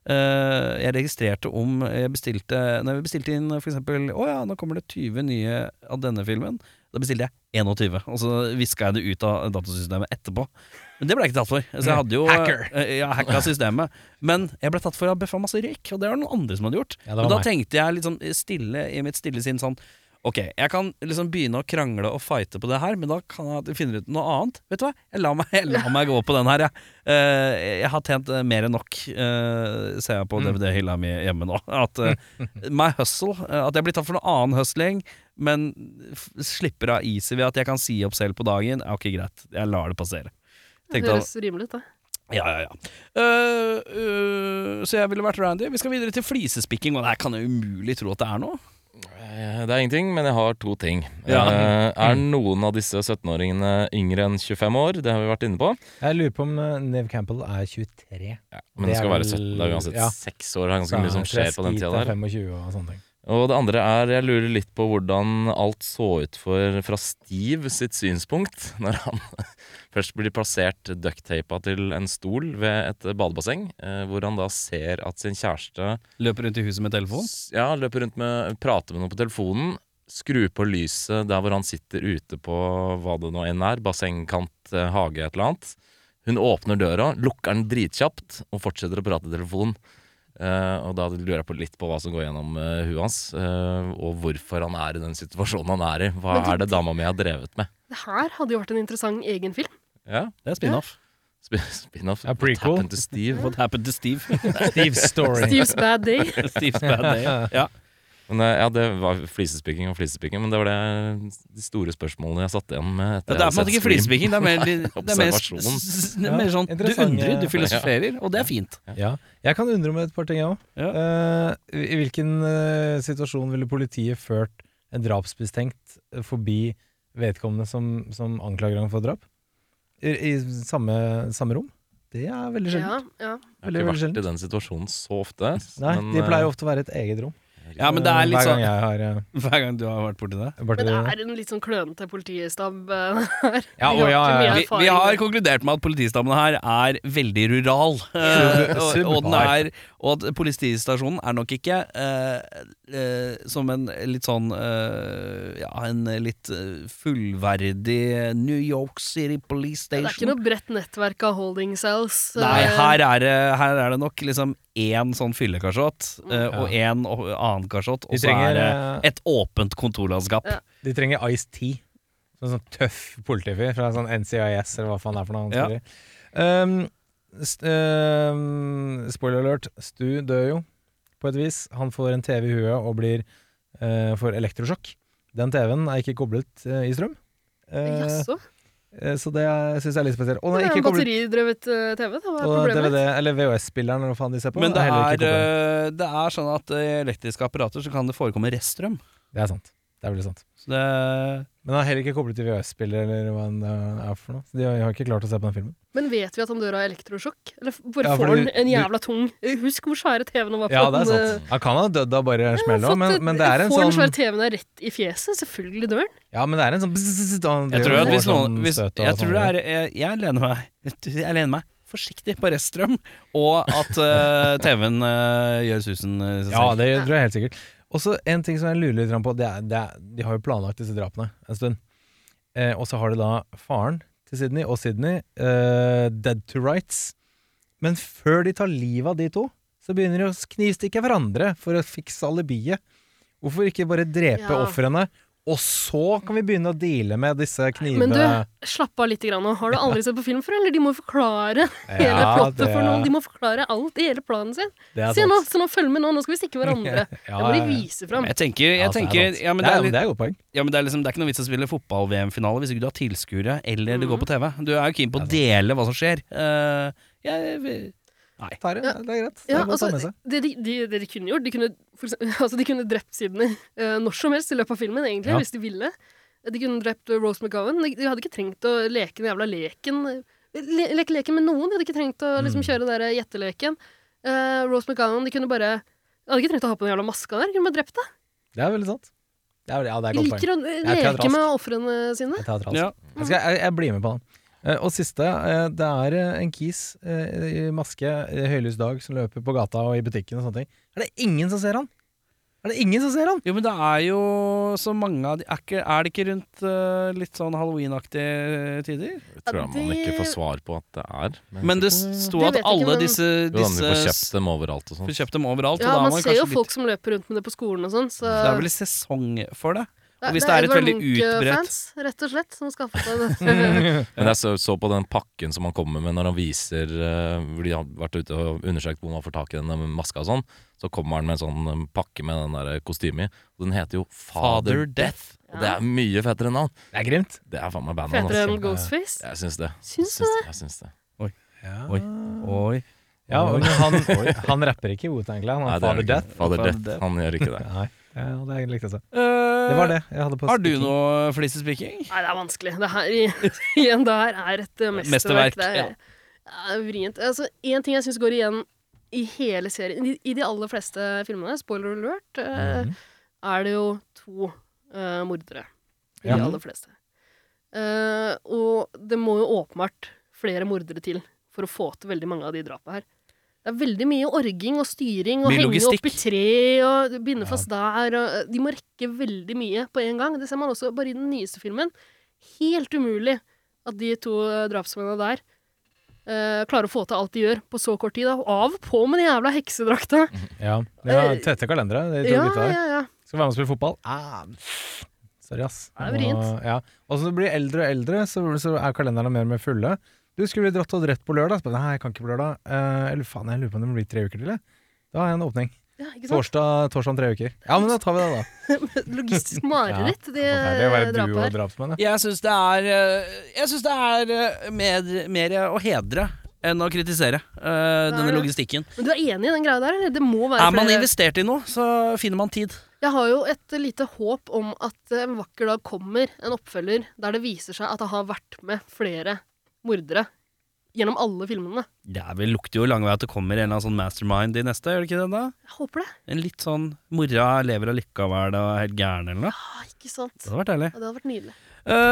[SPEAKER 2] Eh, jeg registrerte om jeg bestilte Når vi bestilte inn for eksempel Å ja, nå kommer det 20 nye av denne filmen. Da bestilte jeg 21, og så viska jeg det ut av datasystemet etterpå. Men det ble jeg ikke tatt for. Så jeg hadde jo
[SPEAKER 6] Mm. Hacker.
[SPEAKER 2] eh, ja, hacka systemet. Men jeg ble tatt for å ha bøffa masse røyk, og det var det noen andre som hadde gjort.
[SPEAKER 6] Ja, det var
[SPEAKER 2] Men da
[SPEAKER 6] meg.
[SPEAKER 2] tenkte jeg litt sånn stille i mitt stille sinn sånn Ok, jeg kan liksom begynne å krangle og fighte på det her, men da kan jeg finne ut noe annet. Vet du hva? Jeg lar meg, jeg lar meg gå på den her, jeg. Eh, jeg har tjent eh, mer enn nok, eh, ser jeg på DVD-hylla mi hjemme nå. At eh, my hustle eh, At jeg blir tatt for noe annen hustling, men f slipper av easy ved at jeg kan si opp selv på dagen. Ja, ok, greit. Jeg lar det passere.
[SPEAKER 4] Det
[SPEAKER 2] Tenkte
[SPEAKER 4] høres rimelig ut, det.
[SPEAKER 2] ja, ja, ja. Eh, eh, så jeg ville vært Randy. Vi skal videre til flisespikking, og det her kan jeg umulig tro at det er noe.
[SPEAKER 3] Eh, Det er ingenting, men jeg har to ting.
[SPEAKER 2] Ja. Mm.
[SPEAKER 3] Eh, Er noen av disse 17-åringene yngre enn 25 år? Det har vi vært inne på.
[SPEAKER 6] Jeg lurer på om eh, Neve Campbell er 23.
[SPEAKER 3] Ja, men
[SPEAKER 6] Det
[SPEAKER 3] det skal
[SPEAKER 6] er
[SPEAKER 3] være 17. Det er
[SPEAKER 6] vel-
[SPEAKER 3] uansett
[SPEAKER 6] ja.
[SPEAKER 3] 6 år. Det er ganske mye som skjer på den tida der.
[SPEAKER 6] 25 og sånne ting.
[SPEAKER 3] Og det andre er, jeg lurer litt på hvordan alt så ut for, fra Steve sitt synspunkt, når han først blir plassert ducktapa til en stol ved et badebasseng, eh, hvor han da ser at sin kjæreste
[SPEAKER 2] Løper rundt i huset med telefon.
[SPEAKER 3] s- ja, løper rundt med, prater med noen på telefonen, skrur på lyset der hvor han sitter ute på hva det nå enn er, bassengkant, eh, hage, et eller annet. Hun åpner døra, lukker den dritkjapt og fortsetter å prate i telefonen. Eh, og da lurer jeg på litt på hva som går gjennom eh, huet hans, eh, og hvorfor han er i den situasjonen han er i. Hva
[SPEAKER 4] Men
[SPEAKER 3] er det dama mi har drevet med?
[SPEAKER 4] Det her hadde jo vært en interessant egen film.
[SPEAKER 3] Ja,
[SPEAKER 2] Det er spin-off.
[SPEAKER 3] sp- Spin-off.
[SPEAKER 6] Ja,
[SPEAKER 3] What
[SPEAKER 6] prequel.
[SPEAKER 3] happened to Steve?
[SPEAKER 2] What happened to Steve?
[SPEAKER 6] Steve Story.
[SPEAKER 4] Steve's Bad Day.
[SPEAKER 2] Steve's bad day. Ja.
[SPEAKER 3] Men, eh, ja, det var flisespikking og flisespikking, men det var det, de store spørsmålene jeg satt igjen
[SPEAKER 2] Det
[SPEAKER 3] med. etter
[SPEAKER 2] er på
[SPEAKER 3] jeg
[SPEAKER 2] en
[SPEAKER 3] hadde
[SPEAKER 2] måte
[SPEAKER 3] sett
[SPEAKER 2] ikke flisespiking, det er
[SPEAKER 3] Scream.
[SPEAKER 2] mer, det er mer,
[SPEAKER 3] observasjon.
[SPEAKER 2] s- s- det er mer
[SPEAKER 6] Ja,
[SPEAKER 2] sånn Du
[SPEAKER 6] interessant,
[SPEAKER 2] undrer, du
[SPEAKER 6] ja.
[SPEAKER 2] filosoferer, og det er fint.
[SPEAKER 6] Ja. Jeg kan undre meg et par ting, jeg òg. I hvilken eh, situasjon ville politiet ført en drapsbestemt forbi vedkommende som, som anklager ham for drap? I, i samme, samme rom? Det er veldig sjeldent.
[SPEAKER 4] Ja, ja.
[SPEAKER 3] Jeg har ikke vært i den situasjonen så ofte. eh,
[SPEAKER 6] Nei, de pleier ofte å være et eget rom.
[SPEAKER 2] Ja, men eh, det er litt
[SPEAKER 6] Hver gang
[SPEAKER 2] sånn
[SPEAKER 6] jeg har eh,
[SPEAKER 2] Hver gang du har vært borti det.
[SPEAKER 6] vært
[SPEAKER 4] Men
[SPEAKER 6] i
[SPEAKER 4] det er en litt sånn klønete politistab eh, her.
[SPEAKER 6] Ja, å, ja, ja, ja.
[SPEAKER 2] Vi, vi har konkludert med at politistammen her er veldig rural. eh, og, og, den er, og at politistasjonen er nok ikke eh, eh, som en litt sånn eh, Ja, en litt eh, fullverdig New York City Police
[SPEAKER 4] Det
[SPEAKER 2] Station.
[SPEAKER 4] er ikke noe bredt nettverk av holding cells. eh,
[SPEAKER 2] Nei, her er, det, her er det nok liksom én sånn fyllekarsott
[SPEAKER 4] Mm.
[SPEAKER 2] eh, og én o- annen karsott, og
[SPEAKER 6] De
[SPEAKER 2] så er
[SPEAKER 6] trenger,
[SPEAKER 2] det
[SPEAKER 6] eh,
[SPEAKER 2] et åpent kontorlandskap.
[SPEAKER 4] Ja.
[SPEAKER 6] De trenger Ice T. Sånn, sånn tøff politifyr fra sånn NCIS eller hva faen det er for noe. han
[SPEAKER 2] Ja.
[SPEAKER 6] spiller i. Um, st um, spoiler alert, Stu dør jo på et vis. Han får en TV i huet og blir eh, får elektrosjokk. Den TV-en er ikke koblet eh, i strøm. Eh,
[SPEAKER 4] Jaså?
[SPEAKER 6] eh, så det syns jeg er litt spesielt. Og
[SPEAKER 4] Det
[SPEAKER 6] den er
[SPEAKER 4] er en
[SPEAKER 6] ikke koblet
[SPEAKER 4] batteridrevet eh, TV, da. Hva er
[SPEAKER 6] og
[SPEAKER 4] problemet?
[SPEAKER 6] DVD, eller VHS-spilleren eller hva faen de ser på.
[SPEAKER 2] Men det
[SPEAKER 6] heller ikke
[SPEAKER 2] er,
[SPEAKER 6] koblet.
[SPEAKER 2] eh, det er sånn at i elektriske apparater så kan det forekomme reststrøm.
[SPEAKER 6] det er sant. Det er veldig sant.
[SPEAKER 2] Så det,
[SPEAKER 6] Men den er heller ikke koblet til VHS-spiller eller hva den eh, er for noe. Så de har har ikke klart å se på den filmen.
[SPEAKER 4] Men vet vi at han dør av elektrosjokk? Eller f- bare
[SPEAKER 6] Ja,
[SPEAKER 4] får
[SPEAKER 6] fordi
[SPEAKER 4] han en
[SPEAKER 6] du-
[SPEAKER 4] jævla tung Husk hvor svære TV-ene var på
[SPEAKER 6] Ja, det er
[SPEAKER 4] den, eh,
[SPEAKER 6] sant. Han kan ha dødd av bare en smell
[SPEAKER 4] fått
[SPEAKER 6] òg, men,
[SPEAKER 4] et-
[SPEAKER 6] men det er en
[SPEAKER 4] Får den svære
[SPEAKER 6] sånn
[SPEAKER 4] TV-en deg rett i fjeset? Selvfølgelig dør den.
[SPEAKER 6] Ja, men det er en sånn bzzz, han
[SPEAKER 2] jeg
[SPEAKER 6] driver
[SPEAKER 2] tror
[SPEAKER 6] og
[SPEAKER 2] at
[SPEAKER 6] får
[SPEAKER 2] hvis noen
[SPEAKER 6] sånn
[SPEAKER 2] hvis,
[SPEAKER 6] støt og
[SPEAKER 2] Jeg tror det
[SPEAKER 6] sånn.
[SPEAKER 2] er Jeg, jeg lener meg Jeg lener meg forsiktig på reststrøm, og at eh, TV-en eh, gjør susen i seg
[SPEAKER 6] Ja,
[SPEAKER 2] selv.
[SPEAKER 6] det tror jeg helt sikkert. Og så en ting som jeg lurer litt grann på, det er, det er De har jo planlagt disse drapene en stund. Eh, og så har de da faren til Sydney og Sydney, eh, dead to rights. Men før de tar livet av de to, så begynner de å knivstikke hverandre for å fikse alibiet. Hvorfor ikke bare drepe
[SPEAKER 4] Ja.
[SPEAKER 6] ofrene, og så kan vi begynne å deale med disse knivene?
[SPEAKER 4] Men du, slapp av litt grann nå. Har du aldri sett på film før, eller? De må forklare hele
[SPEAKER 6] Ja,
[SPEAKER 4] plottet
[SPEAKER 6] det-
[SPEAKER 4] for noen. De må forklare alt i hele planen sin.
[SPEAKER 6] det er
[SPEAKER 4] Se
[SPEAKER 6] sant.
[SPEAKER 4] nå, så nå følg med nå. Nå skal vi stikke hverandre.
[SPEAKER 6] Ja,
[SPEAKER 4] Det må de
[SPEAKER 6] ja, ja.
[SPEAKER 4] vise fram.
[SPEAKER 2] Jeg tenker, jeg
[SPEAKER 6] Ja, det er
[SPEAKER 2] tenker
[SPEAKER 6] sant.
[SPEAKER 2] ja, men
[SPEAKER 6] det,
[SPEAKER 2] det
[SPEAKER 6] er,
[SPEAKER 2] er litt
[SPEAKER 6] det er et godt poeng.
[SPEAKER 2] Ja, men det er, liksom, det er ikke noe vits å spille fotball-VM-finale hvis ikke du har tilskuere eller
[SPEAKER 6] Mhm.
[SPEAKER 2] det går på TV. Du er jo keen på å dele hva som skjer. Eh, jeg,
[SPEAKER 6] Tar det, det er greit. Det
[SPEAKER 4] Ja,
[SPEAKER 6] er godt å
[SPEAKER 4] altså,
[SPEAKER 6] ta med seg.
[SPEAKER 4] det, de, de, det de kunne gjort de kunne, for eksempel, altså, de kunne drept Sydney eh, når som helst i løpet av filmen, egentlig,
[SPEAKER 6] Ja.
[SPEAKER 4] hvis de ville. De kunne drept eh, Rose McGowan. De, de hadde ikke trengt å leke den jævla leken. Le, leke leken med noen. De hadde ikke trengt å
[SPEAKER 6] Mm.
[SPEAKER 4] liksom, kjøre den der gjetteleken. Eh, Rose McGowan de kunne bare de hadde ikke trengt å ha på den jævla maska der. De kunne bare drept deg.
[SPEAKER 6] Det er veldig sant. Det er, ja, det er
[SPEAKER 4] De
[SPEAKER 6] godt poeng.
[SPEAKER 4] liker å eh,
[SPEAKER 6] Jeg er
[SPEAKER 4] leke
[SPEAKER 6] teatralsk.
[SPEAKER 4] med ofrene sine.
[SPEAKER 6] Jeg, tar tralsk.
[SPEAKER 2] Ja.
[SPEAKER 6] jeg, skal, jeg, jeg blir med på den. Eh, og siste, eh, det er eh, en kis eh, i maske eh, høylys dag som løper på gata og i butikken og sånne ting. Er det ingen som ser han? Er det ingen som ser han?
[SPEAKER 2] jo, men det er jo så mange av de Er, ikke, er det ikke rundt eh, litt sånn halloween-aktige eh, tider?
[SPEAKER 3] Det tror jeg man ikke får svar på at det er.
[SPEAKER 2] Men det sto
[SPEAKER 4] Mm. Det
[SPEAKER 2] at
[SPEAKER 4] vet jeg ikke,
[SPEAKER 2] alle
[SPEAKER 4] men-
[SPEAKER 2] disse,
[SPEAKER 3] jo, da, men
[SPEAKER 2] disse
[SPEAKER 3] vi får kjøpt dem overalt og sånn.
[SPEAKER 2] får kjøpt dem overalt. og
[SPEAKER 4] Ja,
[SPEAKER 2] da er
[SPEAKER 4] man
[SPEAKER 2] man
[SPEAKER 4] ser jo
[SPEAKER 2] kanskje
[SPEAKER 4] folk som løper rundt med det på skolen og sånn, så
[SPEAKER 2] litt, Det er vel sesong for det. Og hvis det er et
[SPEAKER 4] Edvard
[SPEAKER 2] veldig
[SPEAKER 4] Munch-fans,
[SPEAKER 2] utbredt-
[SPEAKER 4] rett og slett, som skaffet seg dette.
[SPEAKER 3] Men jeg så, så på den pakken som han kommer med når han viser eh, Hvor de har vært ute og undersøkt hvor man får tak i denne maska og sånn. Så kommer han med en sånn eh, pakke med den der kostyme i. Og den heter jo Father,
[SPEAKER 2] Father
[SPEAKER 3] Death. Og det
[SPEAKER 4] Ja.
[SPEAKER 3] er mye fettere navn.
[SPEAKER 6] Det er grimt.
[SPEAKER 3] Det er faen meg bandet
[SPEAKER 4] Fetere enn
[SPEAKER 3] hans.
[SPEAKER 4] Ghostface.
[SPEAKER 3] Jeg syns det.
[SPEAKER 4] Syns du
[SPEAKER 3] jeg det? Jeg syns det.
[SPEAKER 2] Oi. Oi.
[SPEAKER 6] Ja, men han, han rapper ikke i Wu-Tang Clan,
[SPEAKER 3] Nei,
[SPEAKER 6] han er
[SPEAKER 3] det er det ikke.
[SPEAKER 6] Father Death.
[SPEAKER 3] Father
[SPEAKER 2] Father
[SPEAKER 3] Death.
[SPEAKER 2] Death. Eh,
[SPEAKER 3] Han gjør ikke det.
[SPEAKER 6] Nei, ja, det likte jeg så. Det var det jeg hadde på
[SPEAKER 2] Har du
[SPEAKER 6] stikking.
[SPEAKER 2] noe flisespikking?
[SPEAKER 4] Nei, det er vanskelig. Det her, i- igjen, det her er et eh,
[SPEAKER 2] Mesterverk,
[SPEAKER 4] mesterverk. Det er, er vrient. Altså, en ting jeg syns går igjen i hele serien, i, i de aller fleste filmene, spoiler alert, eh, er det jo to eh, mordere. I de
[SPEAKER 6] Ja.
[SPEAKER 4] aller fleste. Eh, og det må jo åpenbart flere mordere til for å få til veldig mange av de drapa her. Det er veldig mye orging og styring og
[SPEAKER 2] Mye
[SPEAKER 4] henge
[SPEAKER 2] logistikk.
[SPEAKER 4] opp i tre og binde fast der. Og eh, de må rekke veldig mye på en gang. Det ser man også bare i den nyeste filmen. Helt umulig at de to eh, drapsmennene der eh, klarer å få til alt de gjør på så kort tid. Da. Og Av og på med den jævla heksedrakta!
[SPEAKER 6] Ja, det var tette kalendere, de to
[SPEAKER 4] Eh, Ja,
[SPEAKER 6] gutta der.
[SPEAKER 4] ja, ja.
[SPEAKER 6] Skal være med og spille fotball. Ah. Sorry, ass.
[SPEAKER 4] Det er vrient.
[SPEAKER 6] Og, ja. og så blir eldre og eldre, så, så er kalenderne mer og mer fulle. Du skulle vi dratt og dratt på lørdag. Så bare, Nei, jeg kan ikke på lørdag. Eh, eller faen, jeg lurer på om det blir tre uker til. jeg. Da har jeg en åpning.
[SPEAKER 4] ja ikke sant?
[SPEAKER 6] Torsdag, torsdag om tre uker. Ja, men da tar vi det, da.
[SPEAKER 4] Logistisk mareritt, det
[SPEAKER 6] Forferdelig å være duo
[SPEAKER 4] drapet
[SPEAKER 6] og
[SPEAKER 4] her.
[SPEAKER 6] drapsmenn. ja.
[SPEAKER 2] Jeg syns det er, eh, jeg synes det er eh, mer, mer å hedre enn å kritisere eh, denne
[SPEAKER 4] det.
[SPEAKER 2] logistikken.
[SPEAKER 4] Men du er enig i den greia der? eller? Det må være
[SPEAKER 2] Er man
[SPEAKER 4] flere-
[SPEAKER 2] investert i noe, så finner man tid.
[SPEAKER 4] Jeg har jo et lite håp om at eh, en vakker dag kommer en oppfølger der det viser seg at det har vært med flere mordere gjennom alle filmene.
[SPEAKER 2] Det er vel lukter jo lang vei at det kommer en eller annen sånn mastermind i neste, gjør det ikke det da?
[SPEAKER 4] Jeg håper det.
[SPEAKER 2] En litt sånn mora lever allikevel og er helt gæren eller noe.
[SPEAKER 4] Ah, ikke sant?
[SPEAKER 2] Det hadde vært deilig.
[SPEAKER 4] Ja, det hadde vært nydelig.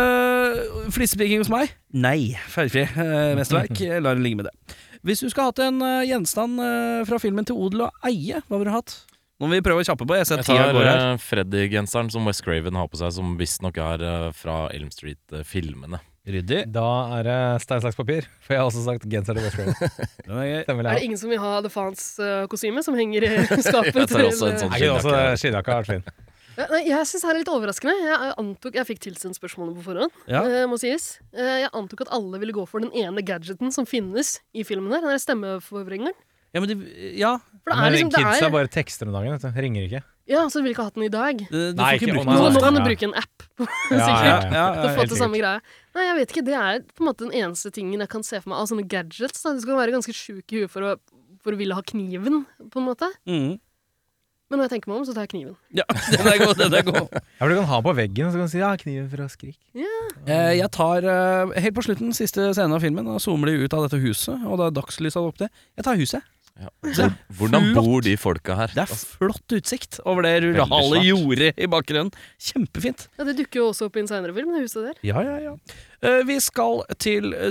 [SPEAKER 2] Uh, Flisepikking hos meg? Nei. Feilfri. eh, mesterverk. Jeg lar det ligge med det. Hvis du skulle hatt en eh, gjenstand eh, fra filmen til odel og eie, hva ville du hatt? Nå må vi prøve å kjappe på. Jeg ser
[SPEAKER 3] Jeg
[SPEAKER 2] tida
[SPEAKER 3] tar
[SPEAKER 2] går her.
[SPEAKER 3] eh, Freddy-genseren som West Craven har på seg, som visstnok er eh, fra Elm Street-filmene.
[SPEAKER 2] Ryddig.
[SPEAKER 6] Da er det stein, saks, papir. For jeg har også sagt genser til West Grave.
[SPEAKER 2] Den er gøy.
[SPEAKER 6] Den vil
[SPEAKER 4] Er
[SPEAKER 6] jeg
[SPEAKER 4] det
[SPEAKER 6] ha.
[SPEAKER 4] ingen som vil ha The Fans-kostyme som henger i skapet?
[SPEAKER 3] Jeg tar
[SPEAKER 4] til- eh,
[SPEAKER 3] også en sånn.
[SPEAKER 6] Er ikke det også skinnjakka altså, vært fin?
[SPEAKER 4] Ja, nei, jeg syns det her er litt overraskende. Jeg antok, jeg fikk tilsendt spørsmålene på forhånd.
[SPEAKER 2] Ja.
[SPEAKER 4] eh, må sies. Eh, Jeg antok at alle ville gå for den ene gadgeten som finnes i filmen her. Den der stemmeforvrengeren.
[SPEAKER 2] Ja, men det, ja.
[SPEAKER 4] For det
[SPEAKER 6] Men
[SPEAKER 4] er liksom, det
[SPEAKER 6] Kids er
[SPEAKER 4] er
[SPEAKER 6] bare tekster om dagen. Vet du. Ringer ikke.
[SPEAKER 4] Ja, så du vil ikke ha den i dag.
[SPEAKER 2] Du du får
[SPEAKER 6] Nei,
[SPEAKER 2] ikke
[SPEAKER 6] ikke-
[SPEAKER 2] brukt den.
[SPEAKER 6] å, nei,
[SPEAKER 4] Nå, nå kan du
[SPEAKER 6] Ja.
[SPEAKER 4] bruke en app,
[SPEAKER 6] Ja,
[SPEAKER 4] sikkert.
[SPEAKER 2] Ja, ja,
[SPEAKER 4] Du
[SPEAKER 2] ja,
[SPEAKER 4] får
[SPEAKER 6] helt
[SPEAKER 4] til samme greia. Nei, jeg vet ikke. Det er på en måte den eneste tingen jeg kan se for meg av sånne gadgets. Da. Du skal være ganske sjuk i huet for å, for å ville ha kniven, på en måte.
[SPEAKER 2] Mm.
[SPEAKER 4] Men når jeg tenker meg om, så tar jeg kniven.
[SPEAKER 2] ja den er god. Den er god.
[SPEAKER 6] Ja, for Du kan ha den på veggen og så kan du si 'ja, kniven fra Skrik'.
[SPEAKER 2] Eh, jeg tar eh, helt på slutten, siste scenen av filmen, og zoomer de ut av dette huset. Og det er dagslyset opp det. Jeg tar huset.
[SPEAKER 3] Ja. Hvor- Hvordan bor de folka her?
[SPEAKER 2] Det er flott utsikt over det rurale
[SPEAKER 3] svært.
[SPEAKER 2] jordet i bakgrunnen. Kjempefint.
[SPEAKER 4] Ja, det dukker jo også opp i en seinere film, det huset der.
[SPEAKER 2] Ja, ja, ja. Eh, vi skal til eh,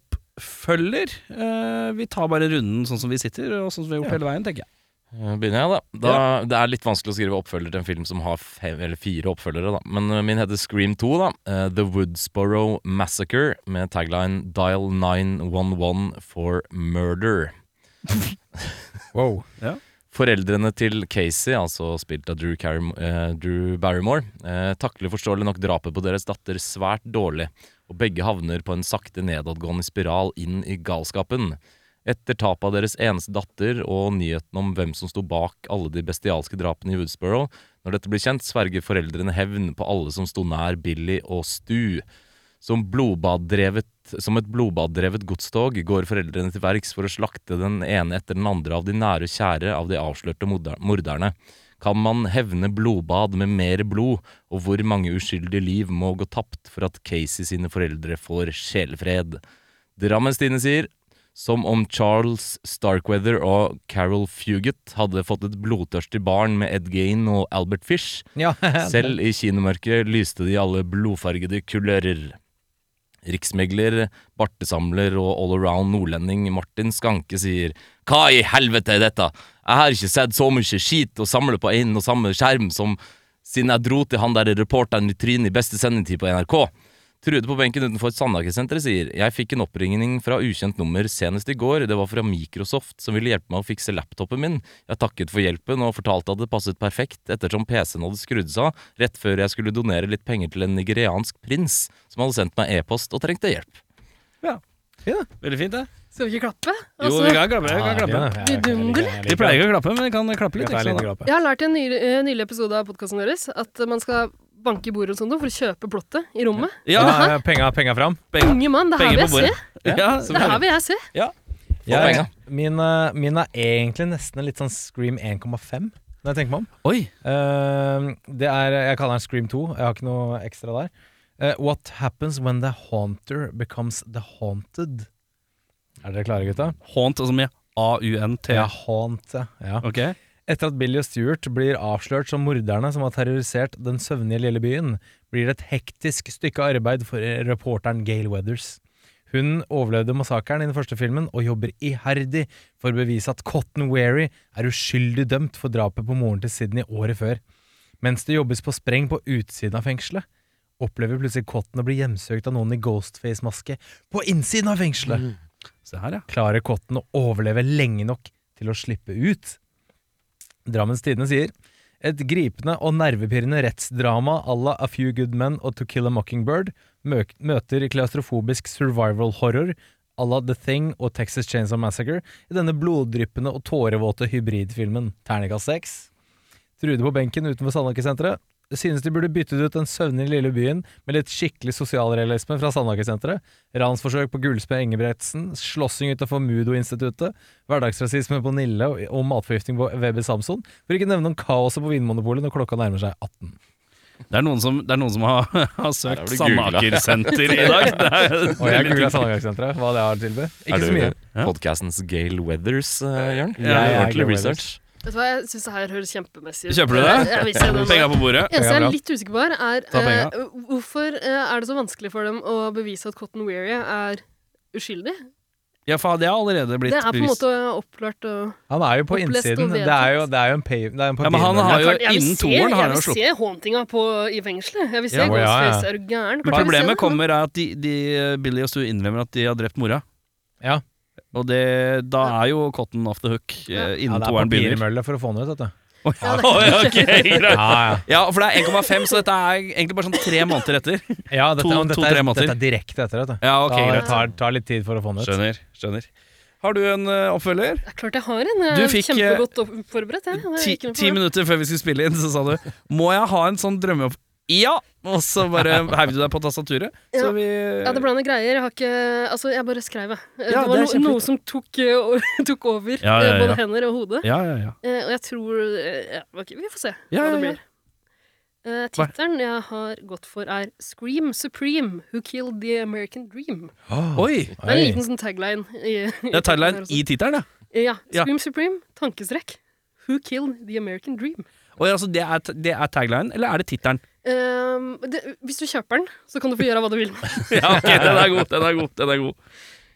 [SPEAKER 2] drømmeoppfølger. Eh, vi tar bare runden sånn som vi sitter, og sånn som vi har gjort hele veien, tenker jeg.
[SPEAKER 3] Eh, Begynner jeg, da. da Det er litt vanskelig å skrive oppfølger til en film som har fem, eller fire oppfølgere, da. Men eh, min heter Scream 2, da. Eh, The Woodsboro Massacre med tagline 'Dial 911 for murder'.
[SPEAKER 6] Wow.
[SPEAKER 3] Foreldrene til Casey, altså spilt av Drew, Carrim- eh, Drew Barrymore, eh, takler forståelig nok drapet på deres datter svært dårlig, og begge havner på en sakte nedadgående spiral inn i galskapen. Etter tapet av deres eneste datter og nyheten om hvem som sto bak alle de bestialske drapene i Woodsboro, når dette blir kjent, sverger foreldrene hevn på alle som sto nær Billy og Stu. Som, blodbaddrevet, som et blodbaddrevet godstog går foreldrene til verks for å slakte den ene etter den andre av de nære og kjære av de avslørte morder- morderne. Kan man hevne blodbad med mer blod, og hvor mange uskyldige liv må gå tapt for at Casey sine foreldre får sjelefred? Drammens Tidende sier som om Charles Starkweather og Carol Fugit hadde fått et blodtørstig barn med Ed Gein og Albert Fish.
[SPEAKER 6] Ja,
[SPEAKER 3] Selv i kinomørket lyste de i alle blodfargede kulører. Riksmegler, bartesamler og all-around nordlending Martin Skanke sier Hva i helvete er dette? Jeg har ikke sett så mye skit å samle på en og samme skjerm som siden jeg dro til han der reporteren i trynet i beste sendetid på NRK. Trude på benken utenfor Sandaker-senteret sier Jeg fikk en oppringning fra ukjent nummer senest i går. Det var fra Microsoft som ville hjelpe meg å fikse laptopen min. Jeg takket for hjelpen og fortalte at det passet perfekt ettersom PC-en hadde skrudd seg av rett før jeg skulle donere litt penger til en nigeriansk prins som hadde sendt meg e-post og trengte hjelp.
[SPEAKER 2] Veldig fint, det.
[SPEAKER 4] Skal vi ikke klappe?
[SPEAKER 2] Jo,
[SPEAKER 4] Altså,
[SPEAKER 2] vi kan klappe. Vi kan klappe. Vi pleier ikke å klappe, men vi kan klappe litt.
[SPEAKER 6] Jeg er
[SPEAKER 2] Ikke
[SPEAKER 6] litt
[SPEAKER 2] sant?
[SPEAKER 6] glad på.
[SPEAKER 4] Jeg har lært i en ny, eh, nylig episode av podkasten deres at man skal banke i bordet hos noen for å kjøpe blottet i rommet.
[SPEAKER 2] Ja,
[SPEAKER 6] Ja, penga, penga fram.
[SPEAKER 4] Unge mann, det her
[SPEAKER 2] penger
[SPEAKER 4] vil jeg
[SPEAKER 2] på
[SPEAKER 4] se.
[SPEAKER 2] bordet. Ja,
[SPEAKER 4] Det her vil jeg se.
[SPEAKER 3] Få penga.
[SPEAKER 6] min, eh, min er egentlig nesten litt sånn Scream 1,5, når jeg tenker meg om.
[SPEAKER 2] Oi.
[SPEAKER 6] Eh, det er, jeg kaller den Scream 2, jeg har ikke noe ekstra der. Eh, what happens when the haunter becomes the haunted? Er dere klare, gutta?
[SPEAKER 2] Haunt, altså med A-U-N-T.
[SPEAKER 6] Ja, haunt, ja. ja.
[SPEAKER 2] Ok.
[SPEAKER 6] Etter at Billy og Stuart blir avslørt som morderne som har terrorisert den søvnige lille byen, blir det et hektisk stykke arbeid for eh, reporteren Gail Weathers. Hun overlevde massakren i den første filmen og jobber iherdig for å bevise at Cotton Weary er uskyldig dømt for drapet på moren til Sydney året før. Mens det jobbes på spreng på utsiden av fengselet, opplever plutselig Cotton å bli hjemsøkt av noen i Ghostface-maske på innsiden av fengselet.
[SPEAKER 2] Se her, ja.
[SPEAKER 6] Klarer Cotton å overleve lenge nok til å slippe ut? Drammens Tidende sier et gripende og nervepirrende rettsdrama à la A Few Good Men og To Kill a Mockingbird mø- møter klaustrofobisk survival horror à la The Thing og Texas Chainsaw Massacre i denne bloddryppende og tårevåte hybridfilmen Terningkast 6. Trude på benken utenfor Sandaker-senteret synes de burde byttet ut den søvnige lille byen med litt skikkelig sosialrealisme fra Sandaker-senteret. Ransforsøk på Gullsmed Engebretsen, slåssing utenfor Mudo-instituttet, hverdagsrasisme på Nille og, og matforgifting på Weber Samson, for ikke nevne om kaoset på Vinmonopolet når klokka nærmer seg 18.
[SPEAKER 2] Det er noen som, det er noen som har, har
[SPEAKER 3] Her har
[SPEAKER 2] søkt
[SPEAKER 3] du
[SPEAKER 2] Sandaker-senter i dag. Det er,
[SPEAKER 6] Og jeg googla Sandaker-senteret, hva det har å tilby. Ikke
[SPEAKER 3] Er
[SPEAKER 6] så
[SPEAKER 3] du
[SPEAKER 6] mye.
[SPEAKER 2] Ja.
[SPEAKER 3] podcastens Gale Weathers, eh, Jørn?
[SPEAKER 6] Ja, jeg er
[SPEAKER 3] Ordentlig
[SPEAKER 6] Gale
[SPEAKER 3] research.
[SPEAKER 4] Vet du hva, jeg syns det her høres kjempemessig ut.
[SPEAKER 2] Kjøper du det?
[SPEAKER 4] Jeg vil se den.
[SPEAKER 2] Penga på bordet.
[SPEAKER 4] eneste jeg
[SPEAKER 6] Penga
[SPEAKER 4] er
[SPEAKER 6] bra.
[SPEAKER 4] litt usikker på her, er
[SPEAKER 2] Ta penga.
[SPEAKER 4] eh, hvorfor eh, er det så vanskelig for dem å bevise at Cotton Weary er uskyldig?
[SPEAKER 2] Ja, faen, det har allerede blitt
[SPEAKER 4] Det er på en
[SPEAKER 2] bevist.
[SPEAKER 4] måte oppklart og
[SPEAKER 6] Han er jo på
[SPEAKER 4] Opplest og
[SPEAKER 6] innsiden. Det er jo, det er jo en pay... Det er en
[SPEAKER 2] Ja, men han
[SPEAKER 6] papirmølle.
[SPEAKER 2] har jo
[SPEAKER 4] Jeg vil
[SPEAKER 2] innen
[SPEAKER 4] se-
[SPEAKER 2] toeren har han jo
[SPEAKER 4] Jeg vil
[SPEAKER 2] sluppet.
[SPEAKER 4] se hauntinga på- i fengselet. Jeg vil se
[SPEAKER 6] Ja, å, ja, ja.
[SPEAKER 4] Ghostface. Er du
[SPEAKER 2] Men
[SPEAKER 4] gæren? Jeg vil se
[SPEAKER 2] problemet
[SPEAKER 4] det. sånn,
[SPEAKER 2] kommer er at de, de, Billy og Stu innrømmer at de har drept mora.
[SPEAKER 6] Ja.
[SPEAKER 2] Og det, da er jo cotton off the hook eh,
[SPEAKER 6] Ja,
[SPEAKER 2] innen
[SPEAKER 6] det er
[SPEAKER 2] toeren begynner.
[SPEAKER 6] papirmølle for å få han ut, vet du.
[SPEAKER 2] Å, ja. Å, ja, ok, greit.
[SPEAKER 6] Ja, ja.
[SPEAKER 2] ja, for det er 1,5, så dette er egentlig bare sånn tre måneder etter.
[SPEAKER 6] ja dette,
[SPEAKER 2] To-
[SPEAKER 6] dette,
[SPEAKER 2] to-tre
[SPEAKER 6] er,
[SPEAKER 2] måneder.
[SPEAKER 6] dette er direkte etter, vet du.
[SPEAKER 2] Ja, ok,
[SPEAKER 6] Da
[SPEAKER 2] greit.
[SPEAKER 6] tar, tar litt tid for å få han ut.
[SPEAKER 2] Skjønner. skjønner Har du en eh, oppfølger?
[SPEAKER 4] Det er klart jeg har en.
[SPEAKER 2] Du
[SPEAKER 4] Jeg er
[SPEAKER 2] fikk, eh,
[SPEAKER 4] kjempegodt opp- forberedt. Jeg. Det er
[SPEAKER 2] ti,
[SPEAKER 4] ikke noe
[SPEAKER 2] ti
[SPEAKER 4] problem.
[SPEAKER 2] minutter før vi skulle spille inn, så sa du Må jeg ha en sånn drømmeopp... Ja! Og så bare heiv du deg på tastaturet. Så
[SPEAKER 4] Ja.
[SPEAKER 2] vi
[SPEAKER 4] Ja, det blander greier. Jeg har ikke Altså, jeg bare skrev, jeg.
[SPEAKER 2] Ja,
[SPEAKER 4] det var
[SPEAKER 2] det er
[SPEAKER 4] no,
[SPEAKER 2] kjempefint.
[SPEAKER 4] noe som tok, eh, o- tok over
[SPEAKER 2] Ja, ja, ja.
[SPEAKER 4] eh, både hender og hode.
[SPEAKER 2] ja, ja, ja.
[SPEAKER 4] Eh, og jeg tror eh, ja, ok, Vi får se
[SPEAKER 2] Ja,
[SPEAKER 4] hva
[SPEAKER 2] ja,
[SPEAKER 4] det
[SPEAKER 2] ja.
[SPEAKER 4] blir. Eh, Tittelen jeg har gått for, er 'Scream Supreme Who Killed The American Dream'.
[SPEAKER 6] Åh,
[SPEAKER 2] Oi!
[SPEAKER 4] Det er en
[SPEAKER 6] oi.
[SPEAKER 4] liten sånn tagline. I,
[SPEAKER 2] Det er tagline
[SPEAKER 4] altså.
[SPEAKER 2] i tittelen, ja.
[SPEAKER 4] Ja.
[SPEAKER 2] Ja.
[SPEAKER 4] Scream Supreme, tankestrekk. Who killed the American dream?
[SPEAKER 2] Og altså, det, er, t- det er tagline, eller er det tittelen?
[SPEAKER 4] Ehm, det, hvis du kjøper den, så kan du få gjøre hva du vil.
[SPEAKER 2] Ja, ok, den er god, den er god. den er god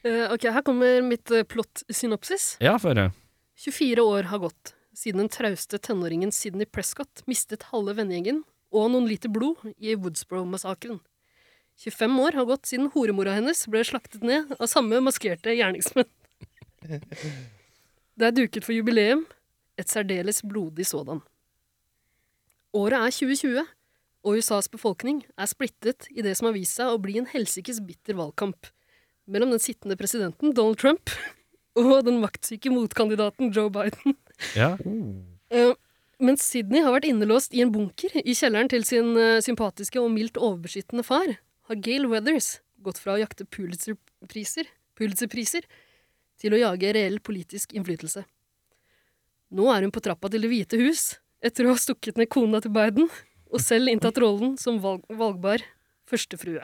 [SPEAKER 4] Eh, ok, Her kommer mitt uh, plott-synopsis.
[SPEAKER 2] Ja, for,
[SPEAKER 4] 24 år har gått siden den trauste tenåringen Sidney Prescott mistet halve vennegjengen og noen liter blod i Woodsboro-massakren. 25 år har gått siden horemora hennes ble slaktet ned av samme maskerte gjerningsmenn. Det er duket for jubileum, et særdeles blodig sådan. Året er 2020, og USAs befolkning er splittet i det som har vist seg å bli en helsikes bitter valgkamp mellom den sittende presidenten Donald Trump og den maktsyke motkandidaten Joe Biden.
[SPEAKER 2] Ja.
[SPEAKER 4] Eh, mens Sydney har vært innelåst i en bunker i kjelleren til sin eh, sympatiske og mildt overbeskyttende far, har Gail Weathers gått fra å jakte Pulitzer-priser Pulitzer-priser til å jage reell politisk innflytelse. Nå er hun på trappa til Det hvite hus etter å ha stukket ned kona til Biden og selv inntatt rollen som valg valgbar førstefrue.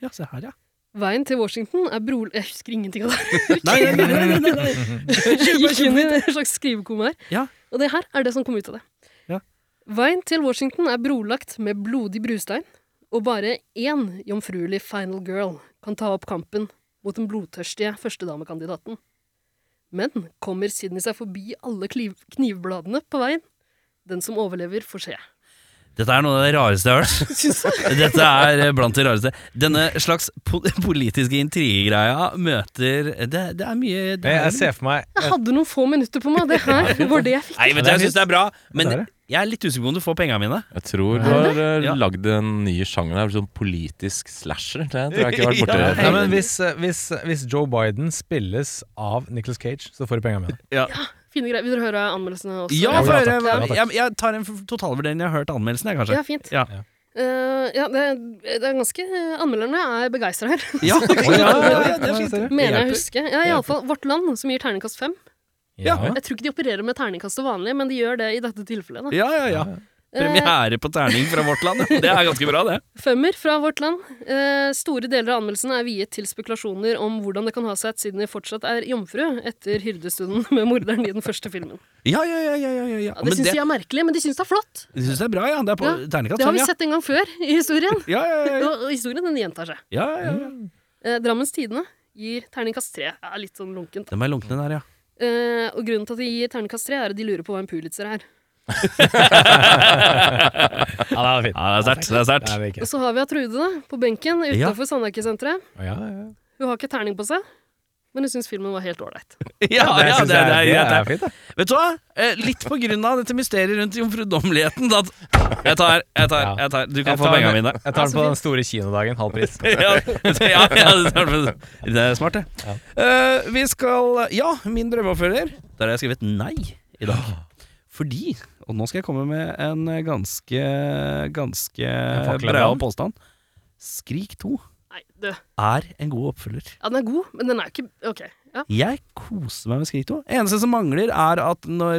[SPEAKER 2] ja, se her, ja.
[SPEAKER 4] Veien til Washington er brol... Jeg husker ingenting av det.
[SPEAKER 2] Nei, nei, nei, nei, nei, nei.
[SPEAKER 4] Jeg gikk inn i en slags skrivekoma her.
[SPEAKER 2] Ja.
[SPEAKER 4] Og det her er det som kom ut av det.
[SPEAKER 2] Ja.
[SPEAKER 4] Veien til Washington er brolagt med blodig brustein, og bare én jomfruelig final girl kan ta opp kampen mot den blodtørstige førstedamekandidaten. Men kommer Sydney seg forbi alle kliv- knivbladene på veien? Den som overlever, får se.
[SPEAKER 2] Dette er noe av det rareste jeg har hørt. Dette er eh, blant det rareste. Denne slags po politiske intrigegreia møter det, det er mye det
[SPEAKER 6] Jeg,
[SPEAKER 2] er,
[SPEAKER 6] jeg ser for meg
[SPEAKER 4] Jeg hadde noen få minutter på meg. Det her var det jeg fikk.
[SPEAKER 2] Nei, vet du, jeg syns det er bra, men
[SPEAKER 6] Det er det.
[SPEAKER 2] jeg er litt usikker på om du får penga mine.
[SPEAKER 3] Jeg tror du har eh,
[SPEAKER 2] Ja.
[SPEAKER 3] lagd en ny sjanger der, sånn politisk slasher. Det tror jeg ikke jeg har vært borti.
[SPEAKER 2] Ja.
[SPEAKER 6] Nei, men hvis, eh, hvis, hvis Joe Biden spilles av Nicolas Cage, så får du penga mine.
[SPEAKER 4] Fine greier. Vil dere høre anmeldelsene også?
[SPEAKER 2] Ja,
[SPEAKER 6] Ja,
[SPEAKER 2] få
[SPEAKER 6] takk.
[SPEAKER 2] høre.
[SPEAKER 6] Ja,
[SPEAKER 2] hva-
[SPEAKER 6] takk.
[SPEAKER 2] Jeg, jeg tar en f- totalvurdering. Jeg har hørt anmeldelsen, jeg, kanskje.
[SPEAKER 4] ja fint.
[SPEAKER 2] Ja.
[SPEAKER 6] Ja.
[SPEAKER 4] Eh, ja, det, er- det er ganske Anmelderne er begeistra her,
[SPEAKER 2] Ja,
[SPEAKER 4] mener jeg å
[SPEAKER 6] hjelper.
[SPEAKER 4] huske. Ja, Iallfall Vårt Land, som gir terningkast fem.
[SPEAKER 6] Ja.
[SPEAKER 4] Jeg tror ikke de opererer med terningkast til vanlig, men de gjør det i dette tilfellet. Da.
[SPEAKER 2] ja, ja, ja.
[SPEAKER 4] Eh,
[SPEAKER 2] Premiere på terning fra vårt land. Det er ganske bra, det.
[SPEAKER 4] femmer fra Vårt Land. Eh, store deler av anmeldelsen er viet til spekulasjoner om hvordan det kan ha seg at Sydney fortsatt er jomfru etter hyrdestunden med morderen i den første filmen.
[SPEAKER 2] Ja, ja, ja. ja, ja, ja.
[SPEAKER 4] Ja,
[SPEAKER 2] Men
[SPEAKER 4] det syns de er merkelig, men de syns det er flott.
[SPEAKER 2] de syns det er bra, ja. Det er på
[SPEAKER 4] Ja,
[SPEAKER 2] terningkast
[SPEAKER 4] Det har
[SPEAKER 2] fem,
[SPEAKER 4] vi
[SPEAKER 2] ja.
[SPEAKER 4] sett en gang før i historien,
[SPEAKER 2] Ja, ja, ja, ja.
[SPEAKER 4] og, og historien den gjentar seg.
[SPEAKER 2] ja, ja, ja.
[SPEAKER 4] Eh, Drammens Tidende gir terningkast tre. Ja, litt sånn lunkent.
[SPEAKER 2] De er lunkne der, ja.
[SPEAKER 4] Eh, og grunnen til at de gir terningkast tre, er at de lurer på hva en pulitzer er.
[SPEAKER 6] Ja, det er fint.
[SPEAKER 2] Ja, det er sterkt. Det er
[SPEAKER 6] Det
[SPEAKER 2] sterkt.
[SPEAKER 6] er det ikke.
[SPEAKER 4] Og så har vi at Trude, da, på benken
[SPEAKER 2] Ja.
[SPEAKER 4] utafor Sandaker-senteret.
[SPEAKER 6] Ja, ja.
[SPEAKER 4] Hun har ikke terning på seg, men hun syns filmen var helt ålreit.
[SPEAKER 2] Ja,
[SPEAKER 6] Det
[SPEAKER 2] ja,
[SPEAKER 6] synes
[SPEAKER 2] det, det er
[SPEAKER 6] jeg- det
[SPEAKER 2] greit, det.
[SPEAKER 6] er fint, da.
[SPEAKER 2] Vet du hva? Eh, Litt på grunn av dette mysteriet rundt jomfrudommeligheten. da- Jeg tar, jeg tar, jeg tar. Du kan
[SPEAKER 6] Jeg
[SPEAKER 2] få
[SPEAKER 6] tar
[SPEAKER 2] penga
[SPEAKER 6] den-
[SPEAKER 2] mine.
[SPEAKER 6] Jeg tar den på den store kinodagen, halv pris.
[SPEAKER 2] ja, ja, ja, det er- det er smart, det. Eh, vi skal Ja, min drømmeoppfølger. Der har jeg skrevet nei i dag. Fordi Og nå skal jeg komme med en ganske ganske
[SPEAKER 6] fakkel er
[SPEAKER 2] bra
[SPEAKER 6] bra.
[SPEAKER 2] påstand. Skrik 2
[SPEAKER 4] Nei, du.
[SPEAKER 2] er en god oppfølger.
[SPEAKER 4] Ja, den er god, men den er ikke OK. Ja.
[SPEAKER 2] Jeg koser meg med Skrik 2. Eneste som mangler, er at når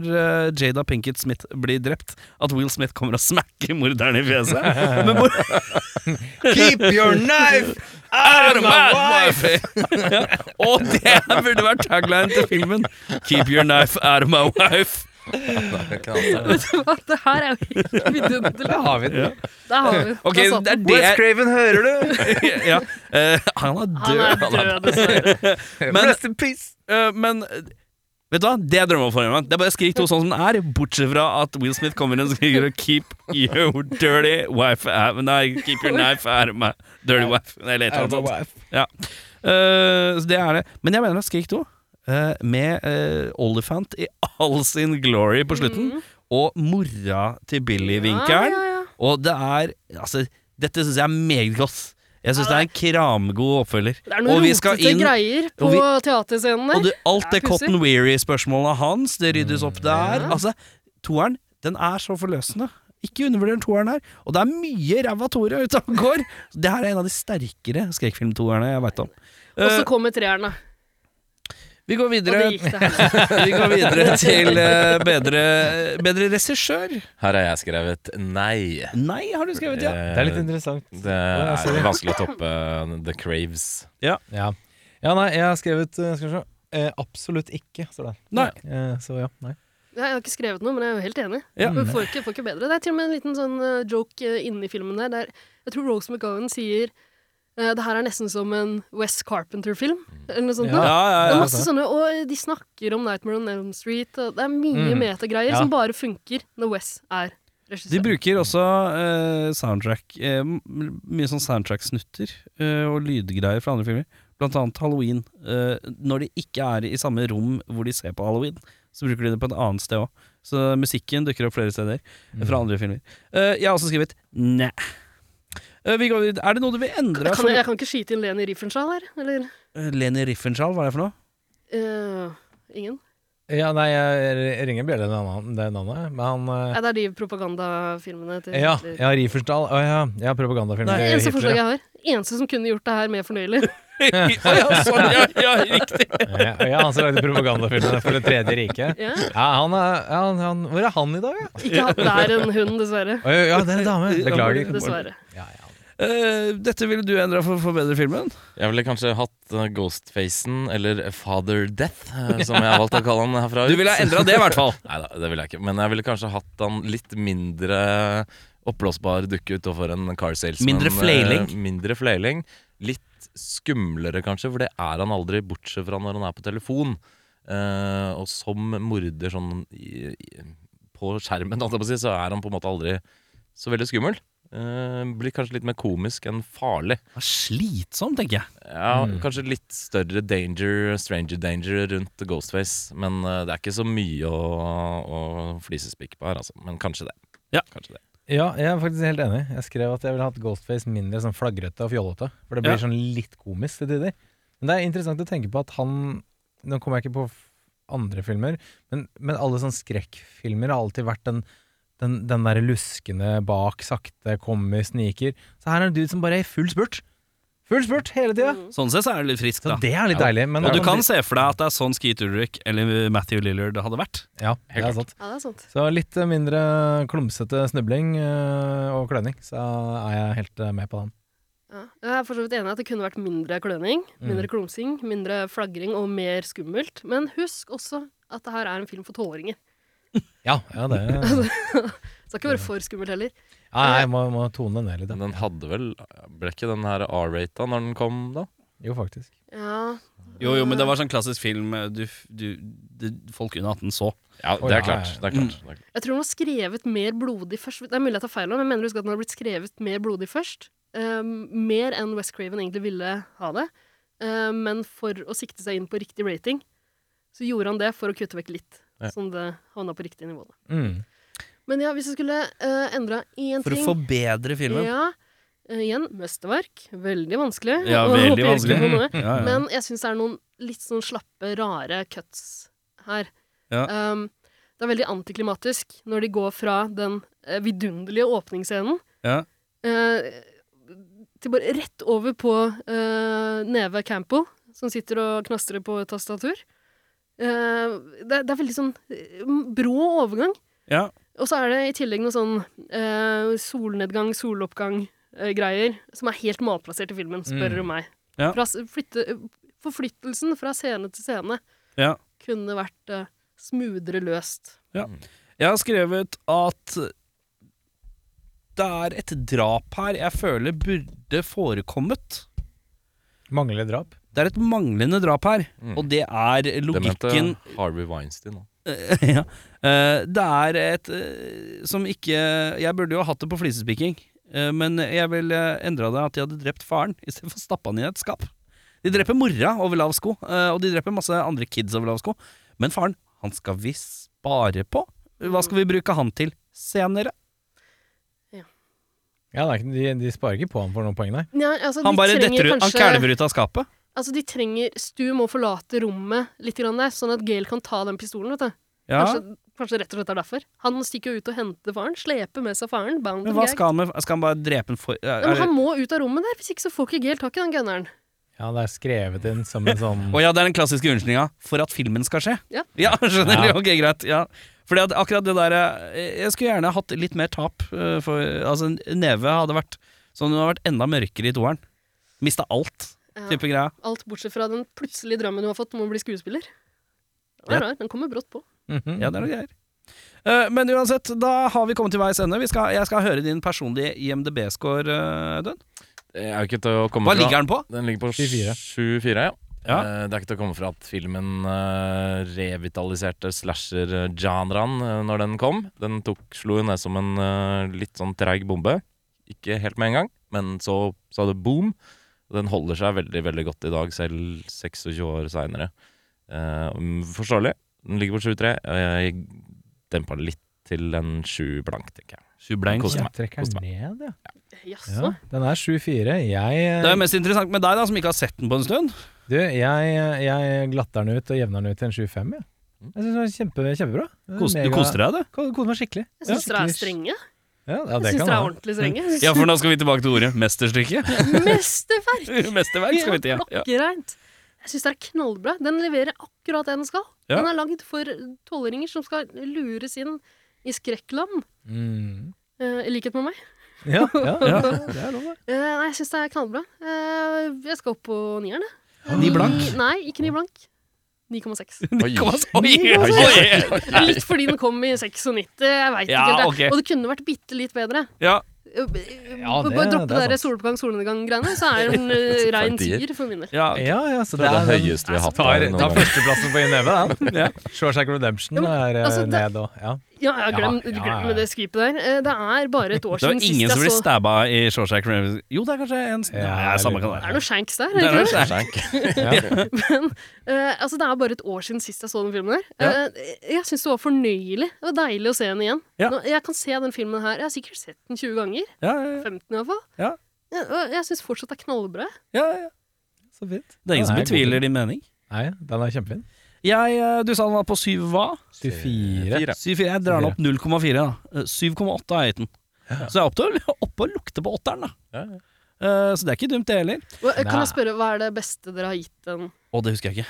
[SPEAKER 2] eh, Jada Pinkett Smith blir drept, at Will Smith kommer og smakker morderen i fjeset. Men hvor
[SPEAKER 6] Keep your knife
[SPEAKER 2] out of my wife! ja. Og det burde vært tagline til filmen. Keep your knife out of my wife.
[SPEAKER 4] Vet du hva, det her er jo helt vidunderlig.
[SPEAKER 6] Der har vi den.
[SPEAKER 4] Der har vi den.
[SPEAKER 2] Ok,
[SPEAKER 4] Der satt
[SPEAKER 2] det er
[SPEAKER 4] den.
[SPEAKER 2] det
[SPEAKER 6] Altså, Wes Craven, hører du?
[SPEAKER 2] ja. Eh, han er
[SPEAKER 4] Han
[SPEAKER 2] død.
[SPEAKER 4] er død, dessverre.
[SPEAKER 2] Men,
[SPEAKER 6] Rest in peace.
[SPEAKER 2] eh, men eh, Vet du hva? Det er drømmeoppfølgeren. Det er bare Skrik 2 sånn som den er, bortsett fra at Will Smith kommer inn og skriker og 'Keep your dirty wife out Nei, 'Keep your knife out of my dirty wife'. Eller et eller annet sånt. Eh, så det er det. Men jeg mener at Skrik 2, eh, med uh, Olifant i all sin glory på slutten, og mora til Billy-vinkelen
[SPEAKER 4] Ja, ja, ja.
[SPEAKER 2] Og det er Altså, dette syns jeg er meget godt. Jeg syns det er en kramgod oppfølger.
[SPEAKER 4] Det er noen
[SPEAKER 2] Og vi skal
[SPEAKER 4] rotete
[SPEAKER 2] inn-
[SPEAKER 4] greier på
[SPEAKER 2] og vi-
[SPEAKER 4] teaterscenen
[SPEAKER 2] Og
[SPEAKER 4] der.
[SPEAKER 2] det, alt det
[SPEAKER 4] Ja, pussig.
[SPEAKER 2] Cotton Weary-spørsmålet hans, det ryddes opp der. Altså, toeren, den er så forløsende. Ikke undervurder toeren her. Og det er mye ræva toere ute og går. Det her er en av de sterkere skrekkfilmtoerne jeg veit om.
[SPEAKER 4] Og så
[SPEAKER 2] Eh,
[SPEAKER 4] kommer treerne.
[SPEAKER 2] vi går
[SPEAKER 4] Og det
[SPEAKER 2] videre
[SPEAKER 4] gikk det her.
[SPEAKER 2] Vi går videre til eh, bedre, bedre regissør.
[SPEAKER 3] Her har jeg skrevet nei.
[SPEAKER 2] Nei, har du skrevet, ja.
[SPEAKER 6] Det er litt interessant.
[SPEAKER 3] Eh, Det er vanskelig å toppe eh, The Craves.
[SPEAKER 6] Ja, ja nei, jeg har skrevet eh, Skal vi se. Eh, absolutt ikke, står det.
[SPEAKER 2] Nei.
[SPEAKER 6] Eh, så ja, nei.
[SPEAKER 4] Jeg har ikke skrevet noe, men jeg er jo helt enig.
[SPEAKER 2] Ja.
[SPEAKER 4] Du Får, ikke, får ikke bedre. Det er til og med en liten sånn eh, joke eh, inni filmen der. der jeg tror Rose McGowan sier eh, det her er nesten som en West Carpenter-film. Eller noe sånt.
[SPEAKER 6] Ja.
[SPEAKER 2] Ja,
[SPEAKER 4] noe.
[SPEAKER 2] ja,
[SPEAKER 4] Det er
[SPEAKER 2] ja.
[SPEAKER 4] masse sånne, og de snakker om Nightmare on Elm Street. Og det er mye
[SPEAKER 6] Mm.
[SPEAKER 4] metagreier
[SPEAKER 6] Ja.
[SPEAKER 4] som bare funker når Wes er
[SPEAKER 2] De
[SPEAKER 4] regissør.
[SPEAKER 2] bruker også eh, soundtrack eh, m- Mye sånn soundtrack-snutter eh, og lydgreier fra andre filmer. Blant annet Halloween. Eh, når de ikke er i samme rom hvor de ser på Halloween, så bruker de det på et annet sted òg. Så musikken dukker opp flere steder fra andre filmer. Eh, jeg har også skrevet næ. Eh, vi går videre. Er det noe du vil endre?
[SPEAKER 4] Kan, jeg kan ikke skyte inn Leni Riefenstahl her, eller?
[SPEAKER 2] for- Leni Riffenschall, hva er det for noe?
[SPEAKER 4] eh, ingen?
[SPEAKER 6] Ja, nei, jeg jeg ringer bjelle det navnet, det navnet men han
[SPEAKER 4] Nei, det er de propagandafilmene til
[SPEAKER 6] eh, Ja,
[SPEAKER 4] Hitler.
[SPEAKER 6] ja Riefenstahl. Å ja, ja propagandafilm.
[SPEAKER 4] Det er det eneste
[SPEAKER 6] Hitler,
[SPEAKER 4] forslaget
[SPEAKER 6] ja.
[SPEAKER 4] jeg har. Eneste som kunne gjort det her mer fornøyelig.
[SPEAKER 2] Å ja, sånn, ja, ja, riktig.
[SPEAKER 6] Ja, ja, han som lagde propagandafilmene for Det tredje riket.
[SPEAKER 4] Ja.
[SPEAKER 6] Ja, han er, ja, han, han, hvor er han i dag, ja?
[SPEAKER 4] Ikke hatt der en hund, dessverre.
[SPEAKER 6] Å, ja, ja, det er en dame. Beklager.
[SPEAKER 4] Dessverre.
[SPEAKER 6] Ja, ja.
[SPEAKER 2] Eh, dette ville du endra for å forbedre filmen?
[SPEAKER 3] Jeg ville kanskje hatt eh, Ghostfacen, eller Father Death, eh, som jeg har valgt å kalle han herfra.
[SPEAKER 2] Du ville ha endra det, i hvert fall.
[SPEAKER 3] Nei da, det ville jeg ikke. Men jeg ville kanskje hatt han litt mindre oppblåsbar dukke utenfor en car salesman.
[SPEAKER 2] Mindre flailing.
[SPEAKER 3] Eh, Mindre flailing. Litt skumlere, kanskje, for det er han aldri, bortsett fra når han er på telefon. Eh, og som morder sånn i, i, på skjermen, holdt jeg på å si, så er han på en måte aldri så veldig skummel. Eh, blir kanskje litt mer komisk enn farlig.
[SPEAKER 2] Det er Slitsom, tenker jeg.
[SPEAKER 3] Ja,
[SPEAKER 6] Mm.
[SPEAKER 3] Kanskje litt større danger, stranger danger rundt Ghostface. Men eh, det er ikke så mye å, å flisespikke på her, altså. Men kanskje det.
[SPEAKER 2] Ja.
[SPEAKER 3] Kanskje det.
[SPEAKER 6] Ja, jeg er faktisk helt enig. Jeg skrev at jeg ville hatt Ghostface mindre sånn flagrete og fjollete. For det blir
[SPEAKER 2] Ja.
[SPEAKER 6] sånn litt komisk til tider. Men det er interessant å tenke på at han Nå kommer jeg ikke på f- andre filmer, men, men alle sånne skrekkfilmer har alltid vært den, den, den derre luskende bak, sakte, kommer, sniker. Så her er det en dude som bare er i full spurt. Full spurt hele tida!
[SPEAKER 2] Sånn sett så er det litt friskt,
[SPEAKER 6] Så
[SPEAKER 2] da.
[SPEAKER 6] det er litt deilig. Men
[SPEAKER 2] Og du kan se for deg at det er sånn Skeet Ulrich eller Matthew Lillard hadde vært.
[SPEAKER 6] Ja, det er sant.
[SPEAKER 4] Ja, det er sant.
[SPEAKER 6] Så litt eh, mindre klumsete snubling eh, og kløning, så er jeg helt eh, med på den.
[SPEAKER 4] Ja. Jeg er for så vidt enig i at det kunne vært mindre kløning,
[SPEAKER 6] Mm.
[SPEAKER 4] mindre klumsing, mindre flagring og mer skummelt. Men husk også at det her er en film for tolvåringer.
[SPEAKER 6] Ja, ja det
[SPEAKER 4] Så det skal ikke være for skummelt heller.
[SPEAKER 6] Ja, nei, jeg må, må tone ned litt.
[SPEAKER 3] Men
[SPEAKER 6] Ja.
[SPEAKER 3] den hadde vel Ble ikke den her R-rata når den kom, da?
[SPEAKER 6] Jo, faktisk.
[SPEAKER 4] Ja,
[SPEAKER 2] Jo, jo, men det var sånn klassisk film eh, du, du, du, folk under 18 så.
[SPEAKER 3] Ja,
[SPEAKER 6] Å,
[SPEAKER 3] det er
[SPEAKER 6] ja,
[SPEAKER 3] klart.
[SPEAKER 6] ja,
[SPEAKER 3] Det er klart.
[SPEAKER 2] Mm.
[SPEAKER 3] Det er klart.
[SPEAKER 4] Jeg tror den var skrevet mer blodig først. Det er mulig jeg tar feil, nå, men jeg mener husk at den har blitt skrevet mer blodig først. Ehm, mer enn West Craven egentlig ville ha det. Ehm, men for å sikte seg inn på riktig rating, så gjorde han det for å kutte vekk litt.
[SPEAKER 3] Ja.
[SPEAKER 4] Sånn det havna på riktig nivå. da.
[SPEAKER 6] Mm.
[SPEAKER 4] Men ja, hvis jeg skulle uh, endra én
[SPEAKER 2] For å
[SPEAKER 4] ting
[SPEAKER 2] forbedre filmen.
[SPEAKER 4] Ja, eh, Igjen, mesterverk. Veldig vanskelig.
[SPEAKER 2] Ja,
[SPEAKER 4] og
[SPEAKER 2] veldig
[SPEAKER 4] håper jeg ikke
[SPEAKER 2] vanskelig.
[SPEAKER 4] får noe.
[SPEAKER 2] Ja, ja.
[SPEAKER 4] Men jeg syns det er noen litt sånn slappe, rare cuts her.
[SPEAKER 2] Ja.
[SPEAKER 4] Um, det er veldig antiklimatisk når de går fra den eh, vidunderlige åpningsscenen
[SPEAKER 2] Ja.
[SPEAKER 4] eh, til bare rett over på eh, Neve Campbell, som sitter og knastrer på et tastatur. Eh, det, er- det er veldig sånn eh, brå overgang.
[SPEAKER 2] Ja.
[SPEAKER 4] Og så er det i tillegg noe sånn eh, solnedgang, soloppgang-greier som er helt malplassert i filmen, spør
[SPEAKER 6] Mm.
[SPEAKER 4] du meg.
[SPEAKER 2] Ja.
[SPEAKER 4] Fra, s- flytte, forflyttelsen fra scene til scene
[SPEAKER 2] Ja.
[SPEAKER 4] kunne vært eh, smoothere løst.
[SPEAKER 2] Jeg har skrevet at det er et drap her jeg føler burde forekommet.
[SPEAKER 6] Mangler drap.
[SPEAKER 2] Det er et manglende drap her,
[SPEAKER 3] Mm.
[SPEAKER 2] og det er
[SPEAKER 3] Det mente
[SPEAKER 2] logikken
[SPEAKER 3] Harvey Weinstein. da.
[SPEAKER 2] ja. Eh, Det er et eh, som ikke Jeg burde jo ha hatt det på flisespikking, eh, men jeg ville endra det at de hadde drept faren istedenfor å stappe han i et skap. De dreper mora over lav sko, eh, og de dreper masse andre kids over lav sko. Men faren, han skal vi spare på. Hva skal vi bruke han til senere?
[SPEAKER 6] Ja, det er ikke, de, de sparer ikke på han for noen poeng, nei.
[SPEAKER 4] Ja, altså,
[SPEAKER 2] Han
[SPEAKER 4] de
[SPEAKER 2] bare
[SPEAKER 4] trenger
[SPEAKER 2] detter ut, han
[SPEAKER 4] kanskje-
[SPEAKER 2] kælver ut av skapet.
[SPEAKER 4] Altså, de trenger Stu må forlate rommet litt grann der, sånn at Gail kan ta den pistolen, vet du.
[SPEAKER 2] Ja,
[SPEAKER 4] Kanskje, kanskje rett og slett er derfor. Han stikker jo ut og henter faren, sleper med seg faren. bound
[SPEAKER 2] men
[SPEAKER 4] and
[SPEAKER 2] hva
[SPEAKER 4] gagged.
[SPEAKER 2] skal han med Skal han bare drepe en for... eh,
[SPEAKER 4] Nei, men
[SPEAKER 2] er-
[SPEAKER 4] han må ut av rommet der, hvis ikke så får ikke Gail tak i den gunneren.
[SPEAKER 6] Ja, det er skrevet inn som en sånn
[SPEAKER 2] Å ja, det er den klassiske unnskyldninga for at filmen skal skje.
[SPEAKER 4] Ja.
[SPEAKER 2] skjønner
[SPEAKER 6] Ja.
[SPEAKER 2] du. Ok, greit. Ja. Fordi at akkurat det der eh, Jeg skulle gjerne hatt litt mer tap. eh, For, altså, Neve hadde vært sånn hun hadde vært enda mørkere i toeren. Mista alt,
[SPEAKER 4] Ja.
[SPEAKER 2] type greia.
[SPEAKER 4] Alt bortsett fra den plutselige drømmen hun har fått om å bli skuespiller. Den er
[SPEAKER 2] Ja.
[SPEAKER 4] rar. Den kommer brått på.
[SPEAKER 6] Mhm.
[SPEAKER 2] Ja, det er noe greier. Eh, Men uansett, da har vi kommet til veis ende. Vi skal, jeg skal høre din personlige IMDb-score, eh, Audun.
[SPEAKER 3] Det er jo ikke til å komme
[SPEAKER 2] Hva
[SPEAKER 3] fra.
[SPEAKER 2] ligger den på?
[SPEAKER 3] Den ligger på
[SPEAKER 6] 7-4.
[SPEAKER 3] 7-4, ja.
[SPEAKER 2] Ja.
[SPEAKER 3] Eh, Det er ikke til å komme fra at filmen eh, revitaliserte slasher-genren eh, når den kom. Den tok, slo jo ned som en eh, litt sånn treig bombe. Ikke helt med en gang, men så sa det boom. Den holder seg veldig veldig godt i dag, selv 26 år seinere. forståelig. Den ligger på 7-3. Eh, Jeg dempa det litt til en 7 blank, tenker jeg. Koser
[SPEAKER 6] Ja,
[SPEAKER 3] meg.
[SPEAKER 6] trekker
[SPEAKER 3] Koste
[SPEAKER 6] ned, ja.
[SPEAKER 4] Jaså.
[SPEAKER 6] ja. Den er 7-4. Jeg, eh,
[SPEAKER 2] Det er mest interessant med deg, da, som ikke har sett den på en stund.
[SPEAKER 6] du, jeg, jeg glatter den ut og jevner den ut til en 7-5, jeg. Jeg syns den er kjempe, kjempebra.
[SPEAKER 2] Kos, du koste deg, du.
[SPEAKER 6] Koser meg skikkelig.
[SPEAKER 4] Jeg syns dere er
[SPEAKER 6] skikkelig-
[SPEAKER 4] strenge.
[SPEAKER 6] Ja, ja,
[SPEAKER 4] Jeg
[SPEAKER 6] det
[SPEAKER 4] syns
[SPEAKER 6] kan
[SPEAKER 4] dere er
[SPEAKER 6] være.
[SPEAKER 4] ordentlig strenge. Jeg
[SPEAKER 2] Ja, for nå skal vi tilbake til ordet mesterstykke.
[SPEAKER 4] synes- Mesterverk!
[SPEAKER 2] Mesterverk skal vi til, ja. ja.
[SPEAKER 4] Klokkereint. Jeg syns det er knallbra. Den leverer akkurat det den skal.
[SPEAKER 2] Ja.
[SPEAKER 4] Den er lagd for tolvåringer som skal lures inn i skrekkland,
[SPEAKER 6] Mm.
[SPEAKER 4] eh, i likhet med meg.
[SPEAKER 6] Ja, ja,
[SPEAKER 2] Ja.
[SPEAKER 6] det er lov, det.
[SPEAKER 4] Eh, Nei, jeg syns det er knallbra. Eh, Jeg skal opp på nieren, jeg.
[SPEAKER 2] Ni blank.
[SPEAKER 4] Ni- Nei, ikke ni blank. 9,6.
[SPEAKER 3] Oi.
[SPEAKER 4] Litt fordi den kom i 96, jeg veit
[SPEAKER 2] Ja,
[SPEAKER 4] ikke helt.
[SPEAKER 2] ok.
[SPEAKER 4] det. Og det kunne vært bitte litt bedre.
[SPEAKER 2] Ja.
[SPEAKER 4] Ja,
[SPEAKER 6] det-
[SPEAKER 4] Bare droppe
[SPEAKER 6] det er
[SPEAKER 4] det der
[SPEAKER 6] sant.
[SPEAKER 4] soloppgang, solnedgang-greiene, så er den eh, rein
[SPEAKER 3] Tier.
[SPEAKER 4] tier for min del.
[SPEAKER 2] Ja,
[SPEAKER 6] Ja, ja, så
[SPEAKER 3] Det
[SPEAKER 6] det
[SPEAKER 3] er
[SPEAKER 6] er
[SPEAKER 3] det
[SPEAKER 6] den
[SPEAKER 3] høyeste vi har hatt.
[SPEAKER 6] Tar,
[SPEAKER 3] her noen
[SPEAKER 6] tar
[SPEAKER 3] gang.
[SPEAKER 6] førsteplassen på INEVE, den.
[SPEAKER 2] Ja.
[SPEAKER 6] Shawshank Redemption
[SPEAKER 4] Ja, men,
[SPEAKER 6] er eh,
[SPEAKER 4] altså, det-
[SPEAKER 6] ned og ja.
[SPEAKER 4] Ja, ja, glem,
[SPEAKER 6] Ja, ja, ja.
[SPEAKER 4] glem det skvipet der. Eh, Det er bare et år
[SPEAKER 2] Det var
[SPEAKER 4] siden sist
[SPEAKER 2] ingen
[SPEAKER 4] jeg
[SPEAKER 2] som ble
[SPEAKER 3] altså.
[SPEAKER 4] så
[SPEAKER 2] stabba i Shawshack Redemption. Jo, det er kanskje en Nei, det er samme kan det
[SPEAKER 4] Det er
[SPEAKER 2] være.
[SPEAKER 4] noe shanks der.
[SPEAKER 2] Det er
[SPEAKER 4] ikke
[SPEAKER 2] noe
[SPEAKER 4] det?
[SPEAKER 2] shanks.
[SPEAKER 3] Skjenk.
[SPEAKER 4] Eh, altså, det er bare et år siden sist jeg så den filmen der.
[SPEAKER 2] Ja.
[SPEAKER 4] Eh, jeg syns det var fornøyelig. Det var deilig å se den igjen.
[SPEAKER 2] Ja.
[SPEAKER 4] Nå, jeg kan se den filmen her. Jeg har sikkert sett den 20 ganger.
[SPEAKER 2] Ja, ja,
[SPEAKER 4] 15 i hvert fall.
[SPEAKER 2] Ja.
[SPEAKER 4] Ja, og jeg syns fortsatt det er knallbra.
[SPEAKER 2] ja, ja.
[SPEAKER 6] Så fint.
[SPEAKER 2] Det er ingen som
[SPEAKER 6] Nei, god
[SPEAKER 2] betviler din mening.
[SPEAKER 6] film. Nei, den er kjempefin.
[SPEAKER 2] Jeg, eh, du sa den var på syv hva?
[SPEAKER 6] 24.
[SPEAKER 3] Fire.
[SPEAKER 2] 7,4. Jeg drar den opp 0,4. da. Eh, 7,8 er jeg gitt den. Så jeg er oppe til å- oppe og lukte på åtteren, da.
[SPEAKER 3] Ja, ja.
[SPEAKER 2] Eh, Så det er ikke dumt, det heller.
[SPEAKER 4] Og, eh, kan
[SPEAKER 6] Nei.
[SPEAKER 4] jeg spørre, hva er det beste dere har gitt den?
[SPEAKER 2] Å, det husker jeg ikke.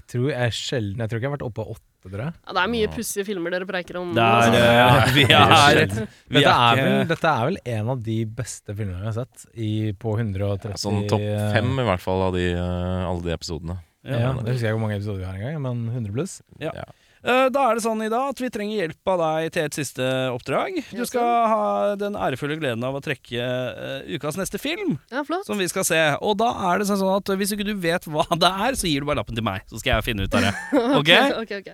[SPEAKER 6] Jeg tror jeg sjelden Jeg tror ikke jeg har vært oppe av åtte, tror jeg.
[SPEAKER 4] Ja, det er mye pussige filmer dere preiker om.
[SPEAKER 2] Det er,
[SPEAKER 4] altså.
[SPEAKER 2] eh, vi er, vi
[SPEAKER 6] Dette er, vel,
[SPEAKER 2] ikke
[SPEAKER 6] dette er vel en av de beste filmene jeg har sett i, på 130
[SPEAKER 3] Sånn topp fem i hvert fall av de, eh, alle de episodene.
[SPEAKER 6] Ja, det husker jeg ikke hvor mange episoder vi har engang, men 100 pluss.
[SPEAKER 2] Ja. Eh, Da er det sånn i dag at vi trenger hjelp av deg til et siste oppdrag. Du
[SPEAKER 4] Ja,
[SPEAKER 2] skal ha den ærefulle gleden av å trekke eh, ukas neste film,
[SPEAKER 4] Ja, flott.
[SPEAKER 2] som vi skal se. Og da er det sånn at hvis ikke du vet hva det er, så gir du bare lappen til meg, så skal jeg finne ut av det. Ok?
[SPEAKER 4] ok, ok.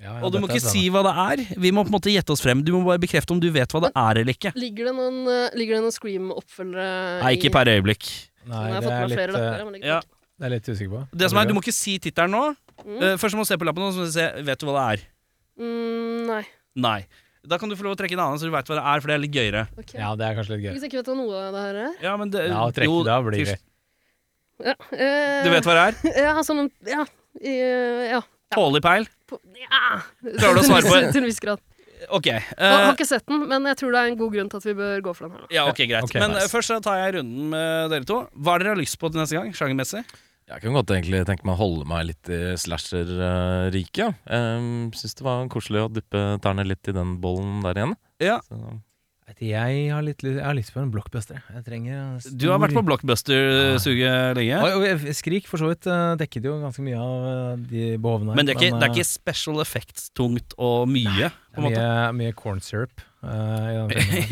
[SPEAKER 6] Ja, ja,
[SPEAKER 2] Og du må
[SPEAKER 6] dette er
[SPEAKER 2] ikke si hva det er. Vi må på en måte gjette oss frem. Du må bare bekrefte om du vet hva det er eller ikke.
[SPEAKER 4] Ligger det noen, eh, ligger det noen Scream-oppfølgere
[SPEAKER 2] Nei, ikke per øyeblikk.
[SPEAKER 6] spennende. sånn. Nei,
[SPEAKER 4] Nå har jeg
[SPEAKER 6] det
[SPEAKER 4] fått
[SPEAKER 6] er
[SPEAKER 4] med
[SPEAKER 6] litt,
[SPEAKER 4] flere lapper.
[SPEAKER 6] eh,
[SPEAKER 4] men det er
[SPEAKER 2] Ja.
[SPEAKER 4] greit.
[SPEAKER 6] det er jeg litt usikker på.
[SPEAKER 2] Det som er, Du må ikke si tittelen nå. Eh, Først må du se på lappen, og så må du se Vet du hva det er.
[SPEAKER 4] Mm, nei.
[SPEAKER 2] Nei. Da kan du få lov å trekke en annen, så du veit hva det er, for det er litt gøyere.
[SPEAKER 4] ok.
[SPEAKER 6] Ja, det er kanskje litt gøy.
[SPEAKER 4] Hvis jeg ikke vet hva noe av det her er
[SPEAKER 2] Ja, men det,
[SPEAKER 6] Ja, å trekke
[SPEAKER 2] jo,
[SPEAKER 6] det av blir gøy.
[SPEAKER 4] ja. eh,
[SPEAKER 2] Du vet hva det er?
[SPEAKER 4] Ja, altså noen Ja. eh, ja.
[SPEAKER 2] Pålepeil?
[SPEAKER 4] På, ja.
[SPEAKER 2] Klarer du å svare på det?
[SPEAKER 4] Til en viss grad.
[SPEAKER 2] Ok. eh,
[SPEAKER 4] Jeg har ikke sett den, men jeg tror det er en god grunn til at vi bør gå for den her nå.
[SPEAKER 2] ja, ok, greit.
[SPEAKER 6] Ok,
[SPEAKER 2] Men eh,
[SPEAKER 6] nice.
[SPEAKER 2] først så tar jeg runden med dere to. Hva er dere har lyst på til neste gang, sjangermessig?
[SPEAKER 3] Jeg kunne godt egentlig tenke meg å holde meg litt i slasher-riket. ja. Em, Syns det var koselig å dyppe tærne litt i den bollen der igjen.
[SPEAKER 2] Ja.
[SPEAKER 3] Så,
[SPEAKER 6] Vet du, Jeg har litt lyst, jeg har lyst på en blockbuster. Jeg trenger en stor...
[SPEAKER 2] Du har vært på blockbuster-suget lenge.
[SPEAKER 6] Oi, oi, Skrik for så vidt eh, dekket jo ganske mye av eh, de behovene. her,
[SPEAKER 2] Men det er ikke, det er
[SPEAKER 6] eh,
[SPEAKER 2] ikke special effects-tungt og mye, på en
[SPEAKER 6] mye,
[SPEAKER 2] måte.
[SPEAKER 6] mye corn syrup. eh, i den filmen. Men eh,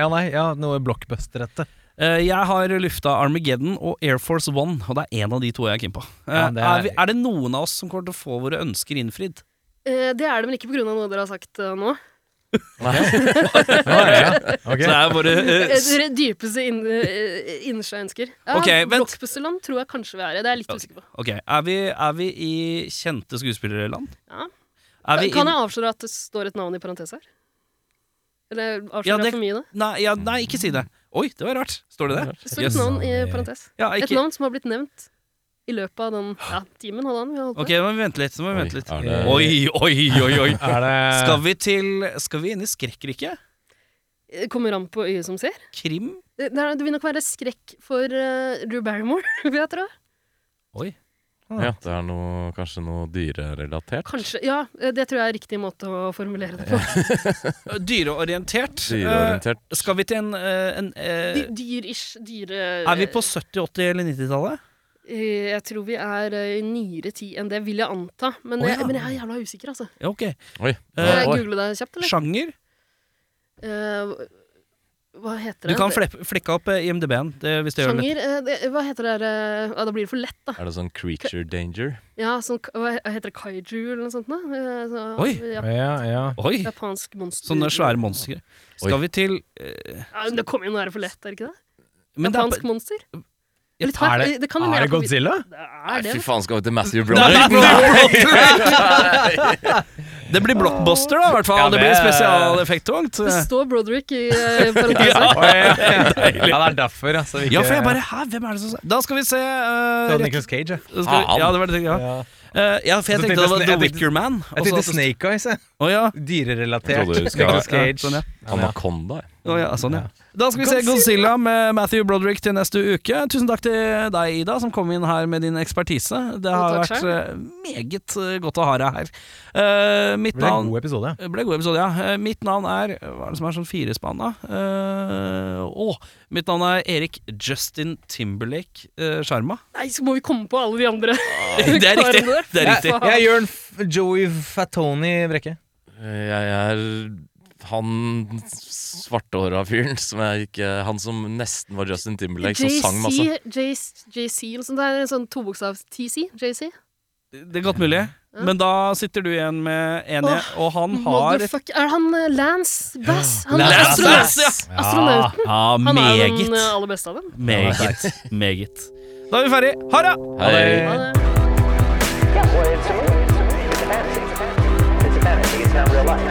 [SPEAKER 6] ja, nei, ja, noe blockbuster-ette.
[SPEAKER 2] Eh, Jeg har lufta Armageddon og Air Force One, og det er én av de to jeg er keen på. Eh,
[SPEAKER 6] Ja, det
[SPEAKER 2] er...
[SPEAKER 6] er-
[SPEAKER 2] vi, er det noen av oss som kommer til å få våre ønsker innfridd?
[SPEAKER 4] Eh, det er det vel ikke pga. noe dere har sagt eh, nå.
[SPEAKER 6] Ok.
[SPEAKER 2] Så det er våre eh,
[SPEAKER 4] Eh,
[SPEAKER 2] s-
[SPEAKER 4] Dere dypeste inn, eh, innerste ønsker. Ja,
[SPEAKER 2] Ok, vent.
[SPEAKER 4] Blockbusterland tror jeg kanskje vi er i. Det er jeg litt usikker på.
[SPEAKER 2] Ok, er vi, er vi i kjente skuespillerland?
[SPEAKER 4] Ja.
[SPEAKER 2] Er vi
[SPEAKER 4] Kan
[SPEAKER 2] inn-
[SPEAKER 4] jeg avsløre at det står et navn i parentes her? Eller avslører
[SPEAKER 2] Ja, det-
[SPEAKER 4] jeg for mye nå?
[SPEAKER 2] Nei, ja, nei, ikke si det. Oi, det var rart. Står det det?
[SPEAKER 4] Det står
[SPEAKER 2] Yes.
[SPEAKER 4] et navn i parentes.
[SPEAKER 2] Ja,
[SPEAKER 4] Et
[SPEAKER 2] ikke...
[SPEAKER 4] navn som har blitt nevnt i løpet av den ja, timen halvannen vi har holdt
[SPEAKER 2] Ok,
[SPEAKER 4] på.
[SPEAKER 2] nå må vi vente litt. Nå må vi vente litt.
[SPEAKER 3] er det-
[SPEAKER 2] Oi, oi, oi, oi.
[SPEAKER 6] Er det
[SPEAKER 2] Skal vi til Skal vi inn i skrekkriket?
[SPEAKER 4] Eh, Kommer an på øyet som ser.
[SPEAKER 2] Krim?
[SPEAKER 4] Det, det er- det vil nok være skrekk for eh, Drew Barrymore, vil jeg tro.
[SPEAKER 3] ja, det er noe, kanskje noe dyrerelatert.
[SPEAKER 4] Kanskje. Ja, eh, det tror jeg er riktig måte å formulere det på.
[SPEAKER 2] Dyreorientert.
[SPEAKER 3] Dyreorientert.
[SPEAKER 2] Eh, skal vi til en, eh, en eh,
[SPEAKER 4] Dy- Dyr-ish, dyre...
[SPEAKER 2] Er vi på 70-, 80- eller 90-tallet?
[SPEAKER 4] Eh, Jeg tror vi er eh, i nyere tid enn det, vil jeg anta. Men,
[SPEAKER 2] Å,
[SPEAKER 4] jeg,
[SPEAKER 2] ja.
[SPEAKER 4] men jeg er jævla usikker, altså.
[SPEAKER 2] Ja, Ok.
[SPEAKER 3] Oi.
[SPEAKER 4] Skal jeg
[SPEAKER 2] Eh,
[SPEAKER 4] google det kjapt, eller?
[SPEAKER 2] sjanger?
[SPEAKER 4] Eh, hva heter
[SPEAKER 2] Du
[SPEAKER 4] det?
[SPEAKER 2] kan fleppe- flekke opp eh, IMDb-en. det- Hvis det gjør det lett.
[SPEAKER 4] Sjanger eh, det, Hva heter det her eh, ah, Da blir det for lett, da.
[SPEAKER 3] Er det sånn creature danger?
[SPEAKER 4] Ja, sånn, k- hva he- heter det? Kaiju, eller noe sånt? Da? Eh, Så,
[SPEAKER 2] Oi.
[SPEAKER 4] Ja,
[SPEAKER 6] Ja, ja.
[SPEAKER 2] Oi!
[SPEAKER 4] japansk monster.
[SPEAKER 2] Sånne svære monstre. Skal vi til eh,
[SPEAKER 4] Ja, men det kommer jo noe her for lett, er det ikke det?
[SPEAKER 2] Men det er
[SPEAKER 4] Japansk
[SPEAKER 2] på-
[SPEAKER 4] monster?
[SPEAKER 2] Ja,
[SPEAKER 4] Litt hardt.
[SPEAKER 6] Er det,
[SPEAKER 4] Eh, kan hende
[SPEAKER 6] er
[SPEAKER 4] jeg
[SPEAKER 6] det
[SPEAKER 4] har forvi-
[SPEAKER 6] Godzilla?
[SPEAKER 4] Det er
[SPEAKER 3] Fy
[SPEAKER 4] det. vet du.
[SPEAKER 3] faen, skal vi til Matthew
[SPEAKER 2] Nei,
[SPEAKER 3] Broderick?
[SPEAKER 2] det blir blockbuster, da, i hvert fall.
[SPEAKER 6] Ja,
[SPEAKER 2] det
[SPEAKER 6] det-
[SPEAKER 2] blir spesialeffekttungt.
[SPEAKER 4] Det står Broderick i eh, parentesen.
[SPEAKER 6] ja, det er derfor, altså.
[SPEAKER 2] Ja, for jeg bare Hæ, hvem er det som Da skal vi se eh,
[SPEAKER 6] Det var
[SPEAKER 2] rett-
[SPEAKER 6] Nicolas Cage, ja.
[SPEAKER 2] Da skal vi- Ja, det var det jeg tenkte. Ja. Eh, ja, for jeg
[SPEAKER 6] Så
[SPEAKER 2] tenkte
[SPEAKER 6] tenkte
[SPEAKER 2] det var
[SPEAKER 6] jeg-
[SPEAKER 2] The
[SPEAKER 6] jeg tenkte-
[SPEAKER 2] Wicker Man. og
[SPEAKER 6] Jeg
[SPEAKER 2] så
[SPEAKER 6] tenkte
[SPEAKER 2] at det-
[SPEAKER 6] Snake Eyes, jeg.
[SPEAKER 2] Å ja.
[SPEAKER 3] Jeg
[SPEAKER 6] Dyrerelatert.
[SPEAKER 3] trodde du skulle-
[SPEAKER 6] Nicolas
[SPEAKER 2] Ja,
[SPEAKER 6] Cage.
[SPEAKER 2] sånn, ja.
[SPEAKER 3] Anaconda.
[SPEAKER 2] Å ja, sånn, ja. Da skal vi se Godzilla med Matthew Broderick til neste uke. Tusen takk til deg, Ida, som kom inn her med din ekspertise. Det har
[SPEAKER 4] Jo, takk
[SPEAKER 2] vært eh, meget eh, godt å ha deg her. Eh, mitt
[SPEAKER 6] Det ble en
[SPEAKER 2] navn
[SPEAKER 6] god episode.
[SPEAKER 2] det ble en god episode, ja. Eh, Mitt navn er Hva er det som er sånn firespann, da? Eh, å, mitt navn er Erik Justin Timberlake eh, Sharma.
[SPEAKER 4] Nei, så må vi komme på alle de andre.
[SPEAKER 2] Det er riktig.
[SPEAKER 4] Karen der.
[SPEAKER 2] Det er riktig.
[SPEAKER 4] Ja,
[SPEAKER 6] Jeg gjør en F- Joey Fatoni Brekke.
[SPEAKER 3] Eh, Jeg er han svarthåra fyren som jeg ikke Han som nesten var Justin
[SPEAKER 6] sånn altså.
[SPEAKER 3] Timberlake, som sang masse.
[SPEAKER 4] JC, JC, JC eller sånt. Det er en sånn tobokstavs TC. JC.
[SPEAKER 2] Det er godt mulig. Men da sitter du igjen med en jeg, og han har
[SPEAKER 4] Motherfuck. Er han eh, Lance Bass? Han er
[SPEAKER 2] Lance
[SPEAKER 4] astronaut.
[SPEAKER 2] Bass, ja!
[SPEAKER 4] Astronauten.
[SPEAKER 2] Ja,
[SPEAKER 4] Han er jo den eh,
[SPEAKER 2] meget.
[SPEAKER 4] aller beste av dem.
[SPEAKER 2] Meget. Meget. Da er vi ferdig. Ha det!
[SPEAKER 3] Hei.
[SPEAKER 4] Han eh, er
[SPEAKER 5] Yeah, well, it's a movie. It's a movie. It's a fantasy. It's a fantasy. It's not real life.